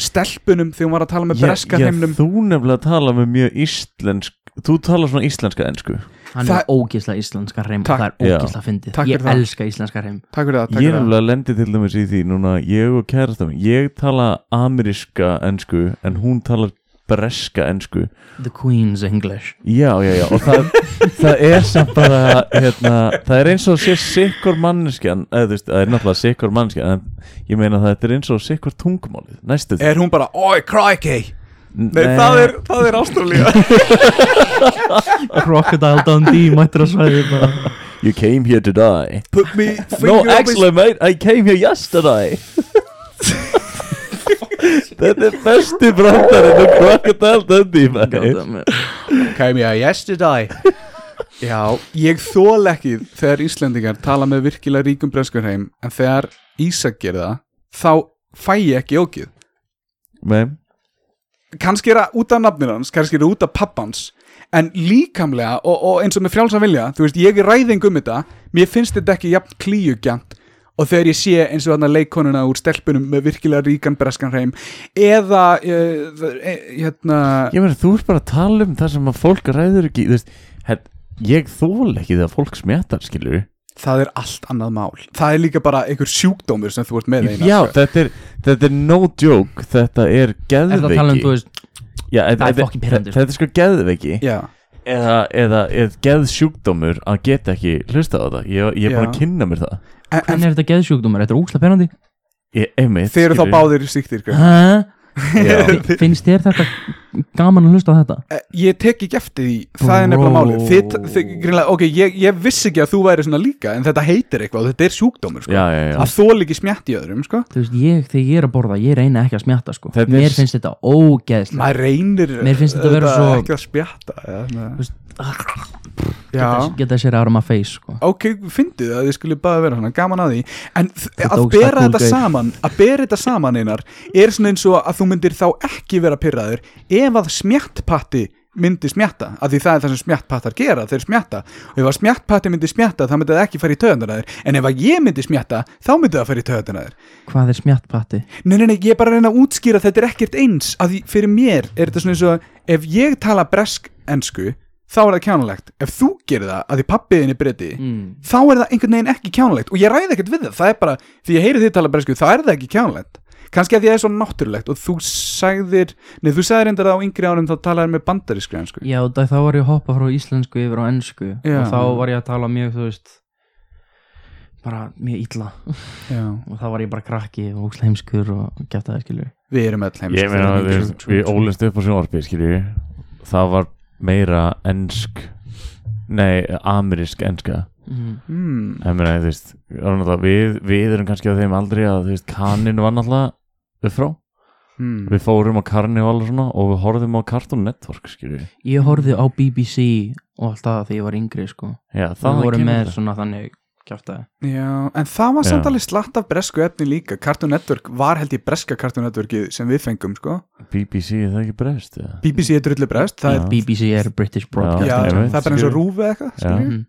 Speaker 4: stelpunum þegar hún var að tala með
Speaker 3: Ég-
Speaker 4: breska
Speaker 3: ég-
Speaker 4: heimnum
Speaker 3: Þú nefnilega tala með mjög íslensk Þú tala svona íslenska ensku
Speaker 2: hann
Speaker 4: Það-
Speaker 2: er ógisla íslenska hreim og
Speaker 4: Takk.
Speaker 2: það er
Speaker 3: Já.
Speaker 2: ógisla fyndið,
Speaker 4: Takk
Speaker 2: ég
Speaker 4: fyrir það.
Speaker 2: elska íslenska hreim
Speaker 4: takk fyrir það,
Speaker 3: Ég
Speaker 4: takk fyrir það
Speaker 3: nefnilega lendi til dæmis í því Núna ég og kærasta mín Ég tala ameríska ensku En hún talar breska ensku
Speaker 2: the queen's English
Speaker 3: Já, já, já, og það, það er samt bara, hérna, það er eins og sé sikkur manneskjan, eða þú veist, það er náttúrulega sikkur manneskjan, en ég meina það þetta er eins og sikkur tungumálið, næstu því.
Speaker 4: er hún bara, oi crikey Eh, nei, það er, það er ástralíða
Speaker 2: Crocodile Dundee mættur að svæði bara
Speaker 3: You came here to die.
Speaker 4: put me
Speaker 3: No,
Speaker 4: finger up his-
Speaker 3: actually, mate, I came here yesterday. Þetta er besti brandarinn og crocodile dundee, maður.
Speaker 4: came here yesterday já, ég þóla ekki þegar Íslendingar tala með virkilega ríkum breskum heim en þegar Ísak gerða þá fæ ég ekki ógið
Speaker 3: Nei,
Speaker 4: kannski er það út af nafnir hans kannski er það út af pappans en líkamlega og, og eins og með frjálsa vilja þú veist, ég er ræðing um þetta mér finnst þetta ekki jafn klíugjant og þegar ég sé eins og þarna leikonuna úr stelpunum með virkilega ríkan breskan hreim eða eh, e, hérna
Speaker 3: ég meina, þú ert bara að tala um það sem að fólk ræður ekki, þú veist, hér, ég þól ekki þegar fólk smjatar, skilur
Speaker 4: það er allt annað mál það er líka bara einhver sjúkdómur sem þú ert með eina sko.
Speaker 3: Já, þetta er, þetta er no joke Þetta er
Speaker 2: er það
Speaker 3: geðveiki
Speaker 2: að tala um, þú veist,
Speaker 3: Já, þetta-
Speaker 2: það er
Speaker 3: þetta-
Speaker 2: fucking pirrandi,
Speaker 3: Þetta er sko geðveiki
Speaker 4: Já.
Speaker 3: eða, eða, eða geðsjúkdómur að geta ekki hlusta á þetta Ég, ég er bara
Speaker 4: Já.
Speaker 3: að kynna mér það
Speaker 4: En, en
Speaker 2: hvernig er þetta geðsjúkdómur, þetta er ógisla penandi
Speaker 3: ég, einmitt,
Speaker 4: þeir eru þá
Speaker 3: skilurðu.
Speaker 4: báðir sko. síktir Guð.
Speaker 3: Já.
Speaker 2: Fi- finnst þér þetta gaman að hlusta á þetta
Speaker 4: Eh, ég tek ekki eftir því það er nefnilega
Speaker 2: Bro.
Speaker 4: málið þið, þið, greinlega, ok, ég, ég vissi ekki að þú væri svona líka en þetta heitir eitthvað og þetta er sjúkdómur sko.
Speaker 3: Já, já, já
Speaker 4: að þól ekki smjætt í öðrum sko.
Speaker 2: þú veist, ég, þegar ég er að borða, ég reyna ekki að smjatta sko.
Speaker 3: Þetta er-
Speaker 2: mér finnst þetta ógeðslega
Speaker 4: maður reynir
Speaker 2: Mér finnst þetta vera
Speaker 4: auðvitað
Speaker 2: svo-
Speaker 4: ekki að spjatta eða svona.
Speaker 2: Þú veist,
Speaker 4: já
Speaker 2: geta sér ára maður feis sko.
Speaker 4: ok, fyndið að þið skulle bara vera svona gaman að því en þ-
Speaker 2: Þetta
Speaker 4: að
Speaker 2: ógeðslega
Speaker 4: bera
Speaker 2: cool
Speaker 4: þetta
Speaker 2: gaur.
Speaker 4: saman að bera þetta saman einar er svona eins og að þú myndir þá ekki vera pyrraður ef að smjattpatti myndi smjatta, af því það er það sem smjattpattar gera, þeir smjatta og ef að smjattpatti myndi smjatta þá myndi það ekki fara í töðunar að þér en ef að ég myndi smjatta þá myndi það fara í töðunar að þér
Speaker 2: hvað er smjattpatti?
Speaker 4: Nei, nei, nei, ég er bara að reyna að útskýra að þetta er ekkert eins að því fyrir mér er þetta svona eins og að ef ég tala bresk ensku þá er það kjánulegt ef þú gerir það að því pappiðin er breyti þá er það einhvern veginn ekki kjánulegt og ég ræði ekkert við það, það er bara því ég heyri þið tala bresku þá er það ekki kjánulegt kannski að því að það er svo náttúrulegt og þú sagðir nei, þú sagðir reyndar að á yngri árum þá talaðir með bandarískri ensku
Speaker 2: já, það, þá var ég að hoppa frá íslensku yfir á ennsku
Speaker 4: Já.
Speaker 2: og þá var ég að tala mjög, þú veist bara mjög illa
Speaker 4: já.
Speaker 2: og þá var ég bara krakki og ókslega heimskur og gæta það skilur
Speaker 4: Við erum öll heimst
Speaker 3: Ég meina, þú veist, við ólist upp á sjónvarpi, skiljum við Það var meira ensk Nei, amerísk enska
Speaker 2: mm.
Speaker 4: mm.
Speaker 3: Ég meina, þú veist, það var náttúrulega- við, við erum kannski á þeim aldrei að, þú veist, kaninn var náttúrulega upp frá
Speaker 4: mm.
Speaker 3: Við fórum á karnival og svona og við horfðum á Cartoon Network, skiljum við
Speaker 2: Ég horfði á BBC og allt það þegar ég var yngri sko
Speaker 3: Já,
Speaker 2: Það
Speaker 3: það
Speaker 2: voru
Speaker 3: kemur
Speaker 2: með
Speaker 3: þetta.
Speaker 2: svona þannig kjátt
Speaker 4: Já, en það var samt
Speaker 3: Já.
Speaker 4: alveg slatt af bresku efni líka Cartoon Network var held ég breska Cartoon Networkið sem við fengum sko
Speaker 3: BBC, er það ekki breyst, eða?
Speaker 4: BBC er drullu brest það,
Speaker 3: Já.
Speaker 2: BBC er British Mhm.
Speaker 4: er, já,
Speaker 2: Broadcast
Speaker 3: ég
Speaker 4: það
Speaker 3: veit,
Speaker 4: er bara eins og
Speaker 3: skilur.
Speaker 4: rúfi eitthvað
Speaker 3: Já.
Speaker 4: skilur við.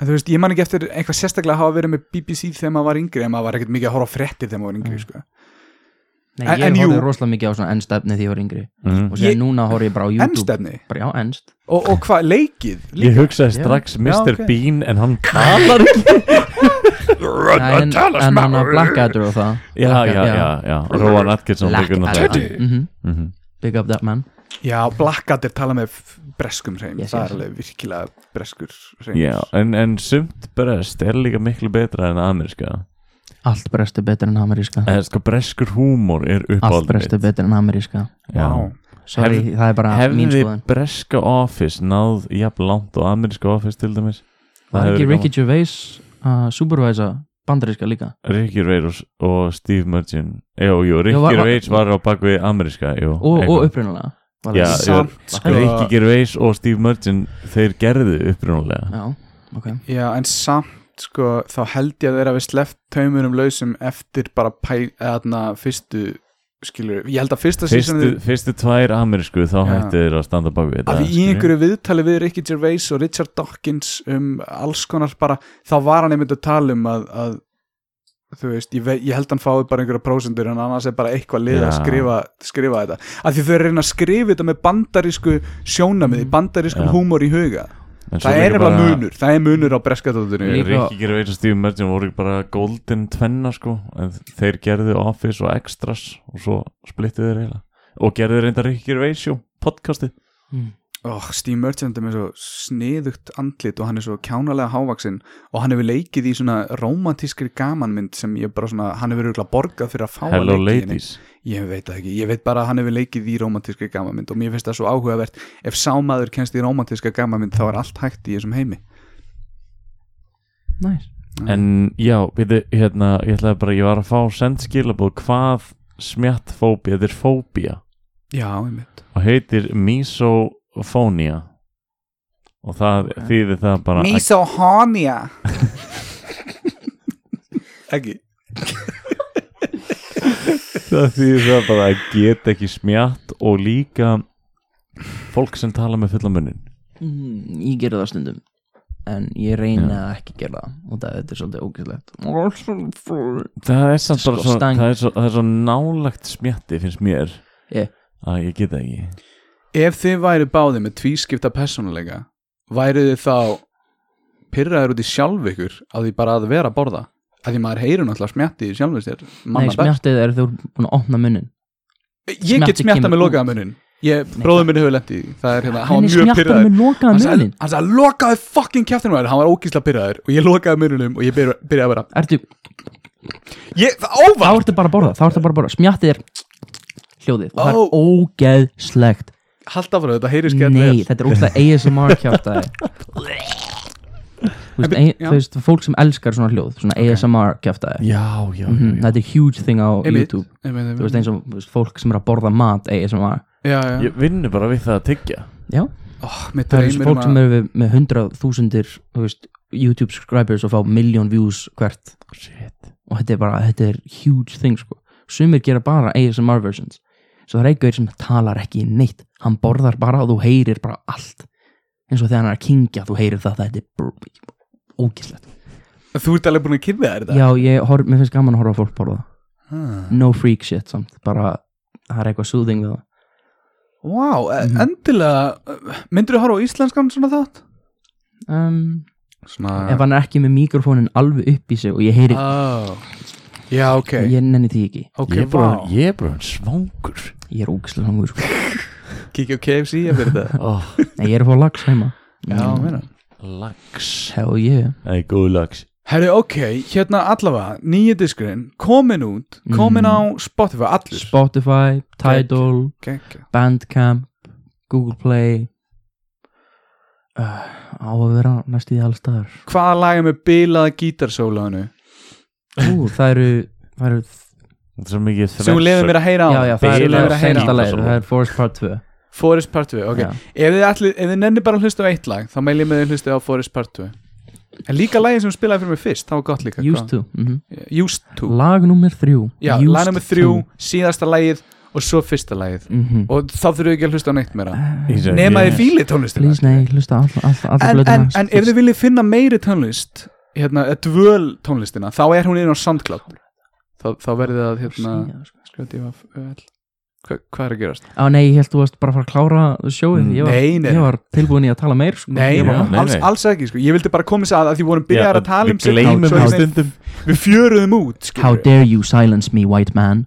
Speaker 4: En þú veist, ég man ekki eftir eitthvað sérstaklega að hafa verið með BBC þegar maður var yngri en maður var ekkert mikið að horfa á frettir þegar maður var
Speaker 3: Mm.
Speaker 4: yngri sko.
Speaker 2: Nei,
Speaker 4: En-
Speaker 2: ég
Speaker 4: en jú.
Speaker 2: horfði rosalega mikið á svona ennstefni þegar ég var yngri
Speaker 3: Mhm.
Speaker 2: og sér
Speaker 4: Ég-
Speaker 2: núna horfði ég bara á YouTube
Speaker 4: Ennstefni
Speaker 2: Bara, já, ennst
Speaker 4: og, og hvað, leikið
Speaker 3: Ég hugsaði
Speaker 2: Já.
Speaker 3: strax Mr.
Speaker 4: Já, ok.
Speaker 3: Bean en hann talar ekki
Speaker 2: Nei, En en hann að Blackadder og það
Speaker 3: Já, já, já, já Róan Atkinson leikur náttúrulega
Speaker 2: Blackadder Mhm.
Speaker 3: Mhm.
Speaker 2: Big up that man
Speaker 4: Já, Blackadder tala með f- breskum hreim
Speaker 2: Yes,
Speaker 4: það
Speaker 2: yes.
Speaker 4: er alveg virkilega breskur hreim
Speaker 3: Já, en, en sumt brest er líka miklu betra en ameríska
Speaker 2: Allt bresti betur en ameríska
Speaker 3: En sko breskur húmor er
Speaker 2: Allt
Speaker 3: uppáld
Speaker 2: bresti betur en ameríska
Speaker 4: Vá.
Speaker 2: Sorry,
Speaker 3: Hefði-
Speaker 2: það er bara Ah, mín
Speaker 3: Hefði
Speaker 2: skoðan
Speaker 3: breska office náð jafn langt og ameríska office til dæmis
Speaker 2: Var
Speaker 3: hefði
Speaker 2: ekki
Speaker 3: verið
Speaker 2: Ricky Gervais að supervisa bandaríska líka
Speaker 3: gaman. Ricky Ray og, og Steve Merchant Jú, jú, Ricky
Speaker 2: Já, var- var-
Speaker 3: Gervais var á bakvið ameríska jú,
Speaker 2: og, og
Speaker 3: eitthvað.
Speaker 2: upprunalega var það-
Speaker 3: Já, já,
Speaker 4: Samt sko
Speaker 3: Ricky Gervais og Steve Merchant þeir gerðu upprunalega
Speaker 2: já, ok
Speaker 4: Já, en samt sko þá held ég að þeirra við sleppt taumunum lausum eftir bara pæ, eðna, fyrstu skilur ég held að fyrsta síðan
Speaker 3: fyrstu, fyrstu tvær amerísku þá
Speaker 4: Já.
Speaker 3: hættu þeir að standa bak við
Speaker 4: að
Speaker 3: þetta
Speaker 4: í einhverju viðtali við Ricky Gervais og Richard Dawkins um alls konar bara, þá var hann einmitt að tala um að, að þú veist, ég, vei, ég held hann fái bara einhverja prósendur en annars er bara eitthvað lið að
Speaker 3: Já.
Speaker 4: skrifa, skrifa þetta, að því þau eru að reyna að skrifa þetta með bandarísku sjónamiði bandarískum
Speaker 3: Mm. Já.
Speaker 4: húmor í huga
Speaker 3: En svo
Speaker 4: það
Speaker 3: líka
Speaker 4: er bara munur, það er munur á breskatóttunni
Speaker 2: Líka-
Speaker 3: Rikki Gervais og Steve Merchant voru bara golden tvenna sko en þeir gerðu Office og Extras og svo splittu þeir eiginlega og gerðu reynda Rikki Gervais sjó podcastið
Speaker 2: Hmm,
Speaker 4: oh, Steve Merchant er með svo sniðugt andlit og hann er svo kjánalega hávaksinn og hann hefur leikið í svona romantískri gamanmynd sem ég bara svona hann hefur örugglega borgað fyrir að fá að
Speaker 3: Hello
Speaker 4: leika í henni.
Speaker 3: Ladies
Speaker 4: Ég veit það ekki, ég veit bara að hann hefur leikið í romantíska gamamynd og mér finnst það svo áhugavert ef sámaður kennst í romantíska gamamynd þá er allt hægt í þessum heimi
Speaker 2: næs
Speaker 3: en já, við, hérna, ég ætlaði bara ég var að fá send skilabóð hvað smjattfóbía, þetta er fóbía
Speaker 4: Já, einmitt
Speaker 3: og heitir misofónia og það þýðir það bara að
Speaker 4: Misohonia Ekki
Speaker 3: það þýðir það bara að geta ekki smjatt og líka fólk sem tala með fulla munnin
Speaker 2: Mm, ég gera það stundum en ég reyna
Speaker 3: Já.
Speaker 2: að ekki gera það og það þetta er svolítið ógæslegt
Speaker 3: það er samt
Speaker 2: Sko,
Speaker 3: bara svona,
Speaker 2: stang.
Speaker 3: það er, svo, það er svo nálagt smjatti finnst mér
Speaker 2: Ég.
Speaker 3: að ég geta ekki
Speaker 4: Ef þið væri báði með tvískipta persónuleika værið þið þá pyrraður út í sjálf ykkur að því bara að vera að borða að því maður heyrur náttúrulega smjatti í sjálfum sér
Speaker 2: Nei,
Speaker 4: manna best.
Speaker 2: smjattið er þú ert búin að opna munnin
Speaker 4: Ég get
Speaker 2: smjatti
Speaker 4: smjatta
Speaker 2: kemur
Speaker 4: með
Speaker 2: út.
Speaker 4: lokaða munnin Bróður minn hefur lent í því. það er hérna, hann var mjög
Speaker 2: smjattar
Speaker 4: pyrraður
Speaker 2: með lokaða
Speaker 4: hann sagði,
Speaker 2: munnin
Speaker 4: hann sagði lokaði fucking kjæftinum að þér hann var ógísla pyrraður og ég lokaði mununum og ég byrja, byrjaði að vera
Speaker 2: Ertu,
Speaker 4: ég, það
Speaker 2: þá
Speaker 4: óvart
Speaker 2: ertu bara að borða, þá ertu bara að borða Smjattið er hljóðið og það
Speaker 4: Ó.
Speaker 2: er ógeðslegt
Speaker 4: haldt af frá þetta heyri skemmt
Speaker 2: Nei, þetta er ógeðslega ASMR kjáftæði Þú
Speaker 4: En
Speaker 2: veist,
Speaker 4: byrju,
Speaker 2: ein,
Speaker 4: já.
Speaker 2: þú veist, fólk sem elskar svona hljóð, svona ASMR kjáftæði
Speaker 3: já, já,
Speaker 2: mm Þetta er huge thing á
Speaker 4: Mm-hmm. Einmitt.
Speaker 2: YouTube
Speaker 4: einmitt,
Speaker 2: Þú veist, eins og þú veist, fólk sem er að borða mat ASMR
Speaker 4: já, já.
Speaker 3: ég vinnu bara við það að tyggja
Speaker 2: Já,
Speaker 4: Ó, mér
Speaker 2: það eru svo
Speaker 4: dreymir um
Speaker 2: fólk sem
Speaker 4: að
Speaker 2: eru við- með hundrað þúsundir YouTube subscribers og fá million views hvert
Speaker 3: shit
Speaker 2: og þetta er bara, þetta er huge thing sko. sumir gera bara ASMR versions svo það er eitthvað sem talar ekki neitt hann borðar bara og þú heyrir bara allt eins og þegar hann er að kingja þú heyrir það, þetta er br- ógeðslegt
Speaker 4: þú ert alveg búin að kynna þér þetta
Speaker 2: Já, ég horf, mér finnst gaman að horfa á fólk borða
Speaker 4: Hmm.
Speaker 2: no freak shit samt, bara það er eitthvað soothing við það
Speaker 4: Vá, wow, endilega myndur þú horfa á íslenskan svona þátt?
Speaker 2: um, ef
Speaker 4: svona
Speaker 2: hann er ekki með mikrofónin alveg upp í sig og ég heyri,
Speaker 4: Ó. já, Ah, ok
Speaker 2: ég nenni því ekki
Speaker 4: ok,
Speaker 3: ég er bara
Speaker 4: vá,
Speaker 3: ég er bara orðinn svangur
Speaker 2: ég er ógeðslega hangur sko.
Speaker 4: kíkja á KFC eftir þetta
Speaker 3: oh,
Speaker 2: Nei, ég er að fá lags heima Mm,
Speaker 4: já, meina
Speaker 3: lags
Speaker 2: Hell yeah
Speaker 3: það er góð lags
Speaker 4: Herri, ok, hérna allavega, nýja diskurinn, komin út, komin
Speaker 2: Mhm.
Speaker 4: á Spotify, allir.
Speaker 2: Spotify, Tidal,
Speaker 4: okay, okay.
Speaker 2: Bandcamp Google Play uh, á að vera næst í allstaðar
Speaker 4: Hvaða lag er með bilaða gítarsólaðinu?
Speaker 2: Ú, það eru, það eru
Speaker 3: Þetta er svo mikið
Speaker 4: Sem hún lefði mér að heyra á.
Speaker 2: já, já, það
Speaker 4: Bilað
Speaker 2: eru
Speaker 4: að heyra
Speaker 2: sensta
Speaker 4: á.
Speaker 2: leir, það er Forest Part 2
Speaker 4: Forest Part 2, ok.
Speaker 2: Já.
Speaker 4: Ef þið, allir, ef þið nenni bara að hlusta á eitt lag, þá mæl ég með þið að hlusta á Forest Part 2. En líka lagið sem hún spilaði fyrir mig fyrst, það var gott líka.
Speaker 2: Used to mm
Speaker 4: to. Used to.
Speaker 2: Lag nummer þrjú
Speaker 4: já,
Speaker 2: Used
Speaker 4: lag nummer þrjú, síðasta lagið og svo fyrsta lagið.
Speaker 2: Mhm.
Speaker 4: Og þá þurfum við ekki að hlusta á neitt meira.
Speaker 3: að
Speaker 4: Nema þið fílið tónlistina.
Speaker 2: Please, nei, hlusta all- all- alla
Speaker 4: en, en,
Speaker 2: blöðuna
Speaker 4: en ef þið viljið finna meiri tónlist hérna, eða dvöl tónlistina þá er hún inn á SoundCloud þá, þá verðið að hérna skjóti ég að Hva, hvað er að gerast?
Speaker 2: Á sko. Ah, nei, ég held þú varst bara að fara að klára sjóið Ég var,
Speaker 4: nei, nei,
Speaker 2: ég var tilbúin í að tala meir sko.
Speaker 4: nei,
Speaker 2: Ég
Speaker 4: nei,
Speaker 2: var,
Speaker 3: nei,
Speaker 4: alls,
Speaker 3: nei.
Speaker 4: alls ekki sko. ég vildi bara koma sér að að því vorum byrjar að tala um
Speaker 3: Við gleymum
Speaker 4: Signáll,
Speaker 3: það
Speaker 4: svo ég-
Speaker 3: stundum
Speaker 4: við fjöruðum út
Speaker 2: How dare you silence me, white man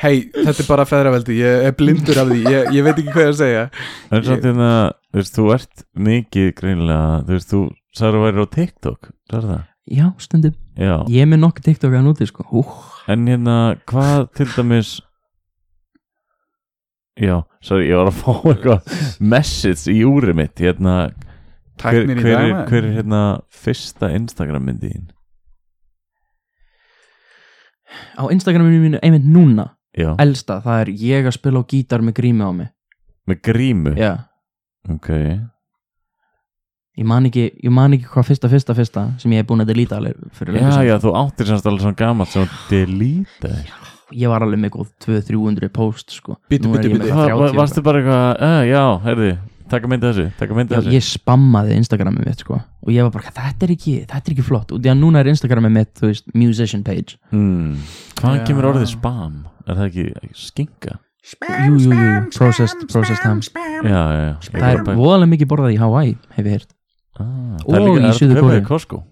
Speaker 4: hei, þetta er bara feðraveldi ég er blindur af því, ég, ég veit ekki hvað ég að segja
Speaker 3: En samt hérna, þú veist, þú ert mikið greinilega, þú veist, þú sagður að væri á TikTok, sagður það?
Speaker 2: Já, stundum
Speaker 3: Já,
Speaker 2: Ég er með nokkuð TikTok að núti, sko Hú,
Speaker 3: en hérna, hvað til dæmis Já, sorry, ég var að fá eitthvað message í úrið mitt, hérna hver,
Speaker 4: Tæknin í
Speaker 3: hver,
Speaker 4: dag,
Speaker 3: er,
Speaker 4: maður.
Speaker 3: hver er hérna fyrsta Instagram myndi þín?
Speaker 2: Á Instagraminu mínu einmitt núna
Speaker 3: Já,
Speaker 2: Elsta, það er ég að spila á gítar með grími á mig
Speaker 3: með grímu
Speaker 2: Já
Speaker 3: Ok,
Speaker 2: Ég man ekki, ég man ekki hvað fyrsta, fyrsta, fyrsta sem ég hef búin að delita alveg fyrir
Speaker 3: já,
Speaker 2: löngu síðan.
Speaker 3: já, þú áttir semst alveg svona gamalt sem þú delete
Speaker 2: Ég var alveg með sko, góð 200-300 post, sko
Speaker 4: Bíddu,
Speaker 2: Núna er
Speaker 4: bíddu,
Speaker 2: ég með
Speaker 4: bíddu.
Speaker 2: 30
Speaker 3: Hvað, va-
Speaker 2: eitthvað.
Speaker 3: Varstu bara eitthvað, uh, já, heyrði Takk að mynda þessu, takk að mynda
Speaker 2: Já,
Speaker 3: þessu
Speaker 2: ég spammaði Instagramið mitt sko og ég var bara, þetta er ekki, þetta er ekki flott og því að núna er Instagramið mitt, þú veist, musician page
Speaker 3: Hmm. Hvaðan
Speaker 4: Já.
Speaker 3: kemur orðið spam? Er það ekki skinka?
Speaker 2: Jú, jú, jú, processed, processed ham
Speaker 3: Já, já, já. Ég
Speaker 2: Það er
Speaker 3: bara-
Speaker 2: voðalega mikið borðað í Hawaii, hef ég heyrt
Speaker 3: Ah,
Speaker 2: Og í
Speaker 3: líka- er hægt að
Speaker 2: Suður-Kóreu.
Speaker 3: kaupa í Costco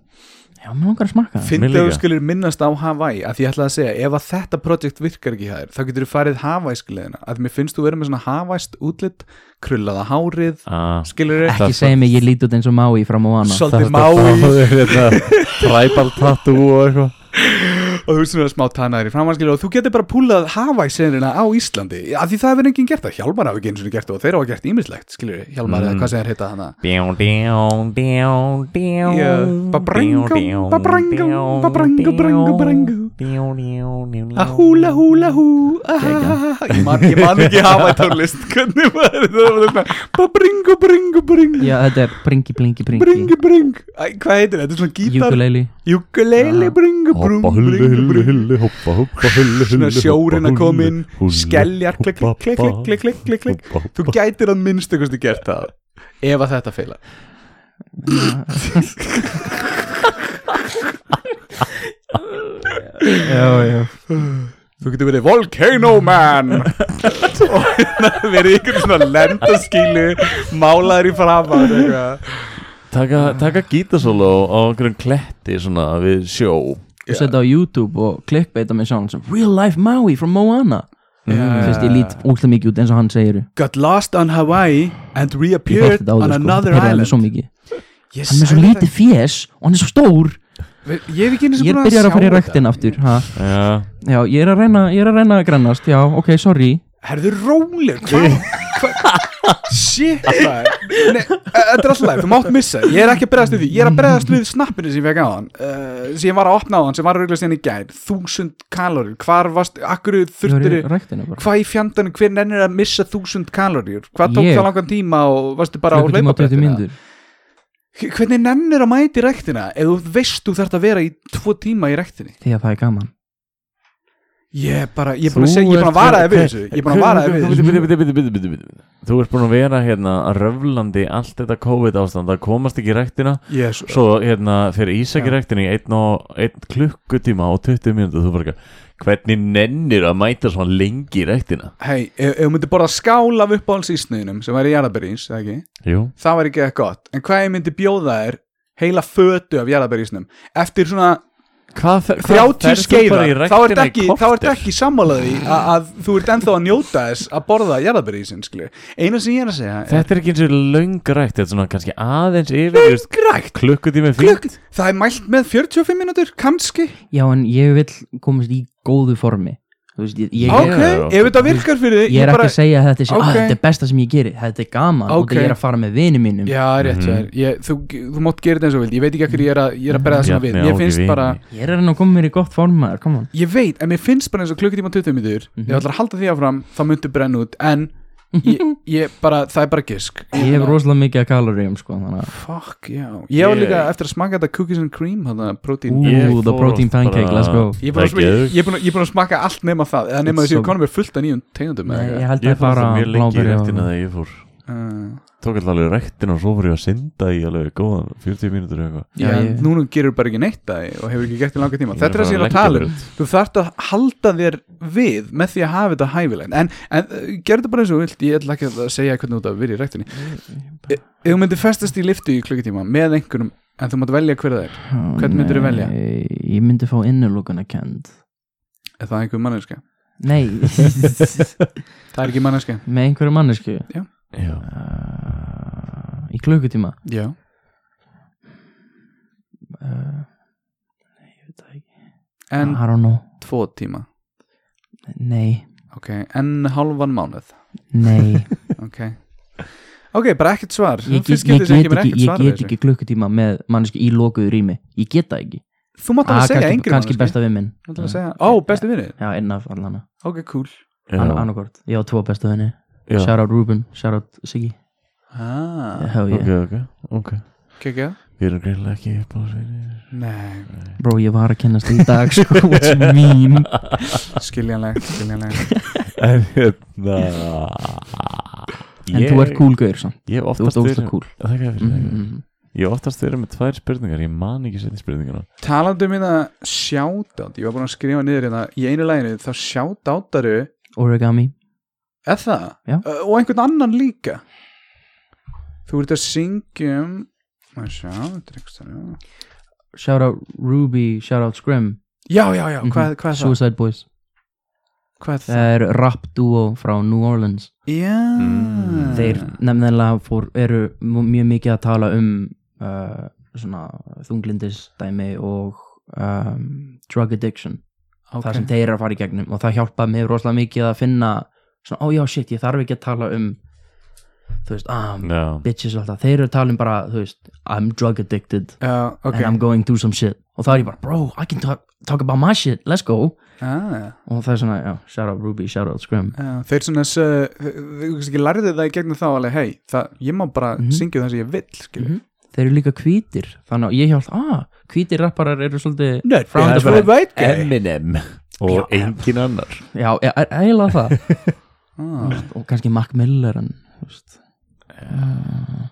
Speaker 2: Já, mér langar að smakka það.
Speaker 4: Fyndið
Speaker 3: Mér
Speaker 4: að þú
Speaker 3: líka.
Speaker 4: skilur minnast á Hawaii að því ég ætlaði að segja, ef að þetta projekt virkar ekki hér, þá getur þú farið Hawaii skilina að mér finnst þú verið með svona Hawaiist útlitt krullaða hárið,
Speaker 3: ah,
Speaker 4: skilur
Speaker 2: Ekki segja mig, ég lít út eins og Maui frá Moana
Speaker 4: svolítið
Speaker 3: Það
Speaker 4: mái
Speaker 3: er hérna Tribal tattoo og eitthvað
Speaker 4: og þú veist svona smá tannaðir í framhanskilur og þú getur bara púlað Hawaii senina á Íslandi að því það hefur enginn gert það, Hjálmar hafi ekki eins og gert það og þeir hafa gert ímislegt, skilur Hjálmar eða hvað sem þeir heita hana
Speaker 3: Bjón, bjón, bjón, bjón
Speaker 4: Já, babrangó, babrangó, babrangó, brangó, brangó. að húla húla hú ahahaha. ég man, ég man ekki Hawaii tónlist hvernig var þetta bara bringu bringu bringu
Speaker 2: Já, þetta er pringi, plingi, pringi
Speaker 4: bringu bringu Æ, hvað heitir þetta, þetta er svona gítar
Speaker 2: Ukulele
Speaker 4: ukulele
Speaker 2: Já.
Speaker 4: bringu
Speaker 3: Hoppa
Speaker 4: bringu
Speaker 3: hullu,
Speaker 4: bringu
Speaker 3: hullu,
Speaker 4: bringu
Speaker 3: hullu, hoppa, hoppa, hullu, hullu
Speaker 4: svona sjórin að
Speaker 3: hoppa,
Speaker 4: koma
Speaker 3: hullu,
Speaker 4: inn
Speaker 3: hullu,
Speaker 4: skelljar klik
Speaker 3: hoppa,
Speaker 4: klik klik klik klik klik klik
Speaker 3: hoppa, hoppa.
Speaker 4: þú gætir að minnstu hversu gert það ef að þetta feila
Speaker 2: Já, já
Speaker 4: þú getur verið Volcano Man og hérna verið ykkur svona lendaskílu málaður í framar
Speaker 3: Taka, taka gítasólu á einhverjum kletti svona við sjó
Speaker 2: Og setja á YouTube og klikkbeita mig sjálf sem Real life Maui frá Moana Þú veist, ég lít útla mikið út eins og hann segir
Speaker 4: got lost on Hawaii and
Speaker 2: Ég horfði
Speaker 4: reappeared
Speaker 2: þetta á
Speaker 4: on
Speaker 2: þau, sko Það
Speaker 4: another
Speaker 2: pyrraði mig svo
Speaker 4: island
Speaker 2: mikið
Speaker 4: Ég
Speaker 2: Hann er svo
Speaker 4: sagði
Speaker 2: lítið fjes og hann er svo stór
Speaker 4: það- ég hef ekki eins og
Speaker 2: Ég er byrjar að fara í ræktin aftur ha?
Speaker 3: Já,
Speaker 2: Já, ég er að reyna, ég er að reyna að grannast Já, ok, sorry
Speaker 4: herðu róleg hvað hva? shit maður. Nei, e, þetta er alltaf læg, þú mátt missa ég er ekki að bregðast við því, ég er að bregðast við snappinu sem ég fekk á hann uh, sem ég var að opna á hann, sem var að ruggla síðan í gær þúsund kalorið, hvar varst akkur
Speaker 2: Ég var
Speaker 4: þurftir
Speaker 2: í ræktinu bara
Speaker 4: hvað í fjandanum, hver nennir að missa þúsund kaloríur, hvað tók
Speaker 2: Ég?
Speaker 4: það langan tíma og varstu bara á
Speaker 2: Klukkutíma og 20
Speaker 4: hlaupabrettina
Speaker 2: mínútur
Speaker 4: H- hvernig nennir að mæti rektina ef þú veist þú þarft að vera í tvo tíma í rektinni
Speaker 2: Því að það er gaman
Speaker 4: ég er bara, ég er búin að segja, ég er búin að vara það við þessu ég er búin að vara það við þessu
Speaker 3: Bíddu, bíddu, bíddu, bíddu, bíddu, bíddu. Þú ert búin að vera hérna röflandi allt þetta COVID ástand að komast ekki í rektina
Speaker 4: Yes.
Speaker 3: Svo hérna fyrir Ísak í rektina í einn, og, einn klukkutíma og 20 mínútu Þú bara ekki, hvernig nennir að mæta svona lengi í rektina?
Speaker 4: hei, ef ef þú myndir borða skál af uppáhaldsísniðinum sem væri jarðaberís, eða ekki
Speaker 3: Jú
Speaker 4: það væri ekki eitthvað gott, en hvað ég myndi bjóða þér heila fötu af jarðaberísnum eftir svona
Speaker 3: Hvað fer- hvað
Speaker 4: 30
Speaker 3: ferð þú
Speaker 4: skeiðar,
Speaker 3: bara í
Speaker 4: þá ert
Speaker 3: ræktina í
Speaker 4: ekki, þá
Speaker 3: korter?
Speaker 4: ert ekki sammálaði að, að þú ert ennþá að njóta þess að borða jarðabyrjísinn, skilju eina sem ég er að segja er
Speaker 3: Þetta er ekki eins og löngrækt Þetta er svona kannski aðeins yfir just
Speaker 4: grækt,
Speaker 3: Klukkutími fyrir
Speaker 4: klukk, það er mælt með 45 mínútur, kannski
Speaker 2: Já, en ég vil komast í góðu formi Þú veist, ég, ég,
Speaker 4: ok,
Speaker 3: já,
Speaker 4: ef þetta virkar fyrir þig
Speaker 2: ég er
Speaker 4: bara-
Speaker 2: ekki að segja að þetta sé
Speaker 4: Ok.
Speaker 2: að þetta er besta sem ég geri, þetta er gaman okay. og
Speaker 4: Ok.
Speaker 2: þetta er að fara með vini mínum
Speaker 4: já, rétt, mm
Speaker 3: Mhm.
Speaker 4: ég, þú, þú mátt gera þetta eins og vild ég veit ekki hverju ég er að, ég er að berða svona
Speaker 3: Bjarni
Speaker 4: við
Speaker 3: á
Speaker 4: ég
Speaker 3: ekki
Speaker 4: finnst
Speaker 3: vini.
Speaker 4: bara,
Speaker 2: ég er að reyna að koma mér í gott formaður, come on
Speaker 4: ég veit, en mér finnst bara eins og klukkutíma 20 mínútur
Speaker 2: Mhm.
Speaker 4: ég ætlar að halda því áfram, þá myndu brenn út en ég, ég bara, það er bara gisk
Speaker 2: ég hef rosalega mikið að kaloríum sko, þannig að
Speaker 4: Fuck, já Ég var
Speaker 3: Ég-
Speaker 4: líka eftir að smaka þetta cookies and cream Þannig að
Speaker 2: Ú,
Speaker 4: prótín
Speaker 3: Ég
Speaker 2: the
Speaker 3: fór
Speaker 2: protein
Speaker 3: oft bara-
Speaker 2: pancake, let's go
Speaker 4: Ég er búin að
Speaker 3: Það er
Speaker 4: smakka-
Speaker 3: geðveikt.
Speaker 4: ég er búin að- ég er búin að smaka allt nema það Eða nema
Speaker 2: It's
Speaker 4: þessi
Speaker 2: so-
Speaker 4: konum er fullt af nýjum tegundum
Speaker 2: Nei, ég
Speaker 4: eða
Speaker 2: held
Speaker 3: Ég
Speaker 2: að
Speaker 3: fór
Speaker 2: bara
Speaker 3: það mjög lengi í
Speaker 2: bláberja og-
Speaker 3: ræktina þegar ég fór
Speaker 4: eitthvað.
Speaker 3: Tók alltaf alveg ræktina og svo fór ég að synda í alveg góðan 40 mínútur eða eitthvað
Speaker 4: Já,
Speaker 2: Já,
Speaker 4: en
Speaker 2: ég-
Speaker 4: núna gerur bara ekki neitt að og hefur ekki gert í langa tíma
Speaker 3: Ég
Speaker 4: Þetta er
Speaker 3: bara
Speaker 4: það sem ég er að
Speaker 3: leggja
Speaker 4: tala
Speaker 3: mér
Speaker 4: um
Speaker 3: út.
Speaker 4: Þú þarft að halda þér við með því að hafa þetta hæfilegt En, en uh, gerðu bara eins og þú vilt Ég ætla ekki að segja hvernig þú þetta verið í rektinni Ef þú myndir festast í liftu í klukkutíma með einhverjum en þú mátt velja hver það er Hvern myndirðu
Speaker 2: Nei,
Speaker 4: velja?
Speaker 2: Ég myndi fá innulokuna kend
Speaker 4: Er það einhver manneska?
Speaker 2: Nei,
Speaker 4: Það er ekki manneska
Speaker 2: með einhverju mannesku
Speaker 3: Já,
Speaker 2: uh, Í klukkutíma
Speaker 4: Já
Speaker 2: uh, Nei, ég veit það ekki
Speaker 4: En
Speaker 2: I don't know
Speaker 4: tvo tíma
Speaker 2: Nei,
Speaker 4: Ok, en hálfan mánuð
Speaker 2: nei
Speaker 4: Ok, ok, bara ekkert svar
Speaker 2: Ég get,
Speaker 4: Fyrst skipti
Speaker 2: ég
Speaker 4: sem
Speaker 2: get,
Speaker 4: kemur
Speaker 2: ekki,
Speaker 4: ekkert
Speaker 2: ég
Speaker 4: svar við
Speaker 2: get
Speaker 4: þessu.
Speaker 2: ekki klukkutíma með mannesku í lokuðu rými Ég get það ekki
Speaker 4: Þú mátt
Speaker 2: Ah,
Speaker 4: alveg segja
Speaker 2: kannski,
Speaker 4: yngri
Speaker 2: kannski besta við minn
Speaker 4: segja, Ó, bestu vinni
Speaker 2: Já, einn af allana
Speaker 4: Ok, cool
Speaker 3: já,
Speaker 2: Annarkort, ég á tvo besta vinni
Speaker 3: já.
Speaker 2: Shout out Ruben, shout out Siggi
Speaker 4: ah,
Speaker 2: Hell
Speaker 3: Ok,
Speaker 2: yeah
Speaker 3: ok, ok
Speaker 4: Kekja
Speaker 3: Við erum greinlega ekki upp á sveinu
Speaker 4: Nei,
Speaker 2: Bro, ég var að kennast í dag sko, What's mean
Speaker 4: skiljanlegt, skiljanlegt
Speaker 3: En hérna
Speaker 2: En þú ert cool gaur samt
Speaker 3: Ég hef
Speaker 2: Þú ert
Speaker 3: oftast
Speaker 2: ósla cool
Speaker 3: Það er ekki
Speaker 2: mm
Speaker 3: fyrir
Speaker 2: -hmm.
Speaker 3: Ég hef oftast verið með tvær spurningar, ég man ekki setni spurninguna
Speaker 4: Talandi um þetta shoutout Ég var búin að skrifa niður hérna Í einu læginu þá shoutoutaru
Speaker 2: Origami
Speaker 4: Er það?
Speaker 2: Já.
Speaker 4: Ö, Og einhvern annan líka Þú ert að syngjum Má sjá, þetta er eitthvað já.
Speaker 2: Shout out Ruby, shout out Scrim
Speaker 4: Já, já, já, hvað,
Speaker 2: Mhm. eh,
Speaker 4: hvað er það?
Speaker 2: Suicide Boys
Speaker 4: Hvað er það?
Speaker 2: Það er rap duo frá New Orleans
Speaker 4: Já
Speaker 3: Mm.
Speaker 2: Þeir
Speaker 4: Ah.
Speaker 2: nefnilega fór, eru mú- mjög mikið að tala um uh, svona þunglindisdæmi og um, drug addiction
Speaker 4: okay.
Speaker 2: það sem þeir eru að fara í gegnum og það hjálpaði mig rosalega mikið að finna svona, ó já, shit, ég þarf ekki að tala um þú veist, ah,
Speaker 3: Já,
Speaker 2: bitches og allt það, þeir eru að tala um bara, þú veist I'm drug addicted
Speaker 4: Já, ok
Speaker 2: and I'm going through some shit og það er ég bara, bro, I can talk, talk about my shit, let's go
Speaker 4: ah,
Speaker 2: og það er svona, já, shout out Ruby, shout out Scrim
Speaker 4: já, Þeir svona s- uh, Þú veist ekki lærðu það í gegnum þá alveg Hei, það- ég má bara
Speaker 2: Mhm.
Speaker 4: syngja það sem ég vill skilur.
Speaker 2: Mhm. þeir eru líka hvítir, þannig að ég hjálp ah, hvítir rapparar eru svolítið
Speaker 4: Nerd,
Speaker 2: Frá-
Speaker 4: það er bara white guy
Speaker 3: Eminem og engin annar
Speaker 2: já, e- e- eiginlega það
Speaker 4: ah,
Speaker 2: og kannski Mac Miller en, þú veist. Uh,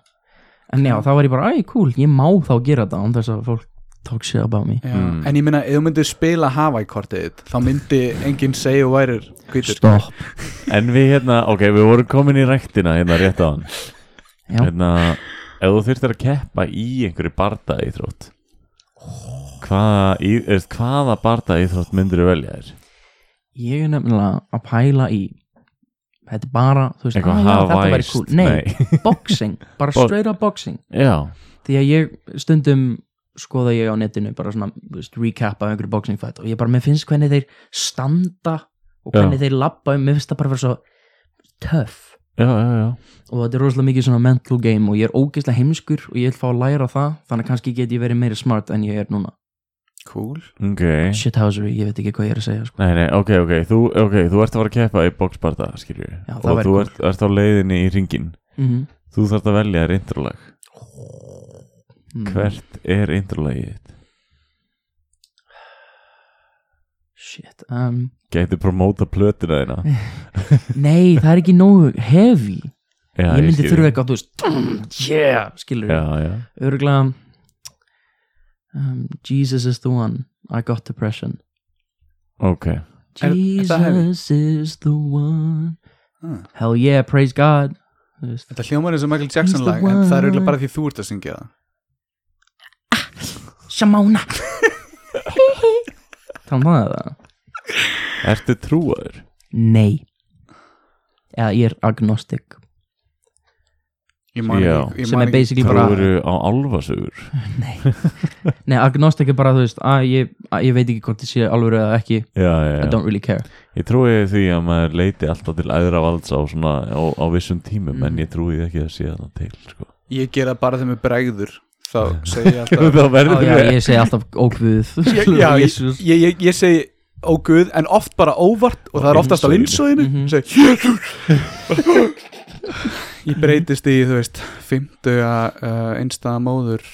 Speaker 2: en já, þá var ég bara, æ, cool ég má þá gera þetta án þess að fólk talk shit about me
Speaker 4: já.
Speaker 3: Mm.
Speaker 4: En ég meina, ef þú myndir spila Hawaii-kortið þitt, þá myndi enginn segja og værir hvítur
Speaker 2: stopp,
Speaker 3: En við hérna, ok, við vorum komin í ræktina hérna rétt á hann
Speaker 2: Já.
Speaker 3: Hérna, ef þú þurftir að keppa í einhverju barda íþrótt Hvaða, í, eða, hvaða barda íþrótt myndir þú velja þér?
Speaker 2: ég er nefnilega að pæla í þetta er bara, þú veist,
Speaker 3: Eitthvað
Speaker 2: ah, já, þetta væri
Speaker 3: havaískt,
Speaker 2: cool nei, boxing, bara
Speaker 3: Bo-
Speaker 2: straight up boxing
Speaker 3: Já,
Speaker 2: því að ég stundum skoða ég á netinu bara svona þú veist, recap af einhverju boxing fight og ég bara, mér finnst hvernig þeir standa og hvernig þeir labba, mér finnst það bara vera svo tough
Speaker 3: já, já, já
Speaker 2: og þetta er rosalega mikið svona mental game og ég er ógeðslega heimskur og ég vil fá að læra það þannig að kannski get ég verið meira smart en ég er núna
Speaker 4: Cool
Speaker 3: Ok
Speaker 2: shithousery, ég veit ekki hvað ég er að segja sko.
Speaker 3: Nei, nei, ok, ok, þú, ok, þú ert að fara að keppa í boxbarda, skilju
Speaker 2: Já, það
Speaker 3: Og
Speaker 2: væri
Speaker 3: þú
Speaker 2: cool.
Speaker 3: ert, ert á leiðinni í ringin
Speaker 2: mm
Speaker 3: Þú þarft að velja þér introlag
Speaker 2: mm.
Speaker 3: Hvert er introlagið þitt?
Speaker 2: shit um,
Speaker 3: Gæti promóta plötuna þína
Speaker 2: Eh, nei, það er ekki nógu heavy
Speaker 3: já,
Speaker 2: ég myndi
Speaker 3: skil.
Speaker 2: þurfa eitthvað, þú veist yeah, skilur
Speaker 3: Já, já
Speaker 2: örgulega um, Jesus is the one I got depression
Speaker 3: Ok,
Speaker 4: Er- er það heavy?
Speaker 2: Jesus is the one
Speaker 4: Ah.
Speaker 2: hell yeah, praise God Þú veist.
Speaker 4: Þetta hljómar eins og Michael Jackson lag en það er eiginlega bara því þú ert að syngja það
Speaker 2: Shamona Tala um það eða?
Speaker 3: Ertu trúaður?
Speaker 2: Nei Eða ég er agnostik
Speaker 4: Ég man
Speaker 3: Já.
Speaker 4: ekki- ég
Speaker 2: Sem
Speaker 4: man
Speaker 2: er
Speaker 4: ekki-
Speaker 2: basically bara
Speaker 3: Trúaður á álfasögur
Speaker 2: Nei Nei, agnostik er bara, þú veist að ég, að ég veit ekki hvort ég sé alvöru eða ekki
Speaker 3: Já, já,
Speaker 2: I
Speaker 3: já
Speaker 2: don't really care
Speaker 3: Ég trúi því að maður leiti alltaf til æðra valds á, svona, á, á vissum tímum
Speaker 2: Mm.
Speaker 3: en ég trúi því ekki að sé það til sko.
Speaker 4: Ég gera bara þeim með bregður Þá segi ég alltaf
Speaker 3: Þá
Speaker 2: Á,
Speaker 3: verður
Speaker 2: já,
Speaker 3: við
Speaker 2: ég segi alltaf ókvöð
Speaker 4: Já, já, ég, ég, ég, ég segi ó guð en oft bara óvart og það er oftast á
Speaker 2: innsoginu.
Speaker 4: linsóðinu
Speaker 2: Mhm.
Speaker 4: ég breytist í þú veist fymtuga uh, einstæða móður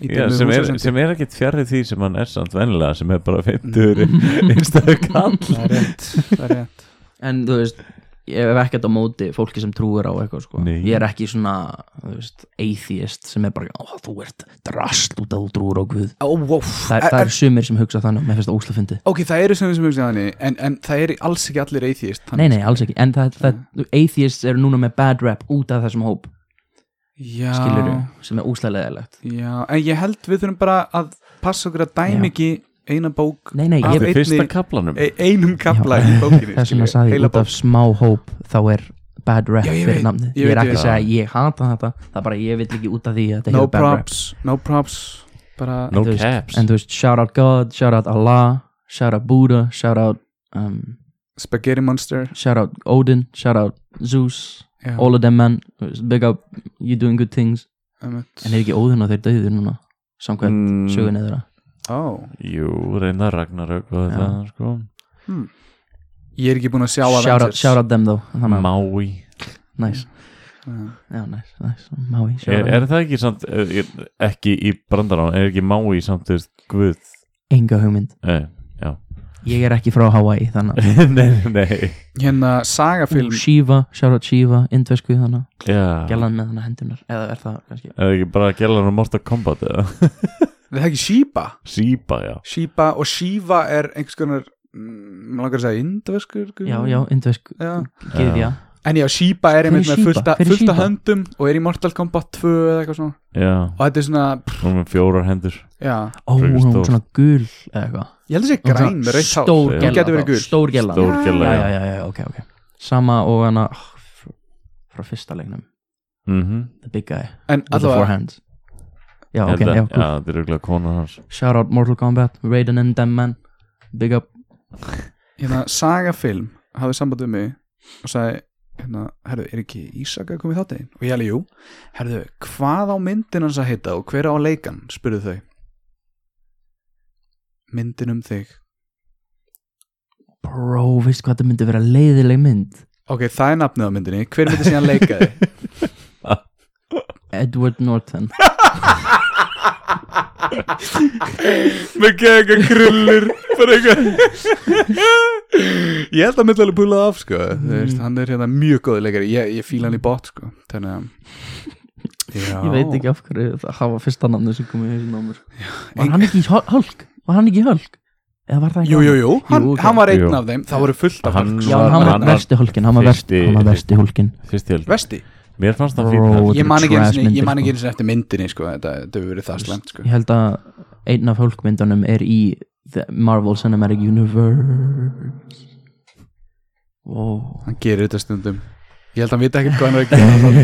Speaker 4: í
Speaker 3: Já,
Speaker 4: dimmu
Speaker 3: sem, er,
Speaker 4: húsasendi.
Speaker 3: sem er ekkit fjarrir því sem hann er samt vennilega sem er
Speaker 2: Mm.
Speaker 3: bara 50 einstaklega kall
Speaker 4: það er rétt, það er rétt.
Speaker 2: En þú veist Ég hef ekkert á móti fólki sem trúir á eitthvað sko.
Speaker 3: Nei.
Speaker 2: Ég er ekki svona þú veist, atheist sem er bara "Ó, Þú ert drast út að þú trúir á Guð
Speaker 4: Ó, wow.
Speaker 2: Þa,
Speaker 4: En-
Speaker 2: Það
Speaker 4: en-
Speaker 2: er sumir sem hugsa þannig og Mér finnst það óslega fyndið
Speaker 4: ok, það eru sem sem hugsa þannig en, en það er alls ekki allir atheist
Speaker 2: Nei, nei, alls ekki En það, það, atheists eru núna með bad rap út af þessum hóp
Speaker 4: já,
Speaker 2: skilur sem er óslega leðilegt
Speaker 4: já, en ég held við þurfum bara að passa okkur að dæmi
Speaker 2: Já.
Speaker 4: ekki eina bók
Speaker 2: Nei, nei,
Speaker 4: Af
Speaker 2: ég
Speaker 3: Þetta
Speaker 4: einni-
Speaker 3: er fyrsta kaplanum
Speaker 4: e, einum kapla
Speaker 2: Já.
Speaker 4: í bókinni
Speaker 2: þess vegna
Speaker 4: Ah, skilurðu,
Speaker 2: sagði ég
Speaker 4: heila
Speaker 2: út af smá hóp þá er bad rap
Speaker 4: Já, ég
Speaker 2: fyrir
Speaker 4: veit,
Speaker 2: namnið Ég
Speaker 4: ég
Speaker 2: er
Speaker 4: veit,
Speaker 2: ekki
Speaker 4: ég
Speaker 2: að
Speaker 3: veit.
Speaker 2: segja ég hata þetta Það er bara ég vil ekki út af því að þetta
Speaker 4: no
Speaker 2: hefur bad rap
Speaker 4: props, no props bara,
Speaker 3: No
Speaker 2: þú veist,
Speaker 3: caps
Speaker 2: En þú veist, shout out God, shout out Allah Shout out Buddha, shout out um,
Speaker 4: spaghetti monster
Speaker 2: Shout out Odin, shout out Zeus
Speaker 4: já,
Speaker 2: All of them men, þú veist, big up You doing good things
Speaker 4: einmitt.
Speaker 2: En er ekki Odin og þeir döðir núna Samkvæmt
Speaker 3: Mm.
Speaker 2: mm. sögunni þeirra
Speaker 4: Ó.
Speaker 3: Jú, reyna Ragnarök og þetta sko.
Speaker 4: ég er ekki búin að sjá að
Speaker 2: shout out, shout out them though Þannig að,
Speaker 3: Mái
Speaker 2: nice Já, nice, nice Maui, shout
Speaker 3: er,
Speaker 2: out
Speaker 3: er það ekki samt er, ekki í brandarán, er ekki Mái samt þú veist, guð Eh,
Speaker 2: Enga hugmynd
Speaker 3: Nei,
Speaker 2: Ég er ekki frá Hawaii, þannig að
Speaker 3: nei, nei
Speaker 4: hérna sagafilm
Speaker 2: Shiva, shout out Shiva, indvesku þannig að
Speaker 3: Já,
Speaker 2: Gjallan með þannig hendunar Eða er það kannski
Speaker 3: eða ekki bara gælan og Mortal Kombat eða
Speaker 4: það er ekki Shiba
Speaker 3: Sípa, já
Speaker 4: Shiba og Shiva er einhvers konar mm, maður langar að segja indverskur
Speaker 2: Já, já, indvesku,
Speaker 4: já.
Speaker 2: gyðja
Speaker 4: en já, Shiba er einmitt
Speaker 2: Hver er
Speaker 4: með
Speaker 2: Shiba?
Speaker 4: fullta,
Speaker 2: Hver er
Speaker 4: fullta
Speaker 2: Shiba?
Speaker 4: höndum og er í Mortal Kombat 2 eða eitthvað svona
Speaker 3: Já,
Speaker 4: og þetta er svona, pff,
Speaker 3: hún er með fjórar hendur
Speaker 4: já,
Speaker 2: Ó, hún er
Speaker 3: Frekar stór.
Speaker 2: svona gul eða eitthvað
Speaker 4: ég held að sé
Speaker 2: Hún er
Speaker 4: græn
Speaker 2: svona
Speaker 4: með rautt hár
Speaker 2: Stór
Speaker 3: Hún
Speaker 2: gella
Speaker 4: gæti
Speaker 2: þá,
Speaker 4: verið gul.
Speaker 2: Stór gella
Speaker 3: Stór
Speaker 2: já,
Speaker 3: gæla, já,
Speaker 2: já, já, já, ok, ok Sama og hana ah, fr- frá fyrsta leiknum
Speaker 3: Mhm.
Speaker 2: The Big Guy
Speaker 4: en
Speaker 2: With the
Speaker 4: allavega,
Speaker 2: forehand Já, ok,
Speaker 3: Hérna,
Speaker 2: já,
Speaker 3: Já,
Speaker 2: cool
Speaker 3: þetta er auðvitað kona hans
Speaker 2: Shout out Mortal Kombat, Raiden and them man Big up
Speaker 4: hérna, sagafilm hafði samband við mig og sagði hérna, herðu, er ekki Ísaka komið þáttið og ég alveg, jú, herðu, hvað á myndin hans að heita og hver á leikan spurðu þau myndin um þig
Speaker 2: Bro, veistu hvað þetta myndi vera leiðileg mynd
Speaker 4: ok, það er nafnið á myndinni, hver myndi síðan leika þig
Speaker 2: Edward Norton
Speaker 4: með gegga krullur bara eitthvað ég held að myndi alveg púlað af sko Þú veist, hann er hérna mjög góð leikari ég, ég fíla hann í bot sko þannig að Já.
Speaker 2: Ég veit ekki af hverju það var fyrsta namni sem kom í þessu námur Var
Speaker 4: Eng-
Speaker 2: hann ekki í Hul- Hulk? Var hann ekki í Hulk? Eða var það ekki
Speaker 4: jú, jú, jú, hann,
Speaker 2: Jú, ok.
Speaker 4: hann var einn
Speaker 3: Jú.
Speaker 4: af þeim það voru fullt af
Speaker 3: Hann
Speaker 4: fólk,
Speaker 2: Já,
Speaker 4: sko.
Speaker 2: hann var
Speaker 3: Hann var
Speaker 2: versti hulkin, hann var versti,
Speaker 3: fyrsti-
Speaker 2: hann var versti hulkin
Speaker 3: Fyrst ég
Speaker 4: vesti,
Speaker 3: Mér fannst það
Speaker 2: Bro,
Speaker 3: fínt
Speaker 4: ég man ekki einu
Speaker 2: trash
Speaker 4: sinni- ég
Speaker 2: myndir,
Speaker 4: man ekki
Speaker 2: sko.
Speaker 4: eins og eftir myndinni sko, þetta þetta hefur verið það slemt sko
Speaker 2: Ég held að einn af hulkmyndunum er í The Marvel Cinematic Universe Wow
Speaker 4: hann gerir þetta stundum ég held að hann vita ekkert hvað hann er að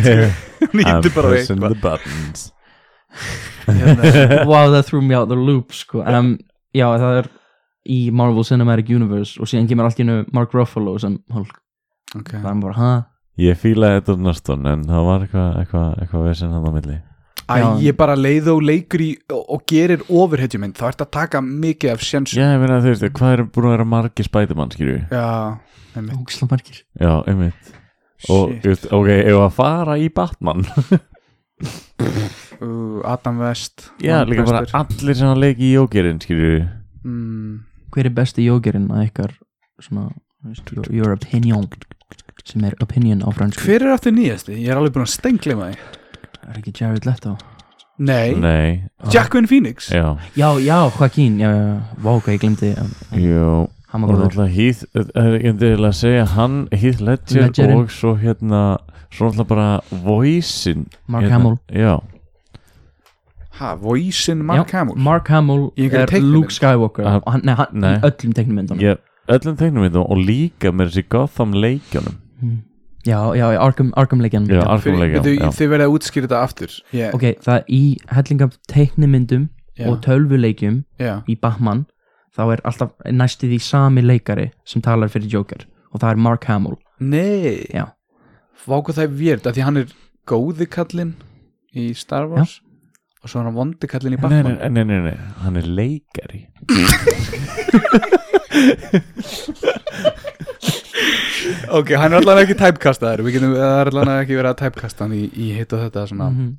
Speaker 4: gera hann
Speaker 3: I'm
Speaker 4: hýtti bara á
Speaker 3: pressing the
Speaker 4: eitthvað
Speaker 3: buttons
Speaker 4: Hérna,
Speaker 2: Wow, that threw me out the loop, sko um, Já, það er í Marvel Cinematic Universe og síðan kemur allt í hennu Mark Ruffalo sem hulk
Speaker 4: ok.
Speaker 2: Það er bara, ha?
Speaker 3: Ég fílaði Edward Norton en það var eitthvað eitthva, eitthva vesinn hann á milli
Speaker 4: Æ,
Speaker 2: Já.
Speaker 4: ég bara leið og leikur í og, og gerir ofurhetjumynd, þá ert að taka mikið af sjensum.
Speaker 3: Já, ég meina þú veist, hvað er búin að vera margi spætumann, skilju?
Speaker 4: Já, einmitt.
Speaker 2: Ógislega margir
Speaker 3: Já, einmitt Og,
Speaker 4: Shit.
Speaker 3: þú veist, ok, ef að fara í Batman
Speaker 4: Uh, Adam West.
Speaker 3: Já,
Speaker 4: Adam
Speaker 3: líka bara
Speaker 4: Westur.
Speaker 3: allir sem hann leiki í jókerinn, skilju
Speaker 4: Mm,
Speaker 2: hver er besti jógerinn að ykkar svona, þú veist, your, your opinion sem er opinion á fransku
Speaker 4: hver er aftur nýjasti? Ég er alveg búin að stengla með því.
Speaker 2: er ekki Jared Leto
Speaker 4: Nei,
Speaker 3: Nei,
Speaker 4: Jacqueline Phoenix.
Speaker 3: já,
Speaker 2: já, já, Joaquin, já, já, já, vá, hvað ég glemdi um,
Speaker 3: jú
Speaker 2: hann var
Speaker 3: Og
Speaker 2: góður
Speaker 3: náttúrulega Heath, eh, það er ekki endilega að segja hann, Heath Ledger
Speaker 2: Ledgerinn.
Speaker 3: og svo hérna, svo náttúrulega bara voice-in
Speaker 2: Mark
Speaker 3: hérna,
Speaker 2: Hamill.
Speaker 3: Já,
Speaker 4: ha, voisin Mark
Speaker 2: Já,
Speaker 4: Hamill
Speaker 2: Mark Hamill
Speaker 4: Í einhverri
Speaker 2: er
Speaker 4: teiknimynd.
Speaker 2: Luke Skywalker
Speaker 3: Aha.
Speaker 2: og hann, nei, hann,
Speaker 3: Ah, Nei.
Speaker 2: í öllum teiknumyndunum
Speaker 3: ég, öllum tegnum við og líka með þessi Gotham leikjunum
Speaker 2: já, já, já, Arkham, Arkham Legion
Speaker 3: já,
Speaker 4: Fyrir-
Speaker 3: Arkham
Speaker 4: Þið-
Speaker 3: leikjunum já.
Speaker 4: þið verða að útskýra þetta aftur yeah,
Speaker 2: ok, það er í hellinga af teiknumyndum
Speaker 4: Já.
Speaker 2: og tölvuleikjum
Speaker 4: yeah.
Speaker 2: í Batman þá er alltaf næstu því sami leikari sem talar fyrir Joker og það er Mark Hamill
Speaker 4: Nei
Speaker 2: Já.
Speaker 4: Váku það er vérð að því hann er góði kallinn í Star Wars og svo er hann vondi kallinn í
Speaker 3: Nei,
Speaker 4: Batman
Speaker 3: nei, nei, nei, nei, hann er leikari
Speaker 4: Ok, hann er allavega ekki typecastaður Við getum, það er allavega ekki verið að typecasta hann í, í hitt og þetta svona
Speaker 2: Mhm.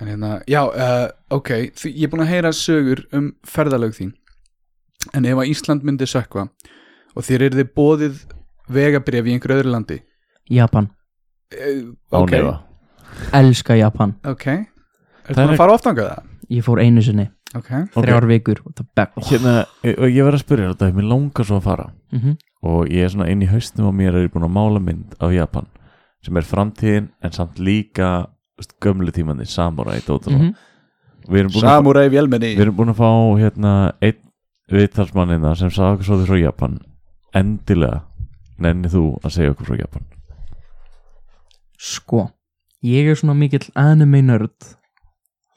Speaker 4: En hérna, já, uh, ok því, Ég er búin að heyra sögur um ferðalög þín En ef að Ísland myndi sökva og þér er þið bóðið vegabrif í einhverju öðru landi
Speaker 2: Japan,
Speaker 4: uh, Ok,
Speaker 3: ánefa
Speaker 2: elska Japan
Speaker 4: ok Er
Speaker 3: Það
Speaker 4: það
Speaker 3: er-
Speaker 4: að fara oft angað það?
Speaker 2: ég fór einu sinni,
Speaker 4: Ok,
Speaker 2: þrjár vikur og það back oh.
Speaker 3: hérna, ég, og ég verð að spyrja þetta, mér langar svo að fara
Speaker 2: mm
Speaker 3: og ég er svona inn í haustum á mér er ég búin að mála mynd af Japan sem er framtíðin en samt líka þú veist, gömlu tímandi samurai dót og svona.
Speaker 2: Mhm.
Speaker 3: við erum búin að
Speaker 4: samúræði vélmenni
Speaker 3: Við erum búin að fá hérna einn viðtalsmannina sem sagði okkur svolítið frá Japan endilega nennið þú að segja okkur frá Japan
Speaker 2: sko, ég er svona mikill anime nörd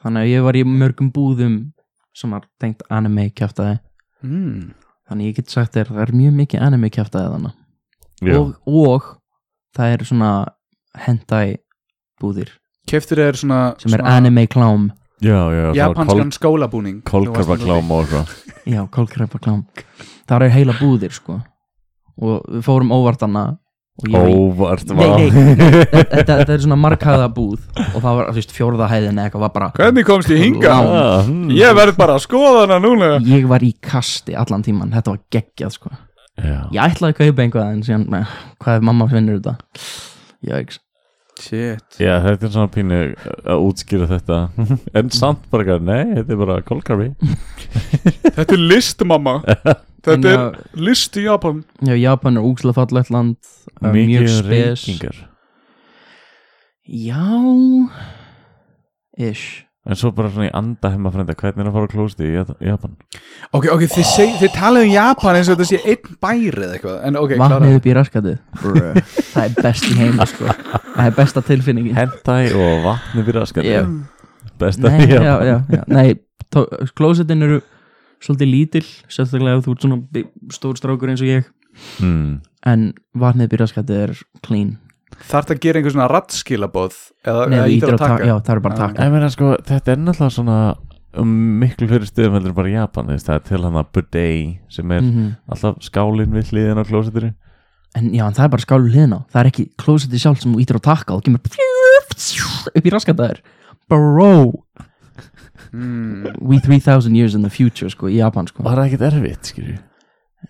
Speaker 2: þannig að ég var í mörgum búðum sem var tengt anime kjaftaði
Speaker 4: mm.
Speaker 2: þannig að ég get sagt þér, það er mjög mikið anime kjaftaði þannig og, og það er svona hentai búðir
Speaker 4: Keftur er svona
Speaker 2: sem er
Speaker 4: svona
Speaker 2: anime klám
Speaker 3: já, já,
Speaker 4: Japanskan skólabúning
Speaker 3: kólkarfa klám og eitthvað
Speaker 2: já, kólkrepa klám það er heila búðir sko og við fórum óvartana og ég var í
Speaker 3: óvart
Speaker 2: Nei, nei, þetta, þetta er svona marghæða búð og það var, þú veist, fjórða hæðin eða eitthvað var bara
Speaker 4: Hvernig komst ég
Speaker 2: Lám.
Speaker 4: hingað? Ég verð bara að skoða hana núna
Speaker 2: ég var í kasti allan tíman, þetta var geggjað sko
Speaker 3: já,
Speaker 2: ég ætlaði að kaupa einhvað en síðan, nei, hvað ef mamma finnur þetta já, ekki
Speaker 4: Shit
Speaker 3: já, þetta er svona pínu að útskýra þetta en samt bara, eitthvað, nei, þetta er bara kólkarfi
Speaker 4: Þetta er list mamma Þetta
Speaker 2: En,
Speaker 4: er list í Japan
Speaker 2: já, Japan er úgslega fallegt land uh, mjög
Speaker 3: mikið
Speaker 2: spes
Speaker 3: reykingar
Speaker 2: já ish
Speaker 3: en svo bara svona í anda heima frenda hvernig er að fara á klósti í Jat- Japan
Speaker 4: Ok, ok, þið, seg, þið talaðu um Japan eins og þetta sé einn bæri eða eitthvað En ok, klára
Speaker 2: vatnið upp í raskatið það er best í heim sko. það er besta tilfinningin
Speaker 3: hentai og vatni fyrir askan
Speaker 2: Já.
Speaker 3: besta
Speaker 2: nei,
Speaker 3: í
Speaker 2: já,
Speaker 3: Japan.
Speaker 2: já, já. nei tó- klósettin eru svolítið lítil sérstaklega ef þú ert svona bi- stór strákur eins og ég
Speaker 3: Mm.
Speaker 2: en vatnið upp í raskatið er clean
Speaker 4: Þarf það að gera einhver svona rattskilabóð Eða,
Speaker 2: nei,
Speaker 4: eða
Speaker 2: þú
Speaker 4: ítir
Speaker 2: ítir
Speaker 4: að
Speaker 2: á taka-
Speaker 4: taka
Speaker 2: já, það eru bara
Speaker 4: Já,
Speaker 2: að taka
Speaker 3: Ég meina sko, þetta er náttúrulega svona um, miklu fyrir stöðum heldur en bara í Japan þú veist, það er til hann að bidet sem er
Speaker 2: Mhm.
Speaker 3: alltaf skálinn við hliðin á klósetinu
Speaker 2: en já, en það er bara skálu hliðin á það er ekki klósettið sjálf sem þú ítir á taka og kemur upp í raskatið er bro,
Speaker 4: mm.
Speaker 2: we 3000 years in the future sko, í Japan sko
Speaker 3: Var það ekkert erfitt, skilju?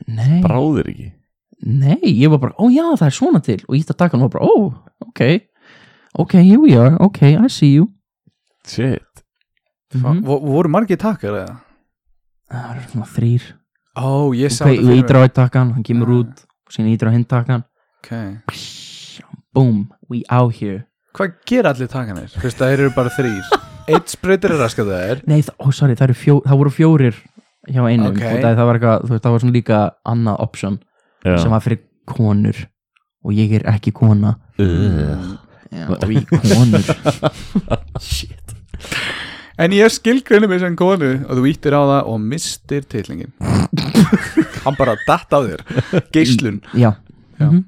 Speaker 2: nei,
Speaker 3: Bráðir ekki?
Speaker 2: Nei, ég var bara, ó já, það er svona til og ítt að taka hann og bara, ó, ok ok, here we are, ok, I see you
Speaker 3: Shit
Speaker 2: Mhm.
Speaker 4: Vo- Voru margir takkar eða?
Speaker 2: það eru svona þrýr
Speaker 4: Ó, ég sá
Speaker 2: okay, og
Speaker 4: fyrir
Speaker 2: ítir á eitt takkan, hann kemur
Speaker 4: Ah.
Speaker 2: út og síðan ítir á hinn takkan
Speaker 4: mér. Ok.
Speaker 2: boom, we out here
Speaker 4: Hvað gera allir takkanir? Þú veist, það eru bara þrýr Eitt spreytir er raskað það er
Speaker 2: nei, þa- ó, sorry, það, eru fjó, það voru fjórir hjá einum
Speaker 4: Ok.
Speaker 2: og það, það var eitthvað, þú veist, það var svona líka annað option
Speaker 3: Já.
Speaker 2: sem var fyrir konur og ég er ekki kona
Speaker 3: Ugh.
Speaker 2: já, we konur shit
Speaker 4: En ég skilgrinni mig sem konu og þú ítir á það og mistir titlingin Hann bara datt á þér Geislun
Speaker 2: já, Mhm.
Speaker 4: Já.
Speaker 2: já.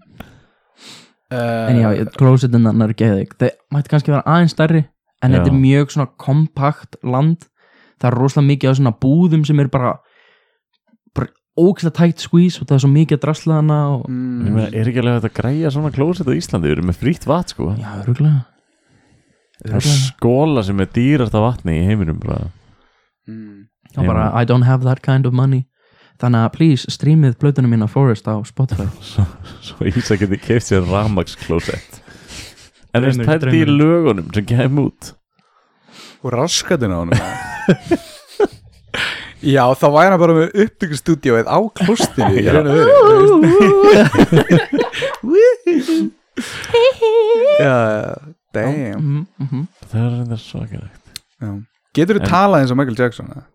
Speaker 2: En
Speaker 4: Eh,
Speaker 2: já, closetin hann er geðig Það mætti kannski vera aðeins stærri En
Speaker 3: Já.
Speaker 2: þetta er mjög svona kompakt land Það er rosalega mikið af svona búðum sem er bara bara ógæslega tætt squeeze og það er svo mikið að drasla hana og...
Speaker 3: Ég
Speaker 4: mm,
Speaker 3: meina, er ekki alveg hægt að græja svona klóset á Íslandi? Við erum með frítt vat, sko
Speaker 2: Já, öruglega
Speaker 3: Það er skóla sem er dýrasta vatni í heiminum bara.
Speaker 4: mm.
Speaker 2: Og bara, I don't have that kind of money Þannig að please, streamið blöðunum mína Forest á Spotify
Speaker 3: Svo Ísa geti keft sér ramaksklósett En þú veist,
Speaker 2: Draumur,
Speaker 3: það er dýr lögunum sem kem út
Speaker 4: Og raskatinn á hann Já, þá væri hann bara með upptökustúdíóið á klostinu Ég reyna verið þú veist. Já, damn
Speaker 2: mm -hmm. Mhm,
Speaker 3: Það er reyndar svakalegt
Speaker 4: Já. Getur
Speaker 3: En-
Speaker 4: þú talað eins og Michael Jackson? eða?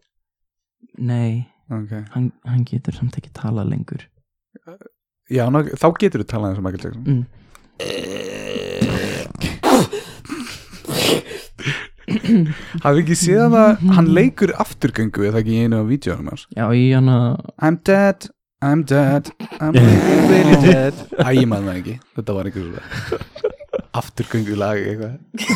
Speaker 2: Nei,
Speaker 4: Ok
Speaker 2: hann, hann getur samt ekki talað lengur
Speaker 4: Já, ná, þá getur þú talað eins og Michael Jackson
Speaker 2: mm.
Speaker 4: Hafið ekki séð að hann leikur afturgöngu eða ekki í einu á vídjónum hans
Speaker 2: Já, ég hann að
Speaker 4: I'm dead, I'm dead, I'm really dead Æ, ég maður það ekki, þetta var eitthvað svona Afturgöngu lag eitthvað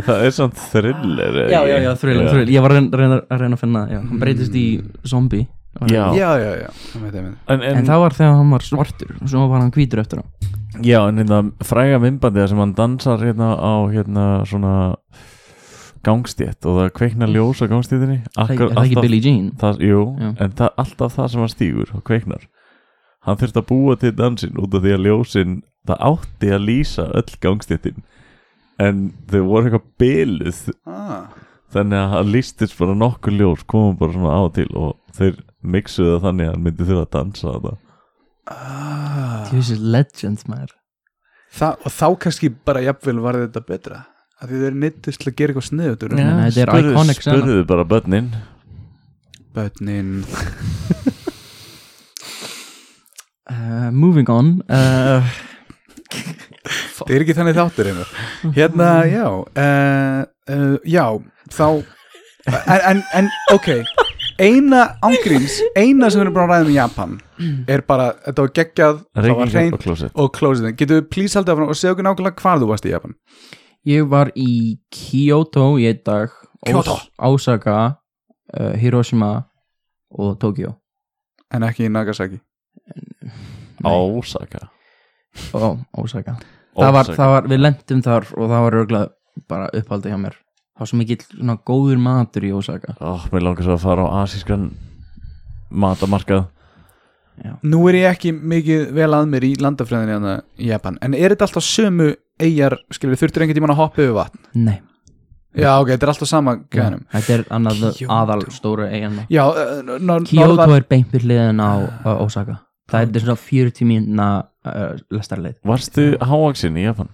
Speaker 3: Það er samt thriller er
Speaker 2: Já, já,
Speaker 3: ekki?
Speaker 2: já, þrjölu, þrjölu Ég var að reyna, að reyna að finna það, já Hann breytist í zombie
Speaker 3: Já.
Speaker 4: Já, já, já, ég veit, ég veit.
Speaker 3: En, en,
Speaker 2: En það var þegar hann var svartur og Svo var hann hvítur eftir á
Speaker 3: já, en hérna fræga myndbandið þar sem hann dansar hérna á hérna svona gangstétt og það kveikna ljós á gangstéttinni
Speaker 2: Er það- er það ekki Billie Jean?
Speaker 3: það, Jú,
Speaker 2: Já.
Speaker 3: en það, alltaf það sem hann stígur og kveiknar Hann þurfti að búa til dansinn út af því að ljósin það átti að lýsa öll gangstéttin en þau voru eitthvað byluð
Speaker 4: Ah,
Speaker 3: þannig að hann lístist bara nokkur ljós komum bara svona á og til og þeir mixuðu það þannig að hann myndi þurfa að dansa þetta
Speaker 4: ah.
Speaker 2: This is legend, maður
Speaker 4: Þa, Og þá kannski bara jafnvel var þetta betra Af því þau eru neittist til að gera eitthvað sniðutur
Speaker 2: Já. Nei, þetta er
Speaker 3: spurðu-
Speaker 2: iconic sena.
Speaker 3: Spurðu bara börnin
Speaker 4: Bötnin
Speaker 2: uh, Moving on uh,
Speaker 4: Það er ekki þannig þáttur einhver Hérna, já uh, uh, Já, þá en, en, en, ok Eina ángríms, eina sem við erum búin að ræða um í Japan er bara, þetta var geggjað það var
Speaker 3: Reykjavík og
Speaker 4: hreint
Speaker 3: klósett
Speaker 4: og closetin Getur við please haldið áfram og segja okkur nákvæmlega hvar þú varst í Japan
Speaker 2: Ég var í Kyoto í einn dag
Speaker 4: Kyoto.
Speaker 2: Osaka, uh, Hiroshima og Tokyo
Speaker 4: en ekki í Nagasaki
Speaker 3: Ásaka
Speaker 2: Ó, Osaka það var, það var, Við lentum þar og það var örgulega bara upphaldi hjá mér Það var svo mikill svona, góður matur í Osaka
Speaker 3: oh, Mér langar svo að fara á asískan matamarkað
Speaker 4: Nú er ég ekki mikið vel að mér í landafræðinni hérna í Japan en er þetta alltaf sömu eigjar skilur þurftur einhvern tímann að hoppa yfir vatn
Speaker 2: Nei,
Speaker 4: Já, ok, þetta er alltaf sama gæðanum
Speaker 2: þetta er annað
Speaker 4: Kyoto.
Speaker 2: aðal stóra eigin
Speaker 4: Já, eh, nor- norðar-
Speaker 2: Kyoto er beint við hliðin á uh, Osaka Það er svona 40 mínuna uh, lestarleið
Speaker 3: Varstu hávaksin í Japan?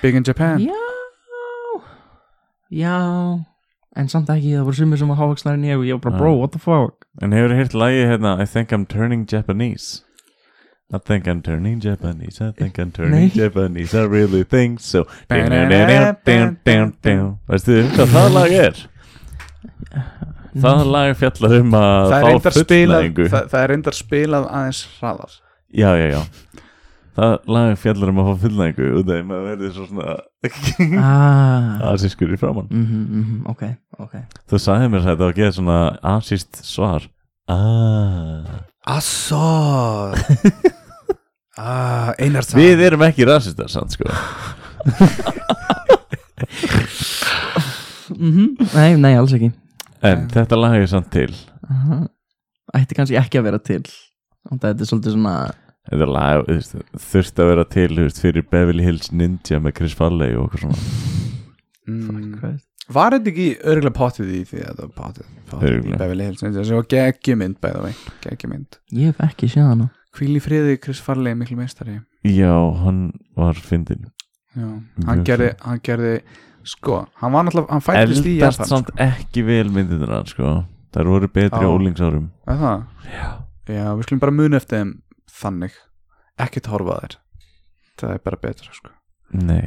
Speaker 4: Big in Japan
Speaker 2: Já Já En samt ekki, það voru sumir sem var hávaksnari en ég og ég var bara,
Speaker 3: Já.
Speaker 2: bro, what the fuck
Speaker 3: En hefur hýrt lagi hérna I think I'm turning Japanese I think I'm turning Japanese I think I'm turning
Speaker 2: Nei.
Speaker 3: Japanese I really think so Veistu um hvað það lag er? Það lag fjallar um að
Speaker 4: Mm. það er
Speaker 3: fá fullnægingu
Speaker 4: reyndar spilað það, það er reyndar spilað aðeins hraðar
Speaker 3: Já, já, já Það lag fjallar um að fá fullnægingu út af því maður verður svo svona
Speaker 2: ah,
Speaker 3: asískur í framann
Speaker 2: mm Ok, ok
Speaker 3: Þú sagði mér þetta og geði svona asíst svar ah.
Speaker 4: Assó ah, Einar það
Speaker 3: Við erum ekki rasistar samt sko
Speaker 2: mm Nei, nei, alls ekki
Speaker 3: En þetta lag er samt til
Speaker 2: Aha. Ætti kannski ekki að vera til Og þetta er svolítið svona
Speaker 3: Þetta lag þú veist, þurfti að vera til þú veist, fyrir Beverly Hills Ninja með Chris Farley og okkur svona
Speaker 4: mm,
Speaker 2: Christ.
Speaker 4: Var þetta ekki örgulega pottið í því að það var pottið, pottið í
Speaker 3: Örugglega.
Speaker 4: Beverly Hills Það var geggjumynd bæða vei Geggjumynd
Speaker 2: Ég hef ekki séð hana
Speaker 4: Hvíl í friði Chris Farley miklu meistari
Speaker 3: Já, hann var fyndin
Speaker 4: Já, hann
Speaker 3: Mjög
Speaker 4: gerði, hann gerði Sko, hann var náttúrulega, hann fættist í
Speaker 3: Eldast
Speaker 4: Japan sko.
Speaker 3: samt ekki vel myndirnar hans sko Þær voru betri
Speaker 4: Já.
Speaker 3: á úlingsárum
Speaker 4: sko. Er það?
Speaker 3: Já
Speaker 4: Já, við skulum bara muna eftir þeim þannig Ekkert horfa þér Það er bara betra sko
Speaker 3: Nei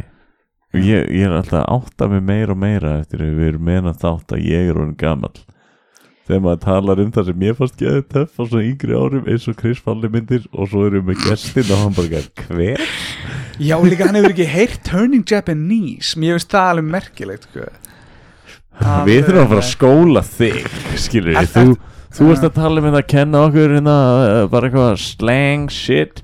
Speaker 3: ég, ég er alltaf að átta mig meira og meira eftir að við erum meina þátt að ég er honum gamall Þegar maður talar um það sem ég fannst geðið töff á svo yngri árum eins og Chris Falli myndir og svo erum við gestin og hann bara gæð hver?
Speaker 4: Já, líka hann hefur ekki heyrt Turning Japanese Mér finnst það alveg merkilegt sko.
Speaker 3: Við þurfum að fara að skóla þig skilur við, þú, þú veist að tala með það að kenna okkur hérna eh, bara eitthvað slang shit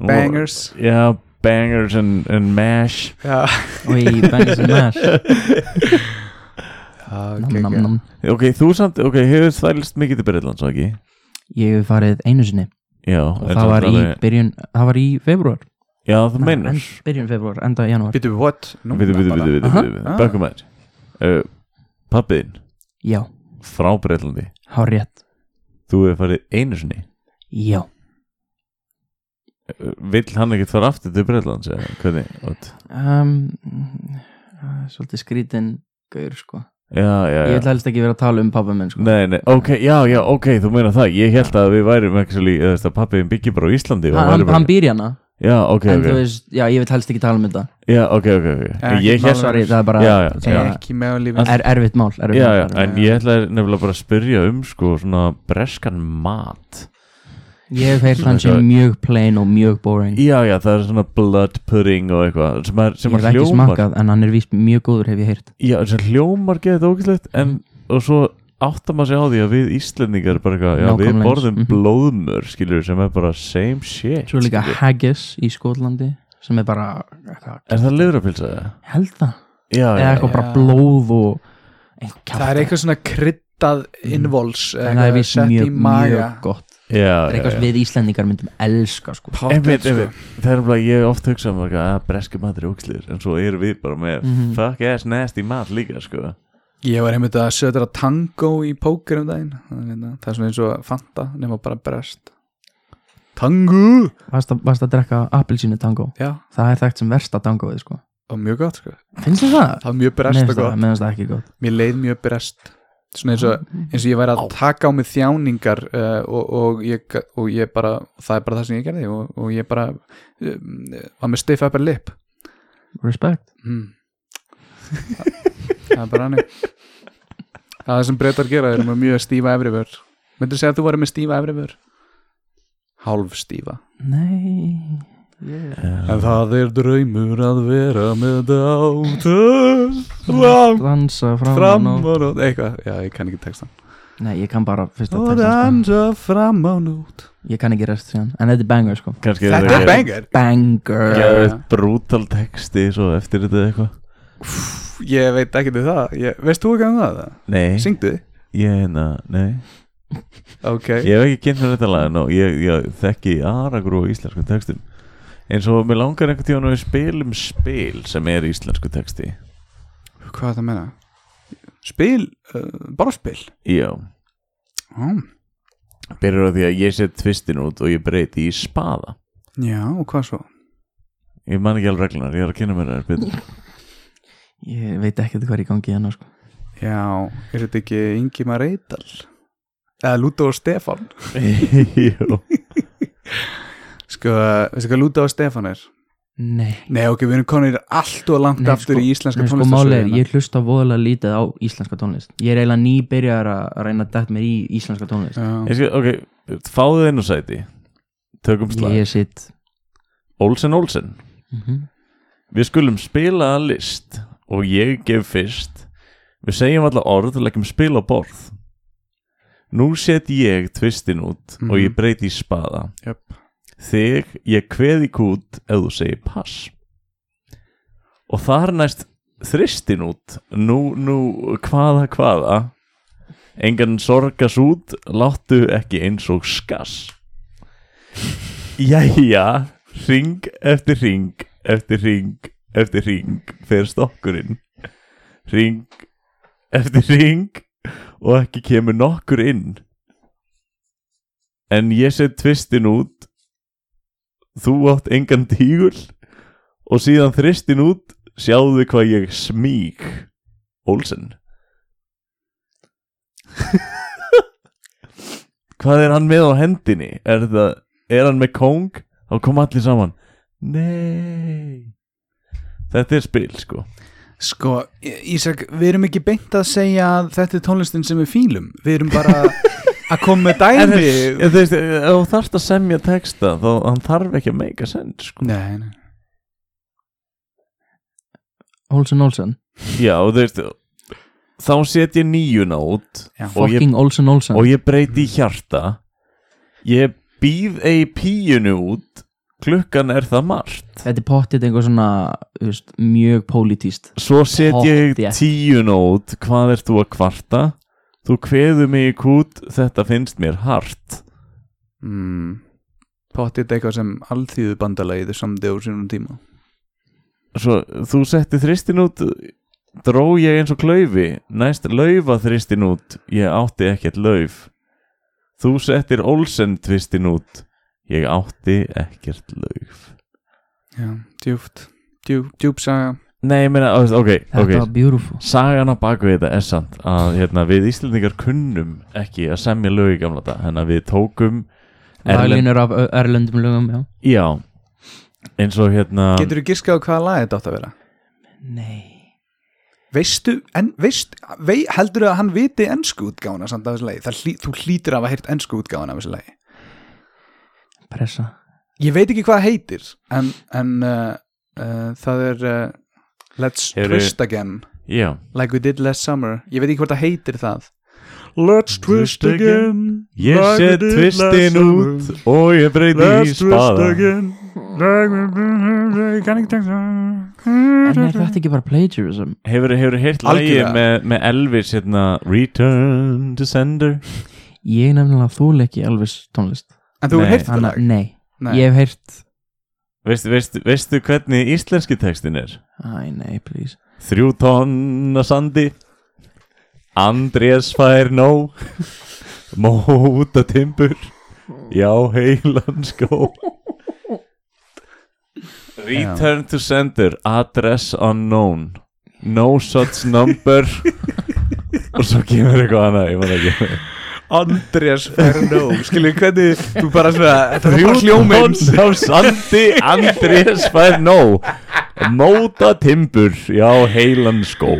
Speaker 3: og-
Speaker 4: Bangers
Speaker 3: Já, bangers and, and mash
Speaker 4: Já,
Speaker 2: Og ég bæði sem mash nam, nam,
Speaker 4: okay,
Speaker 2: nam.
Speaker 3: Ok, þú samt, ok, hefur þælst mikið til Bretlands, ekki?
Speaker 2: Ég hef farið einu sinni
Speaker 3: Já,
Speaker 2: Og það var í byrjun Það var í februar
Speaker 3: Já, þú meinar
Speaker 2: Byrjun februar, enda janúar
Speaker 4: Býtu, what? Nú,
Speaker 3: Vitu, vitu, vitu, vitu,
Speaker 2: Aha.
Speaker 3: vitu Bökkum aðeins uh, Pappiðin
Speaker 2: Já,
Speaker 3: frá Breitlandi
Speaker 2: hár rétt
Speaker 3: Þú hefur farið einu sinni
Speaker 2: Já,
Speaker 3: uh, Vill hann ekkert fara aftur til Breitlands eða Hvernig, Ótt
Speaker 2: um, það er svolítið skrítin gaur sko
Speaker 3: já, já,
Speaker 2: ég
Speaker 3: já.
Speaker 2: ætla helst ekki vera að tala um pabba minn sko
Speaker 3: Nei, nei, ok, já, já, ok, þú meina það Ég held að við værum actually, eða þú veist að pappiðin byggir bara á Íslandi og
Speaker 2: hann,
Speaker 3: væri
Speaker 2: hann,
Speaker 3: bara-
Speaker 2: hann býr hérna
Speaker 3: Já, ok,
Speaker 2: en þú
Speaker 3: ok,
Speaker 2: veist, já ég vil helst ekki tala um þetta
Speaker 3: já, ok, ok, ok
Speaker 4: Ekki
Speaker 3: Ég
Speaker 4: mál.
Speaker 3: held,
Speaker 2: sorry, það er bara Eh,
Speaker 3: já, já, já
Speaker 4: ekki með á lífi
Speaker 2: er, erfitt mál, erfitt
Speaker 3: Já,
Speaker 2: mál.
Speaker 3: já, en ég ætlaði nefnilega bara að spyrja um sko svona breskan mat
Speaker 2: ég hef heyrt hann sé mjög plain og mjög boring
Speaker 3: Já, já, það er svona blood pudding og eitthvað sem er,
Speaker 2: ég
Speaker 3: sem er
Speaker 2: hef ekki
Speaker 3: hljómar
Speaker 2: smakkað en hann er víst mjög góður hef ég heyrt
Speaker 3: Já, sem hljómar getur ógæslegt
Speaker 2: Mhm.
Speaker 3: en og svo áttar maður sig á því að við Íslendingar bara eitthvað, já,
Speaker 2: Nákvæmlega
Speaker 3: við
Speaker 2: eins,
Speaker 3: borðum
Speaker 2: mhm.
Speaker 3: blóðmör skilur sem er bara same shit
Speaker 2: svo er líka
Speaker 3: skilurðu.
Speaker 2: haggis í Skotlandi sem er bara eitthvað,
Speaker 3: Er það liðrapilsa það?
Speaker 2: held það
Speaker 3: Já, já,
Speaker 2: eða eitthvað
Speaker 3: já,
Speaker 2: bara blóð og eitthvað
Speaker 4: það er eitthvað svona kryddað invols
Speaker 2: Mm. en það er víst mjög, mjög gott það
Speaker 3: já,
Speaker 2: er
Speaker 3: já,
Speaker 2: eitthvað sem
Speaker 3: já.
Speaker 2: við Íslendingar myndum elska sko.
Speaker 3: Einmitt, einmitt. Það er bara, ég hef oft hugsað mér "Ah, að breski matur er ógæslir en svo erum við bara með
Speaker 2: Mhm.
Speaker 3: fuck ass nasty mat líka sko
Speaker 4: ég var einmitt að sötra tango í póker um daginn Þannig að það er svona eins og fanta nema bara brest tango
Speaker 2: varst, að, varst að drekka appelsínu tango
Speaker 4: já,
Speaker 2: það er þekkt sem versta tangoið sko.
Speaker 4: og mjög gott sko
Speaker 2: finnst þið það?
Speaker 4: það var mjög
Speaker 2: Mér
Speaker 4: brest
Speaker 2: finnst
Speaker 4: og
Speaker 2: það,
Speaker 4: gott
Speaker 2: mér finnst það ekki gott
Speaker 4: mér leið mjög brest svona eins og, eins og ég væri að taka á mig þjáningar uh, og, og, ég, og ég bara það er bara það sem ég gerði og, og ég bara um, var með stiff upper lip
Speaker 2: respect
Speaker 4: mm. það, það er bara hannig það er það sem breytar gera þeir eru með mjög stífa efrivör myndir segja að þú væri með stífa efrivör hálf stífa
Speaker 2: nei
Speaker 4: en það er draumur að vera með dáta
Speaker 2: dansa fram,
Speaker 4: fram
Speaker 2: og
Speaker 4: á nót eitthvað, já ég kann ekki textan
Speaker 2: nei, ég kann bara fyrst að
Speaker 4: og
Speaker 2: texta sko.
Speaker 4: dansa fram á nót
Speaker 2: ég kann ekki rest síðan en þetta er banger sko
Speaker 3: Kannski
Speaker 4: þetta er bengar
Speaker 2: banger
Speaker 4: Já.
Speaker 3: Geðveikt brútal texti svo eftir þetta eitthvað
Speaker 4: ég veit ekki til það, ég, veist þú ekki um það?
Speaker 3: Nei,
Speaker 4: syngdu þið?
Speaker 3: ég hérna, nei
Speaker 4: ok,
Speaker 3: Ég hef ekki kynnt mér þetta lag no. ég, ég þekki aragrú á íslensku textum eins og mér langar einhvern tíðan að við spilum spil sem er íslensku texti
Speaker 4: hvað er það að menna? spil, uh, bara spil
Speaker 3: Já,
Speaker 4: oh.
Speaker 3: byrjar á því að ég set tvistin út og ég breyti í spaða
Speaker 4: já, og hvað svo?
Speaker 3: Ég man ekki alveg reglunar, ég er að kynna mér það betur
Speaker 2: ég veit ekki hvað er í gangi hérna sko.
Speaker 4: Já, er þetta ekki Ingimar Reidal? Eða Lúta og Stefan?
Speaker 3: Jú,
Speaker 4: Sko, veistu hvað Lúta og Stefan er?
Speaker 2: nei
Speaker 4: Nei, ok, við erum konir allt og langt
Speaker 2: Nei,
Speaker 4: aftur
Speaker 2: sko-
Speaker 4: í íslenska
Speaker 2: Nei, sko máli er,
Speaker 4: tónlistarsöðuna
Speaker 2: ég hlusta voðalega lítið á íslenska tónlist Ég er eiginlega nýbyrjar að reyna að dætt mér í íslenska tónlist
Speaker 3: ég skal, ok Fáðu þið nú sæti Tökum slag,
Speaker 2: Ég er sitt
Speaker 3: Olsen Olsen Við skulum spila að list og ég gef fyrst. Við segjum alla orð og leggjum spil á borð. Nú set ég tvistin út og ég
Speaker 4: Mhm.
Speaker 3: breyti í spaða.
Speaker 4: Jöp.
Speaker 3: Þig ég kveði kút ef þú segir pass. Og þar næst þristin út. Nú, nú, hvaða, hvaða. Engan sorgas út, láttu ekki eins og skass. Jæja, ring eftir ring eftir ring eftir ring fer stokkurinn ring eftir ring og ekki kemur nokkur inn en ég set tvistin út þú átt engan tígul og síðan þristin út sjáðu hvað ég smík Olsen hvað er hann með á hendinni er það er hann með kóng þá koma allir saman nei þetta er spil sko
Speaker 4: Sko, Í- Ísak, við erum ekki beint að segja að þetta er tónlistin sem við fílum Við erum bara að koma með
Speaker 3: en
Speaker 4: dæmi
Speaker 3: en þú veist ef þú þarft að semja texta þá hann þarf ekki að make a sense sko.
Speaker 4: Nei, nei
Speaker 2: Olsen Olsen
Speaker 3: já og þú veist þá set ég nýjuna út
Speaker 4: Já.
Speaker 3: og, ég,
Speaker 2: Fucking Olsen Olsen
Speaker 3: og ég breyti í hjarta ég býð ei píunu út klukkan er það margt
Speaker 2: Þetta er pottið einhver svona þú veist, mjög pólitíst
Speaker 3: svo set ég
Speaker 2: Pottþétt.
Speaker 3: tíuna út hvað er þú að kvarta þú kveðu mig í kút þetta finnst mér hart
Speaker 4: mm. Pottið eitthvað sem alþýðu bandalagið samdi á sínum tíma
Speaker 3: svo þú setti þristin út dró ég eins og klaufi næst laufa þristin út ég átti ekkert lauf þú settir Olsen tvistin út ég átti ekkert lauf
Speaker 4: Já, djúpt, djúp, djúp saga
Speaker 3: Nei, ég meina, þú veist, ok,
Speaker 2: Þetta
Speaker 3: ok
Speaker 2: var beautiful
Speaker 3: Sagan á baku þetta er samt að hérna, við Íslendingar kunnum ekki að semja lög í gamla þetta Þannig að við tókum erlend-
Speaker 2: Laglínur af ö- erlendum lögum, já
Speaker 3: Já, eins og hérna
Speaker 4: Getur þú giskað á hvaða lag þetta átt að vera?
Speaker 2: Nei
Speaker 4: Veistu, en veist, vei, heldur þú að hann viti ennsku útgána samt af þessu lagi? Það Hlý, þú hlýtur af að heyrt ennsku útgána af þessu lagi.
Speaker 2: Pressa
Speaker 4: Ég veit ekki hvað það heitir, en, en uh, uh, það er uh, Let's
Speaker 3: Heyrðu-
Speaker 4: Twist Again,
Speaker 3: Já,
Speaker 4: like we did last summer. Ég veit ekki hvort það heitir það. Let's
Speaker 3: Twist Again. ég set tvistin út og ég breyti í spada
Speaker 2: En er þetta ekki bara plagiarism?
Speaker 3: Hefur þú heyrt lagið
Speaker 4: Algjörlega.
Speaker 3: með, með Elvis hérna, Return to Sender
Speaker 2: Ég nefnilega þúl ekki Elvis tónlist
Speaker 4: En þú
Speaker 3: Nei,
Speaker 4: hefur heyrt það
Speaker 2: Hanna,
Speaker 4: lag?
Speaker 2: nei.
Speaker 4: Nei.
Speaker 2: ég hef heyrt
Speaker 3: veistu, veistu, veistu hvernig íslenski textin er?
Speaker 2: Æ, nei, please
Speaker 3: Þrjú tonn að sandi Andrés fær nóg Móta timbur Já, heilan skó Return to sender Address unknown No such number Og svo kemur eitthvað annað Ég man ekki
Speaker 4: Andrés Fernó Skilju, hvernig, þú bara svona Þetta var bara
Speaker 3: tonn
Speaker 4: hljóminn
Speaker 3: af sandi Andrés fær nóg Móta timbur Já, heilan skó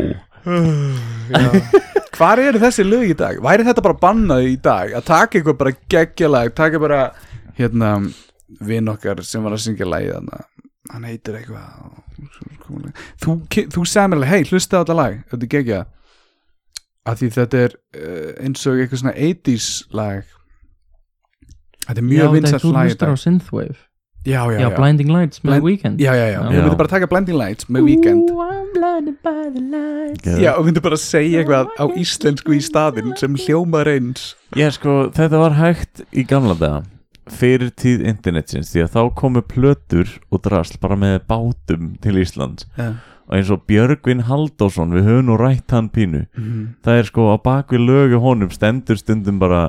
Speaker 4: Hvar eru þessi lög í dag? Væri þetta bara bannað í dag? Að taka eitthvað bara geggjalag Taka bara, hérna Vinn okkar sem var að syngja lagið hann Hann heitir eitthvað Þú, þú segir mér alveg, hei, hlusta á þetta lag Þetta er geggja Af því þetta er uh, eins og eitthvað svona 80s lag Þetta er
Speaker 2: Já,
Speaker 4: mjög
Speaker 2: þegar
Speaker 4: vinsælt
Speaker 2: þú
Speaker 4: lag í
Speaker 2: hlustar á
Speaker 4: dag
Speaker 2: Synthwave
Speaker 4: Já, já,
Speaker 2: Já,
Speaker 4: já
Speaker 2: Blinding Lights með
Speaker 4: Blind-
Speaker 2: Weekend
Speaker 4: Já, já, já,
Speaker 2: Já.
Speaker 4: við myndum bara taka Blinding Lights með Weekend
Speaker 2: Ooh, I'm blinded by the lights
Speaker 4: Já, og myndi bara að segja eitthvað á íslensku í staðinn sem hljómar eins
Speaker 3: Já sko, þetta var hægt í gamla daga fyrir tíð internetsins því að þá komu plötur og drasl bara með bátum til Ísland
Speaker 4: Já.
Speaker 3: og eins og Björgvin Halldórsson við höfum nú rætt hann pínu
Speaker 2: Mhm.
Speaker 3: það er sko á bakvið lögu honum stendur stundum bara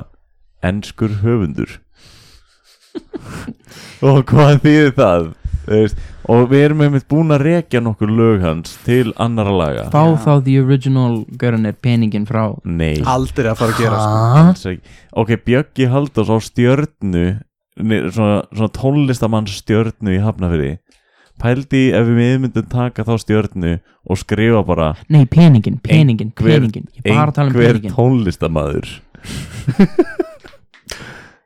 Speaker 3: enskur höfundur og hvað þýðir það Þú veist, og við erum einmitt búin að rekja nokkur lög hans til annara laga
Speaker 2: Fá þá the original görnir peningin frá
Speaker 3: Nei
Speaker 4: Aldrei að fara að gera
Speaker 2: Hæ?
Speaker 3: Alls ekki. ok, Bjöggi Haldós á stjörnu nei, svona, svona tónlistamann stjörnu í Hafnafyrði pældi í ef við myndum taka þá stjörnu og skrifa bara
Speaker 2: Nei, peningin, peningin,
Speaker 3: Einhver-
Speaker 2: peningin Ég er bara að tala um
Speaker 3: einhver
Speaker 2: peningin
Speaker 3: tónlistamæður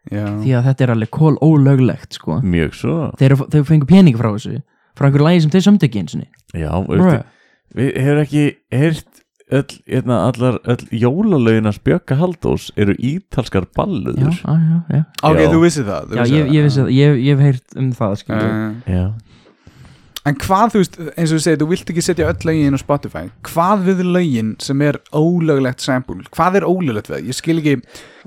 Speaker 4: Já,
Speaker 2: Því að þetta er alveg kól ólöglegt sko
Speaker 3: mjög svo
Speaker 2: Þeir, þeir fengu peningi frá þessu Frá einhverju lagi sem þeir sömdu ekki eins og
Speaker 3: já,
Speaker 2: Bruh,
Speaker 3: veistu, við hefur ekki heyrt öll, hérna, allar öll jólalöginars Bjögga Haldós eru ítalskar
Speaker 2: já,
Speaker 3: balluður
Speaker 2: á, já, já
Speaker 4: ok,
Speaker 3: Já.
Speaker 4: þú vissir það þú
Speaker 2: Já,
Speaker 4: vissir
Speaker 2: ég,
Speaker 4: það.
Speaker 2: ég vissi það, ég, ég hef heyrt um það skilur við.
Speaker 4: Eh,
Speaker 3: já.
Speaker 4: En hvað, þú veist, eins og þú segir, þú vilt ekki setja öll lögin á Spotify Hvað við lögin sem er ólöglegt sample? Hvað er ólöglegt við? það? Ég skil ekki,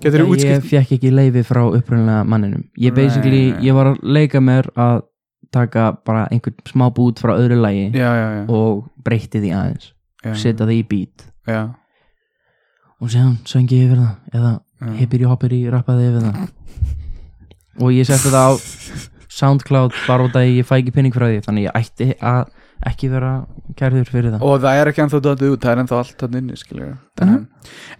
Speaker 4: getur þú
Speaker 2: Ég
Speaker 4: útskipt
Speaker 2: fekk ekki leifi frá upprunlega manninum Ég basically,
Speaker 4: Nei.
Speaker 2: ég var að leika mér að taka bara einhvern smá bút frá öðru lagi
Speaker 4: Já, já, já,
Speaker 2: og breytti því aðeins
Speaker 4: já,
Speaker 2: setja það í beat
Speaker 4: já,
Speaker 2: og séðan söngi ég yfir það eða
Speaker 4: já.
Speaker 2: hippir í hoppir í rappaði yfir það og ég setti það á Soundcloud bara út að ég fæ ekki pening frá því þannig ég ætti að ekki vera kærður fyrir það
Speaker 4: Og það er ekki ennþá dotið út, það er ennþá allt þannig inni, skiljum
Speaker 2: Mhm.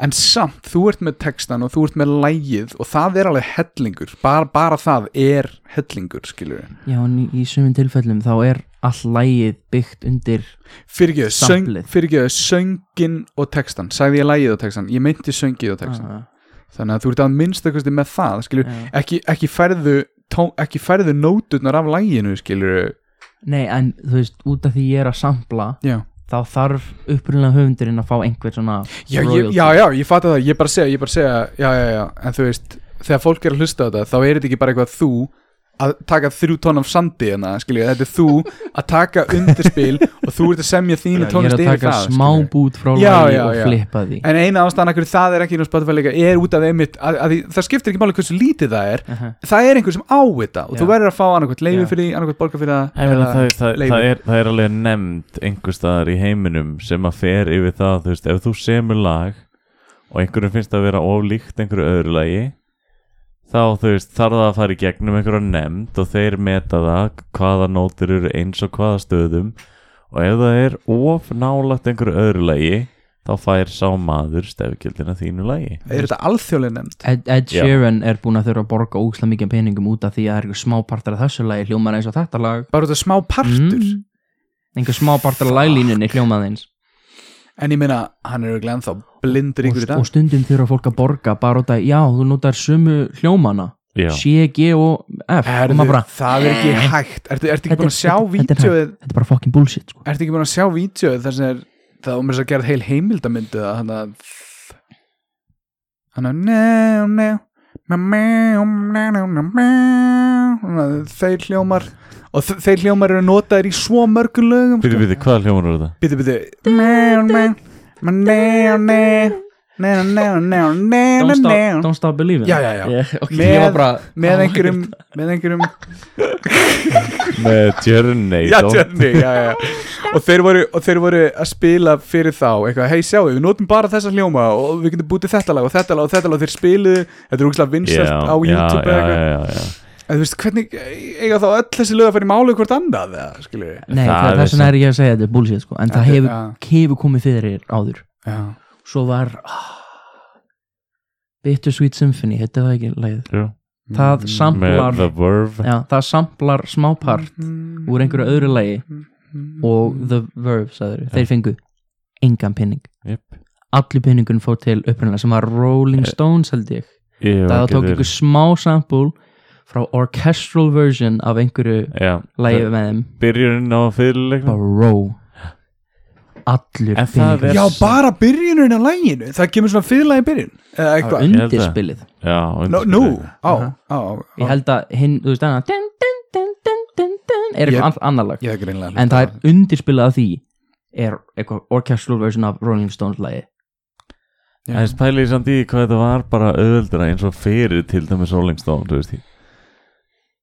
Speaker 4: En samt, þú ert með textan og þú ert með lægið og það er alveg hellingur Bara, bara það er hellingur, skiljum
Speaker 2: já en í- í sumum tilfellum þá er all lægið byggt undir
Speaker 4: Fyrirgeðu, söng,
Speaker 2: Samplið.
Speaker 4: fyrirgeðu, söngin og textan Sagði ég lægið og textan, ég meinti söngið og textan
Speaker 2: Ah,
Speaker 4: Þannig að þú ert að minnstakosti með það, skiljum
Speaker 2: já.
Speaker 4: ekki, ekki færðu tó, ekki færðu nóturnar af læginu skilur
Speaker 2: nei en þú veist út af því ég er að sampla
Speaker 4: já.
Speaker 2: þá þarf upprunlega höfundurinn að fá einhver svona
Speaker 4: Já, ég,
Speaker 2: royalty.
Speaker 4: já, já, ég fatta það, ég bara segja, ég bara segja já, já, já, en þú veist, þegar fólk er að hlusta á þetta þá er þetta ekki bara eitthvað þú að taka þrjú tónn af sandi hérna, skilju þetta er þú að taka undirspil og þú ert að semja þínu
Speaker 2: ég er
Speaker 4: tónlist
Speaker 2: að
Speaker 4: yfir
Speaker 2: taka
Speaker 4: það
Speaker 2: smá
Speaker 4: skilurðu.
Speaker 2: bút frá
Speaker 4: Já,
Speaker 2: lagi
Speaker 4: já,
Speaker 2: og
Speaker 4: já.
Speaker 2: flippa því
Speaker 4: en eina ástæðan af hverju það er ekki inn á Spotify líka er út af einmitt, að, að, því- það skiptir ekki máli hversu lítið það er
Speaker 2: Aha.
Speaker 4: það er einhver sem á þetta og
Speaker 2: Já.
Speaker 4: þú verður að fá annarkvæmt leiði
Speaker 2: Já.
Speaker 4: fyrir því, annarkvæmt borga fyrir
Speaker 3: Ég meina,
Speaker 4: eða
Speaker 3: Það, það,
Speaker 4: leyfi.
Speaker 3: það, er, það er alveg nefnd einhver staðar í heiminum sem að fer yfir það þú veist, ef þú semur lag og einhverjum finnst að vera oflíkt einhverju öðru lagi þá þú veist, þarf það að fara í gegnum einhverja nefnd og þeir meta það hvaða nótir eru eins og hvaða stöðum og ef það er of nálagt einhverju öðru lagi þá fær sá maður stefgjöldina þínu lagi
Speaker 4: Er þetta alþjóðlega nefnd?
Speaker 2: Ed, Ed
Speaker 3: Já.
Speaker 2: Sheeran er búin að þurfa að borga ógslag mikið peningum út af því að það er einhver smápartar af þessu lagi hljómar eins og þetta lag
Speaker 4: Bara þetta smá partur
Speaker 2: Mm. einhver smápartar af laglínunni hljómar eins
Speaker 4: En ég meina, hann er auðvitað ennþá
Speaker 2: og,
Speaker 4: blindur ykkur í
Speaker 2: og
Speaker 4: dag
Speaker 2: stundum þurfa fólk að borga bara út af, já, þú notar sumu hljómana
Speaker 3: Já,
Speaker 2: C, G og F og
Speaker 4: Herðu,
Speaker 2: maður bara,
Speaker 4: það er ekki hægt Ertu, ertu ekki
Speaker 2: Þetta-
Speaker 4: búin að sjá
Speaker 2: þetta- þetta er
Speaker 4: vídjóið
Speaker 2: þetta er bara fucking bullshit sko.
Speaker 4: Ertu ekki búin að sjá vídjóið þar sem er Það var mér svo að gera heil heimildamyndu Þannig að Hann að njá, njá njá, njá, njá, njá, njá, njá. Þannig að Þeir hljómar Og þe- þeir hljómar eru notaðir í svo mörgum lögum
Speaker 3: byrju byrju, hvaða hljómar er þetta?
Speaker 4: Býtu, býtu Don't
Speaker 2: don't stop, don't stop believing
Speaker 4: Já, já, já.
Speaker 2: yeah, okay,
Speaker 4: Með-
Speaker 2: ég var bara,
Speaker 4: Með einhverjum Með einhverjum
Speaker 3: Með Journey
Speaker 4: Já,
Speaker 3: don't-
Speaker 4: Johnny, já, já, já og þeir, voru, og þeir voru að spila fyrir þá eitthvað, hei sjáu, við notum bara þessa hljóma og við getum bútið þetta lag og þetta lag og þetta lag og þeir spiluðu, þetta er úkslega
Speaker 3: Já,
Speaker 4: vinsalt á
Speaker 3: já, já,
Speaker 4: YouTube eða
Speaker 3: já,
Speaker 4: eitthvað
Speaker 3: já, já.
Speaker 4: en þú veist, hvernig eiga þá öll þessi lög að fara í málu hvort annað eða, skilju
Speaker 2: nei,
Speaker 3: Það
Speaker 2: það,
Speaker 3: er
Speaker 2: þess vegna er ég að segja þetta er bullshit sko. en
Speaker 4: Þetta-
Speaker 2: það hefur,
Speaker 4: já.
Speaker 2: hefur komið fyrir áður
Speaker 4: já,
Speaker 2: svo var oh, Bittersweet Symphony, heitir það ekki lagið
Speaker 3: Jú,
Speaker 4: Mm.
Speaker 2: það
Speaker 3: Með
Speaker 2: samplar
Speaker 3: The Verve
Speaker 2: já, það samplar smápart
Speaker 4: Mm,
Speaker 2: úr einhverju öðru lagi og The Verve, sagður, þeir fengu engan penning
Speaker 3: Jep.
Speaker 2: allir penningun fór til upprænlega sem var Rolling Stones held ég
Speaker 3: Ég hef
Speaker 2: það
Speaker 3: ekki
Speaker 2: tók
Speaker 3: verið-
Speaker 2: einhver smá sample frá orchestral version af einhverju
Speaker 3: Já,
Speaker 2: lagi með þeim
Speaker 3: byrjurinn á fyrirleiknum
Speaker 2: bara row allur
Speaker 3: En það
Speaker 2: penningur
Speaker 3: er-
Speaker 4: já, bara byrjunin á læginu það kemur svona fyrirlega í byrjun eða eitthvað,
Speaker 3: Ég held það.
Speaker 2: undirspilið
Speaker 3: Já,
Speaker 4: nú,
Speaker 3: undir-
Speaker 4: nú, á, á
Speaker 2: ég
Speaker 4: á.
Speaker 2: held að hinn, þú veist þannig dun, dun, dun, dun, dun, dun, er
Speaker 4: Ég-
Speaker 2: eitthvað yeah. annar lag
Speaker 4: ég hef ekki reynilega
Speaker 2: en það er undirspilið af því er eitthvað orchestral version af Rolling Stones lagi
Speaker 3: En spælið samt í hvað þetta var bara auðveldra eins og fyrir til dæmis Rolling Stone, þú veist því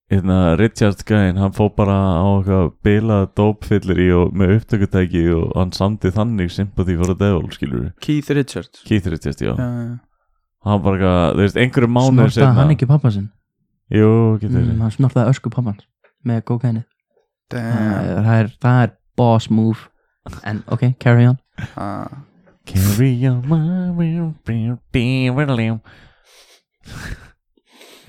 Speaker 3: Hérna, Richard Gain, hann fó bara á eitthvað bilað dópfyllir í og með upptökutæki og hann samdi þannig Sympathy for the Devil, skilur við
Speaker 4: Keith Richards
Speaker 3: Keith Richards, já,
Speaker 4: já,
Speaker 3: hann bara, eitthvað, þú veist, einhverju mánuður
Speaker 2: snortaði
Speaker 3: setna
Speaker 2: hann ekki pappa sinn
Speaker 3: Jú, getur
Speaker 2: mm,
Speaker 3: mm,
Speaker 2: hann snortaði ösku pappans með kokaini
Speaker 4: damn
Speaker 2: það er, það er boss move en ok, carry on
Speaker 4: ah.
Speaker 3: Carry on my will be be with you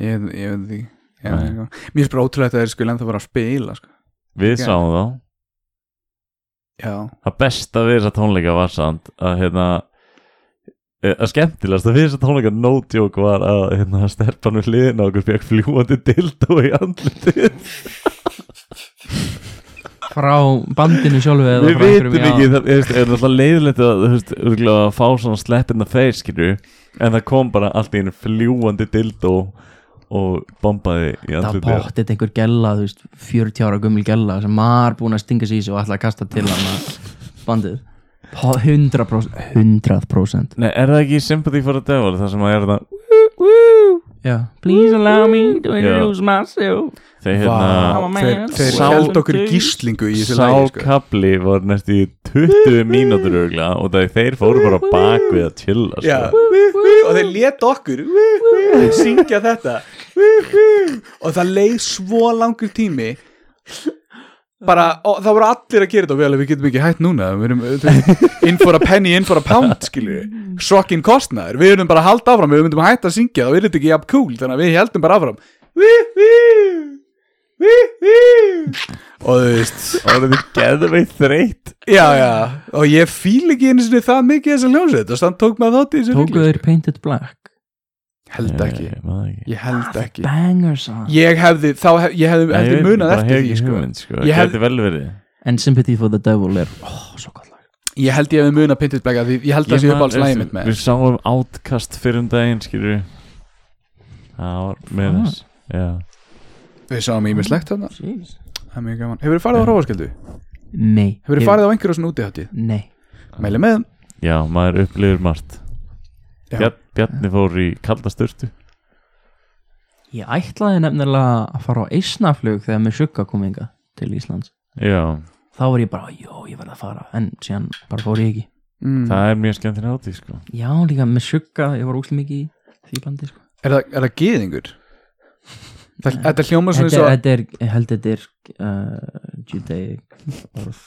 Speaker 4: ég, ég veit því Já,
Speaker 3: Nei.
Speaker 4: já. mér finnst bara ótrúlega að þeir skulle ennþá bara að spila sko.
Speaker 3: Við
Speaker 4: Já.
Speaker 3: sáum þá
Speaker 4: já,
Speaker 3: Það besta við þessa tónleika var samt að hérna eh, að skemmtilegast að við þessa tónleika no joke var að hérna stelpan við hliðina á okkur fekk fljúandi dildó í andlitið
Speaker 2: frá bandinu sjálfu eða
Speaker 3: við
Speaker 2: frá einhverjum-
Speaker 3: vitum ekki, það þú veist, er náttúrulega leiðilegt að, þú veist, örugglega að fá svona slap in the face, skilju en það kom bara allt í einu fljúandi dildó og bombaði í
Speaker 2: það
Speaker 3: andlitið
Speaker 2: pottit einhver gella, þú veist 40 ára gummul gella sem maður búin að stinga sig í sig og ætla að kasta til hann að bandið Po- 100% 100%
Speaker 3: Nei, er það ekki Sympathy for the Devil það sem að er það
Speaker 2: já. please allow me to introduce myself
Speaker 3: þegar hérna
Speaker 4: Vá, þeir, þeir
Speaker 3: Sá-
Speaker 4: held okkur í gíslingu í þessu lægi sko.
Speaker 3: Sákabli var næstu í 20 mínútur örgla og það þeir fóru bara á bak við að chilla
Speaker 4: já,
Speaker 3: sko.
Speaker 4: og þeir let okkur syngja þetta og það leið svo langur tími bara, og það voru allir að gera þetta og við alveg, við getum ekki hætt núna við erum, þú veist, in for a penny, in for a pound skilju, shocking kostnæður við erum bara að halda áfram, við myndum að hætta að syngja þá er þetta ekki jafn cool, þannig að við heldum bara áfram vi, vi, vi, vi og þú veist
Speaker 3: og það er geðveitt þreytt
Speaker 4: Já, já, og ég fíl ekki einu sinni það mikið þess að hljómsveit og þannig tók maður þátt í þessu
Speaker 2: tóku
Speaker 4: rugli,
Speaker 2: þeir Painted Black
Speaker 4: sko. Held ekki,
Speaker 3: Ég man það ekki.
Speaker 4: ég held ekki
Speaker 2: banger song
Speaker 4: Ég hefði, þá hef, ég hefði,
Speaker 3: Nei,
Speaker 4: hefði
Speaker 3: ég
Speaker 4: munað
Speaker 3: bara hef
Speaker 4: eftir því
Speaker 3: ekki
Speaker 4: sko.
Speaker 3: hugmynd, sko.
Speaker 4: Ég hef-
Speaker 3: geti vel verið
Speaker 2: and Sympathy for the Devil er oh, svo gott lag
Speaker 4: Ég held ég hefði munað Pintit Black að því ég held það sé
Speaker 3: Ég man-
Speaker 4: upp alls
Speaker 3: veistu,
Speaker 4: lægið mitt með
Speaker 3: við sáum átkast fyrir um daginn skilur við það var með
Speaker 2: Ah.
Speaker 3: þess já.
Speaker 4: Við sáum ímislegt þarna,
Speaker 2: Jeez.
Speaker 4: það er mjög gaman Hefur þið farið á hrófaskjöldu?
Speaker 2: nei
Speaker 4: Hefur
Speaker 2: Ég-
Speaker 4: þið farið á einhverjum svona útiháttið?
Speaker 2: nei
Speaker 4: Mæli með þeim.
Speaker 3: já, maður upplifir margt
Speaker 4: Já.
Speaker 3: Bjarn, Bjarni fór í kaldasturtu
Speaker 2: ég ætlaði nefnilega að fara á eisnaflug þegar með sjukka kominga til Íslands
Speaker 3: já,
Speaker 2: þá var ég bara, jó, ég verð að fara en síðan bara fór ég ekki
Speaker 4: mm.
Speaker 3: það er mjög skemmtilega átíð sko.
Speaker 2: Já, líka með sjugga, ég var úslega mikið í því bandi sko.
Speaker 4: Er það, er það geðingur? Það- Þetta hljóma svona
Speaker 2: Þetta
Speaker 4: svo
Speaker 2: þetta er, ég held þetta er uh, judaic orð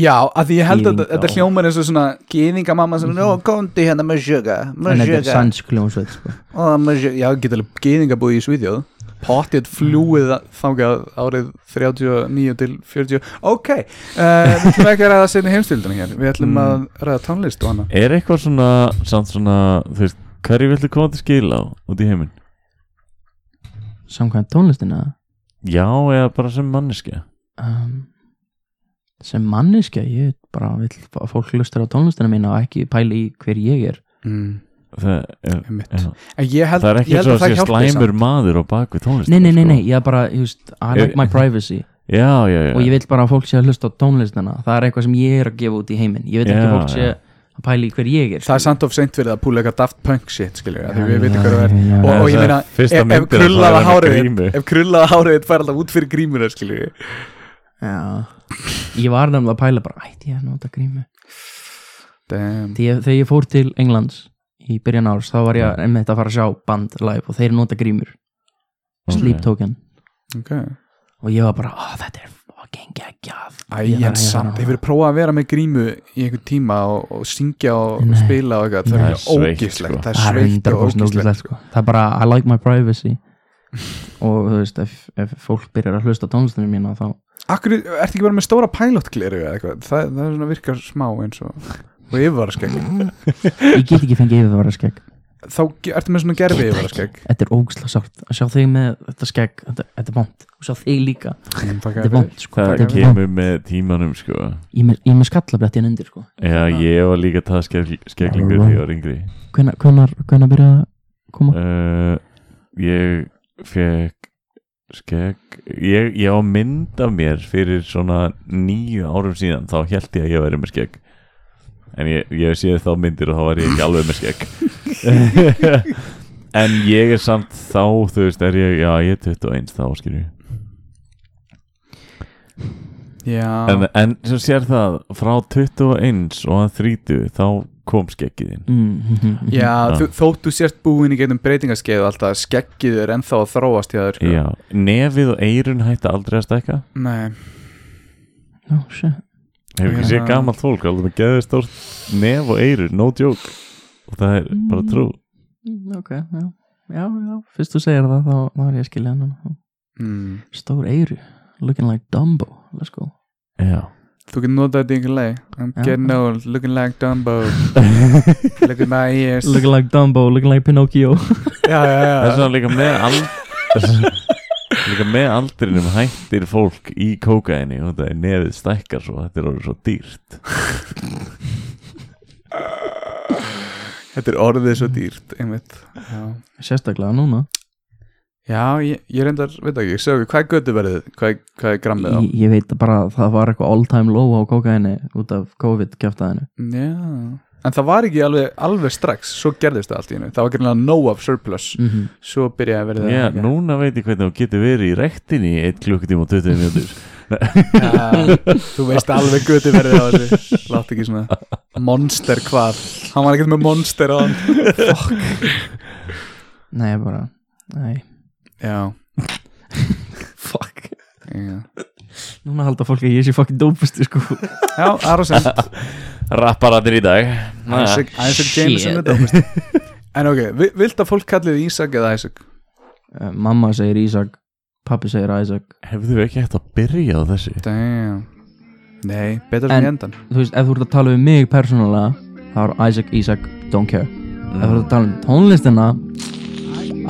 Speaker 4: Já, að því ég held að
Speaker 3: Gyðinga
Speaker 4: þetta
Speaker 3: og-
Speaker 4: hljómar eins og svona gýðingamamma sem, nó, komdu hérna með sjöga
Speaker 2: En
Speaker 4: með
Speaker 2: þetta er
Speaker 4: sjöga,
Speaker 2: sannsk hljómsveit sko.
Speaker 4: og með sjöga Já, geta alveg gýðinga búið í Svíðjóð Pottið flúið
Speaker 3: Mm.
Speaker 4: þangað árið 39 til 40 Ok, uh, við ætlum ekki að ræða sinni heimstildina hér Við
Speaker 3: Mm.
Speaker 4: ætlum að ræða tónlist og hana
Speaker 3: Er eitthvað svona, samt svona, þú veist, hverju viltu koma til skil á út í heiminn?
Speaker 2: Samkvæmt tónlistina
Speaker 3: Já, eða bara sem manneski
Speaker 2: um, Sem manneskja Ég bara vill að fólk lustar á tónlistina mína og ekki pæli í hver ég er
Speaker 4: mm,
Speaker 3: Það er,
Speaker 4: einmitt.
Speaker 3: já.
Speaker 4: En ég held,
Speaker 3: það er ekki
Speaker 4: ég
Speaker 3: svo
Speaker 4: held að
Speaker 3: að sé
Speaker 4: það hjálpi
Speaker 3: slæmur maður á baku tónlist
Speaker 2: Nei, nei, nei,
Speaker 4: Sko.
Speaker 2: nei, ég bara, ég veist, I like
Speaker 3: Ég-
Speaker 2: my privacy
Speaker 3: sko. Já, já, já
Speaker 2: og ég vil bara að fólk sé að hlusta á tónlistina það er eitthvað sem ég er að gefa út í heiminn ég vil ekki
Speaker 3: Já,
Speaker 2: að fólk sé
Speaker 3: já.
Speaker 2: að pæli hver ég er
Speaker 4: Það er samt of seint fyrir það að púla eitthvað Daft Punk shit, skiljum, því við veitum hvað það er Og, og
Speaker 3: Það
Speaker 4: ég
Speaker 3: er
Speaker 4: meina, ef,
Speaker 3: fyrsta
Speaker 4: ef
Speaker 3: myndin, þá er
Speaker 4: krullaða
Speaker 3: hann með
Speaker 4: hárið
Speaker 3: grímu.
Speaker 4: þitt- Ef krullaða hárið þitt fær alltaf út fyrir grímuna, skiljum
Speaker 2: já. ég var nefnilega að pæla bara ætti ég að nota grímu
Speaker 4: Damn.
Speaker 2: þegar, þegar ég fór til Englands í byrjan árs þá var ég einmitt að fara að sjá band live og þeir nota grímur
Speaker 3: Ok.
Speaker 2: Sleep Token
Speaker 4: Okay.
Speaker 2: og ég var bara, "Ah, þetta er fucking geggjað Ég
Speaker 4: Æ,
Speaker 2: þarf-
Speaker 4: en
Speaker 2: ég þarf
Speaker 4: samt,
Speaker 2: að-
Speaker 4: hefur prófað að vera með grímu í einhvern tíma og, og syngja og
Speaker 2: Nei.
Speaker 4: spila og eitthvað, það
Speaker 3: Það
Speaker 4: er
Speaker 3: er sveikt,
Speaker 4: ógíslegt
Speaker 3: sko.
Speaker 4: það
Speaker 2: það
Speaker 4: er
Speaker 2: er
Speaker 4: sveikt og
Speaker 2: 100%
Speaker 4: ógíslegt
Speaker 2: ógæslegt sko. það er bara, I like my privacy og þú veist, ef, ef fólk byrjar að hlusta á tónlistinu mína þá
Speaker 4: Akkur, ertu ekki bara með stóra pilotgleru eða eitthvað, það, það er svona virkar smá eins og, og yfirvaraskegg
Speaker 2: ég get ekki fengið yfir að vera skegg
Speaker 4: þá ge- ertu með svona gerfi yfirvaraskegg
Speaker 2: Þetta er ógæslega sárt að sjá þig með þetta skegg, þetta, þetta er vond og sjá þig líka, þetta er vond sko.
Speaker 3: Það
Speaker 2: Þetta er vont.
Speaker 3: kemur með tímanum, sko
Speaker 2: Ég er með- ég er með skallabrætt hérna undir sko.
Speaker 3: Já, ég var líka það skegg- skegglingur þegar ég var yngri
Speaker 2: hvenar, hvenar, hvenar byrjaði að koma
Speaker 3: uh, Ég fekk skegg Ég, ég á mynd af mér fyrir svona níu árum síðan þá held ég að ég væri með skegg En ég, ég séð þá myndir og þá var ég ekki alveg með skegg En ég er samt þá, þú veist, er ég, já, ég er 21 þá, skilju en,
Speaker 4: já,
Speaker 3: en eh, sem sér það frá 21 og að 30 þá kom skeggið inn
Speaker 2: mm, mm, mm,
Speaker 4: já
Speaker 3: Já.
Speaker 4: þú, þótt þú sért búin í getum breytingaskeið alltaf, skeggið er ennþá að þróast í það, sko,
Speaker 3: Já, nefið og eirun hætta aldrei að stækka
Speaker 4: nei
Speaker 2: no, shit.
Speaker 3: Hefur ekki
Speaker 4: Já.
Speaker 3: séð gamalt fólk alveg með geðið stórt nef og eirun, no joke og það er bara trú
Speaker 2: Mm, ok, já, já, já fyrst þú segir það, þá, þá er ég að skilja hann
Speaker 4: mm.
Speaker 2: stór eyru, looking like Dumbo let's go
Speaker 3: Já,
Speaker 4: Þú getur notað þetta í einhvern leið I'm
Speaker 2: Já.
Speaker 4: getting old, looking like Dumbo Look at my ears
Speaker 2: looking like Dumbo, looking like Pinocchio
Speaker 4: já, já, já.
Speaker 3: það er svona líka með ald líka með aldrinum hættir fólk í kókaini og það er nefið stækkar svo þetta er orðið svo dýrt
Speaker 4: Þetta er orðið svo dýrt einmitt. Já,
Speaker 2: sérstaklega núna
Speaker 4: já ég, ég reyndar, veit ekki, sögur, hvað er götu verðið? Hvað, er- hvað er grammið á?
Speaker 2: ég, ég veit bara að það var eitthvað all time low á kókaini út af COVID-kjöftaðinu
Speaker 4: Já En það var ekki alveg, alveg strax, svo gerðist það allt í hennu Það var greinlega no of surplus
Speaker 2: mm -hmm.
Speaker 4: Svo byrjaði að verða
Speaker 3: Já, núna veit ég hvernig þú getur verið í rektinni í 1 klukkutíma og 20 minútur
Speaker 4: Já, Þú veist alveg götu verðið á þessu Látt ekki svona Monster hvað? Hann var ekkert með monster á hann
Speaker 2: nei, bara, nei
Speaker 4: Já,
Speaker 2: fuck
Speaker 4: já
Speaker 2: Núna halda fólk að ég sé fucking dópusti sko
Speaker 4: Já, Arosend
Speaker 3: Rapparandir í dag
Speaker 4: Isaac, Isaac Jameson er dómist En ok, vi- vilt að fólk kallið Ísak eða Isaac?
Speaker 2: Eh, Mamma segir Ísak, pappi segir Isaac
Speaker 3: Hefðu ekki hægt að byrja á þessu?
Speaker 4: Damn Nei, betur en,
Speaker 2: En-
Speaker 4: en endan
Speaker 2: Þú veist, ef þú ert að tala um mig persónulega þá er Isaac, Ísak, don't care Ef þú ert að tala um tónlistina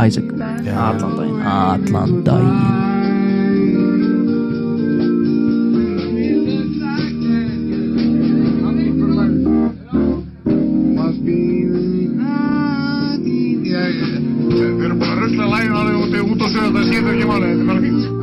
Speaker 2: Isaac, allan daginn Allan daginn
Speaker 1: Við erum bara að rusla lægin alveg út, út á söðu, það skiptir ekki máli, þetta er bara fínt.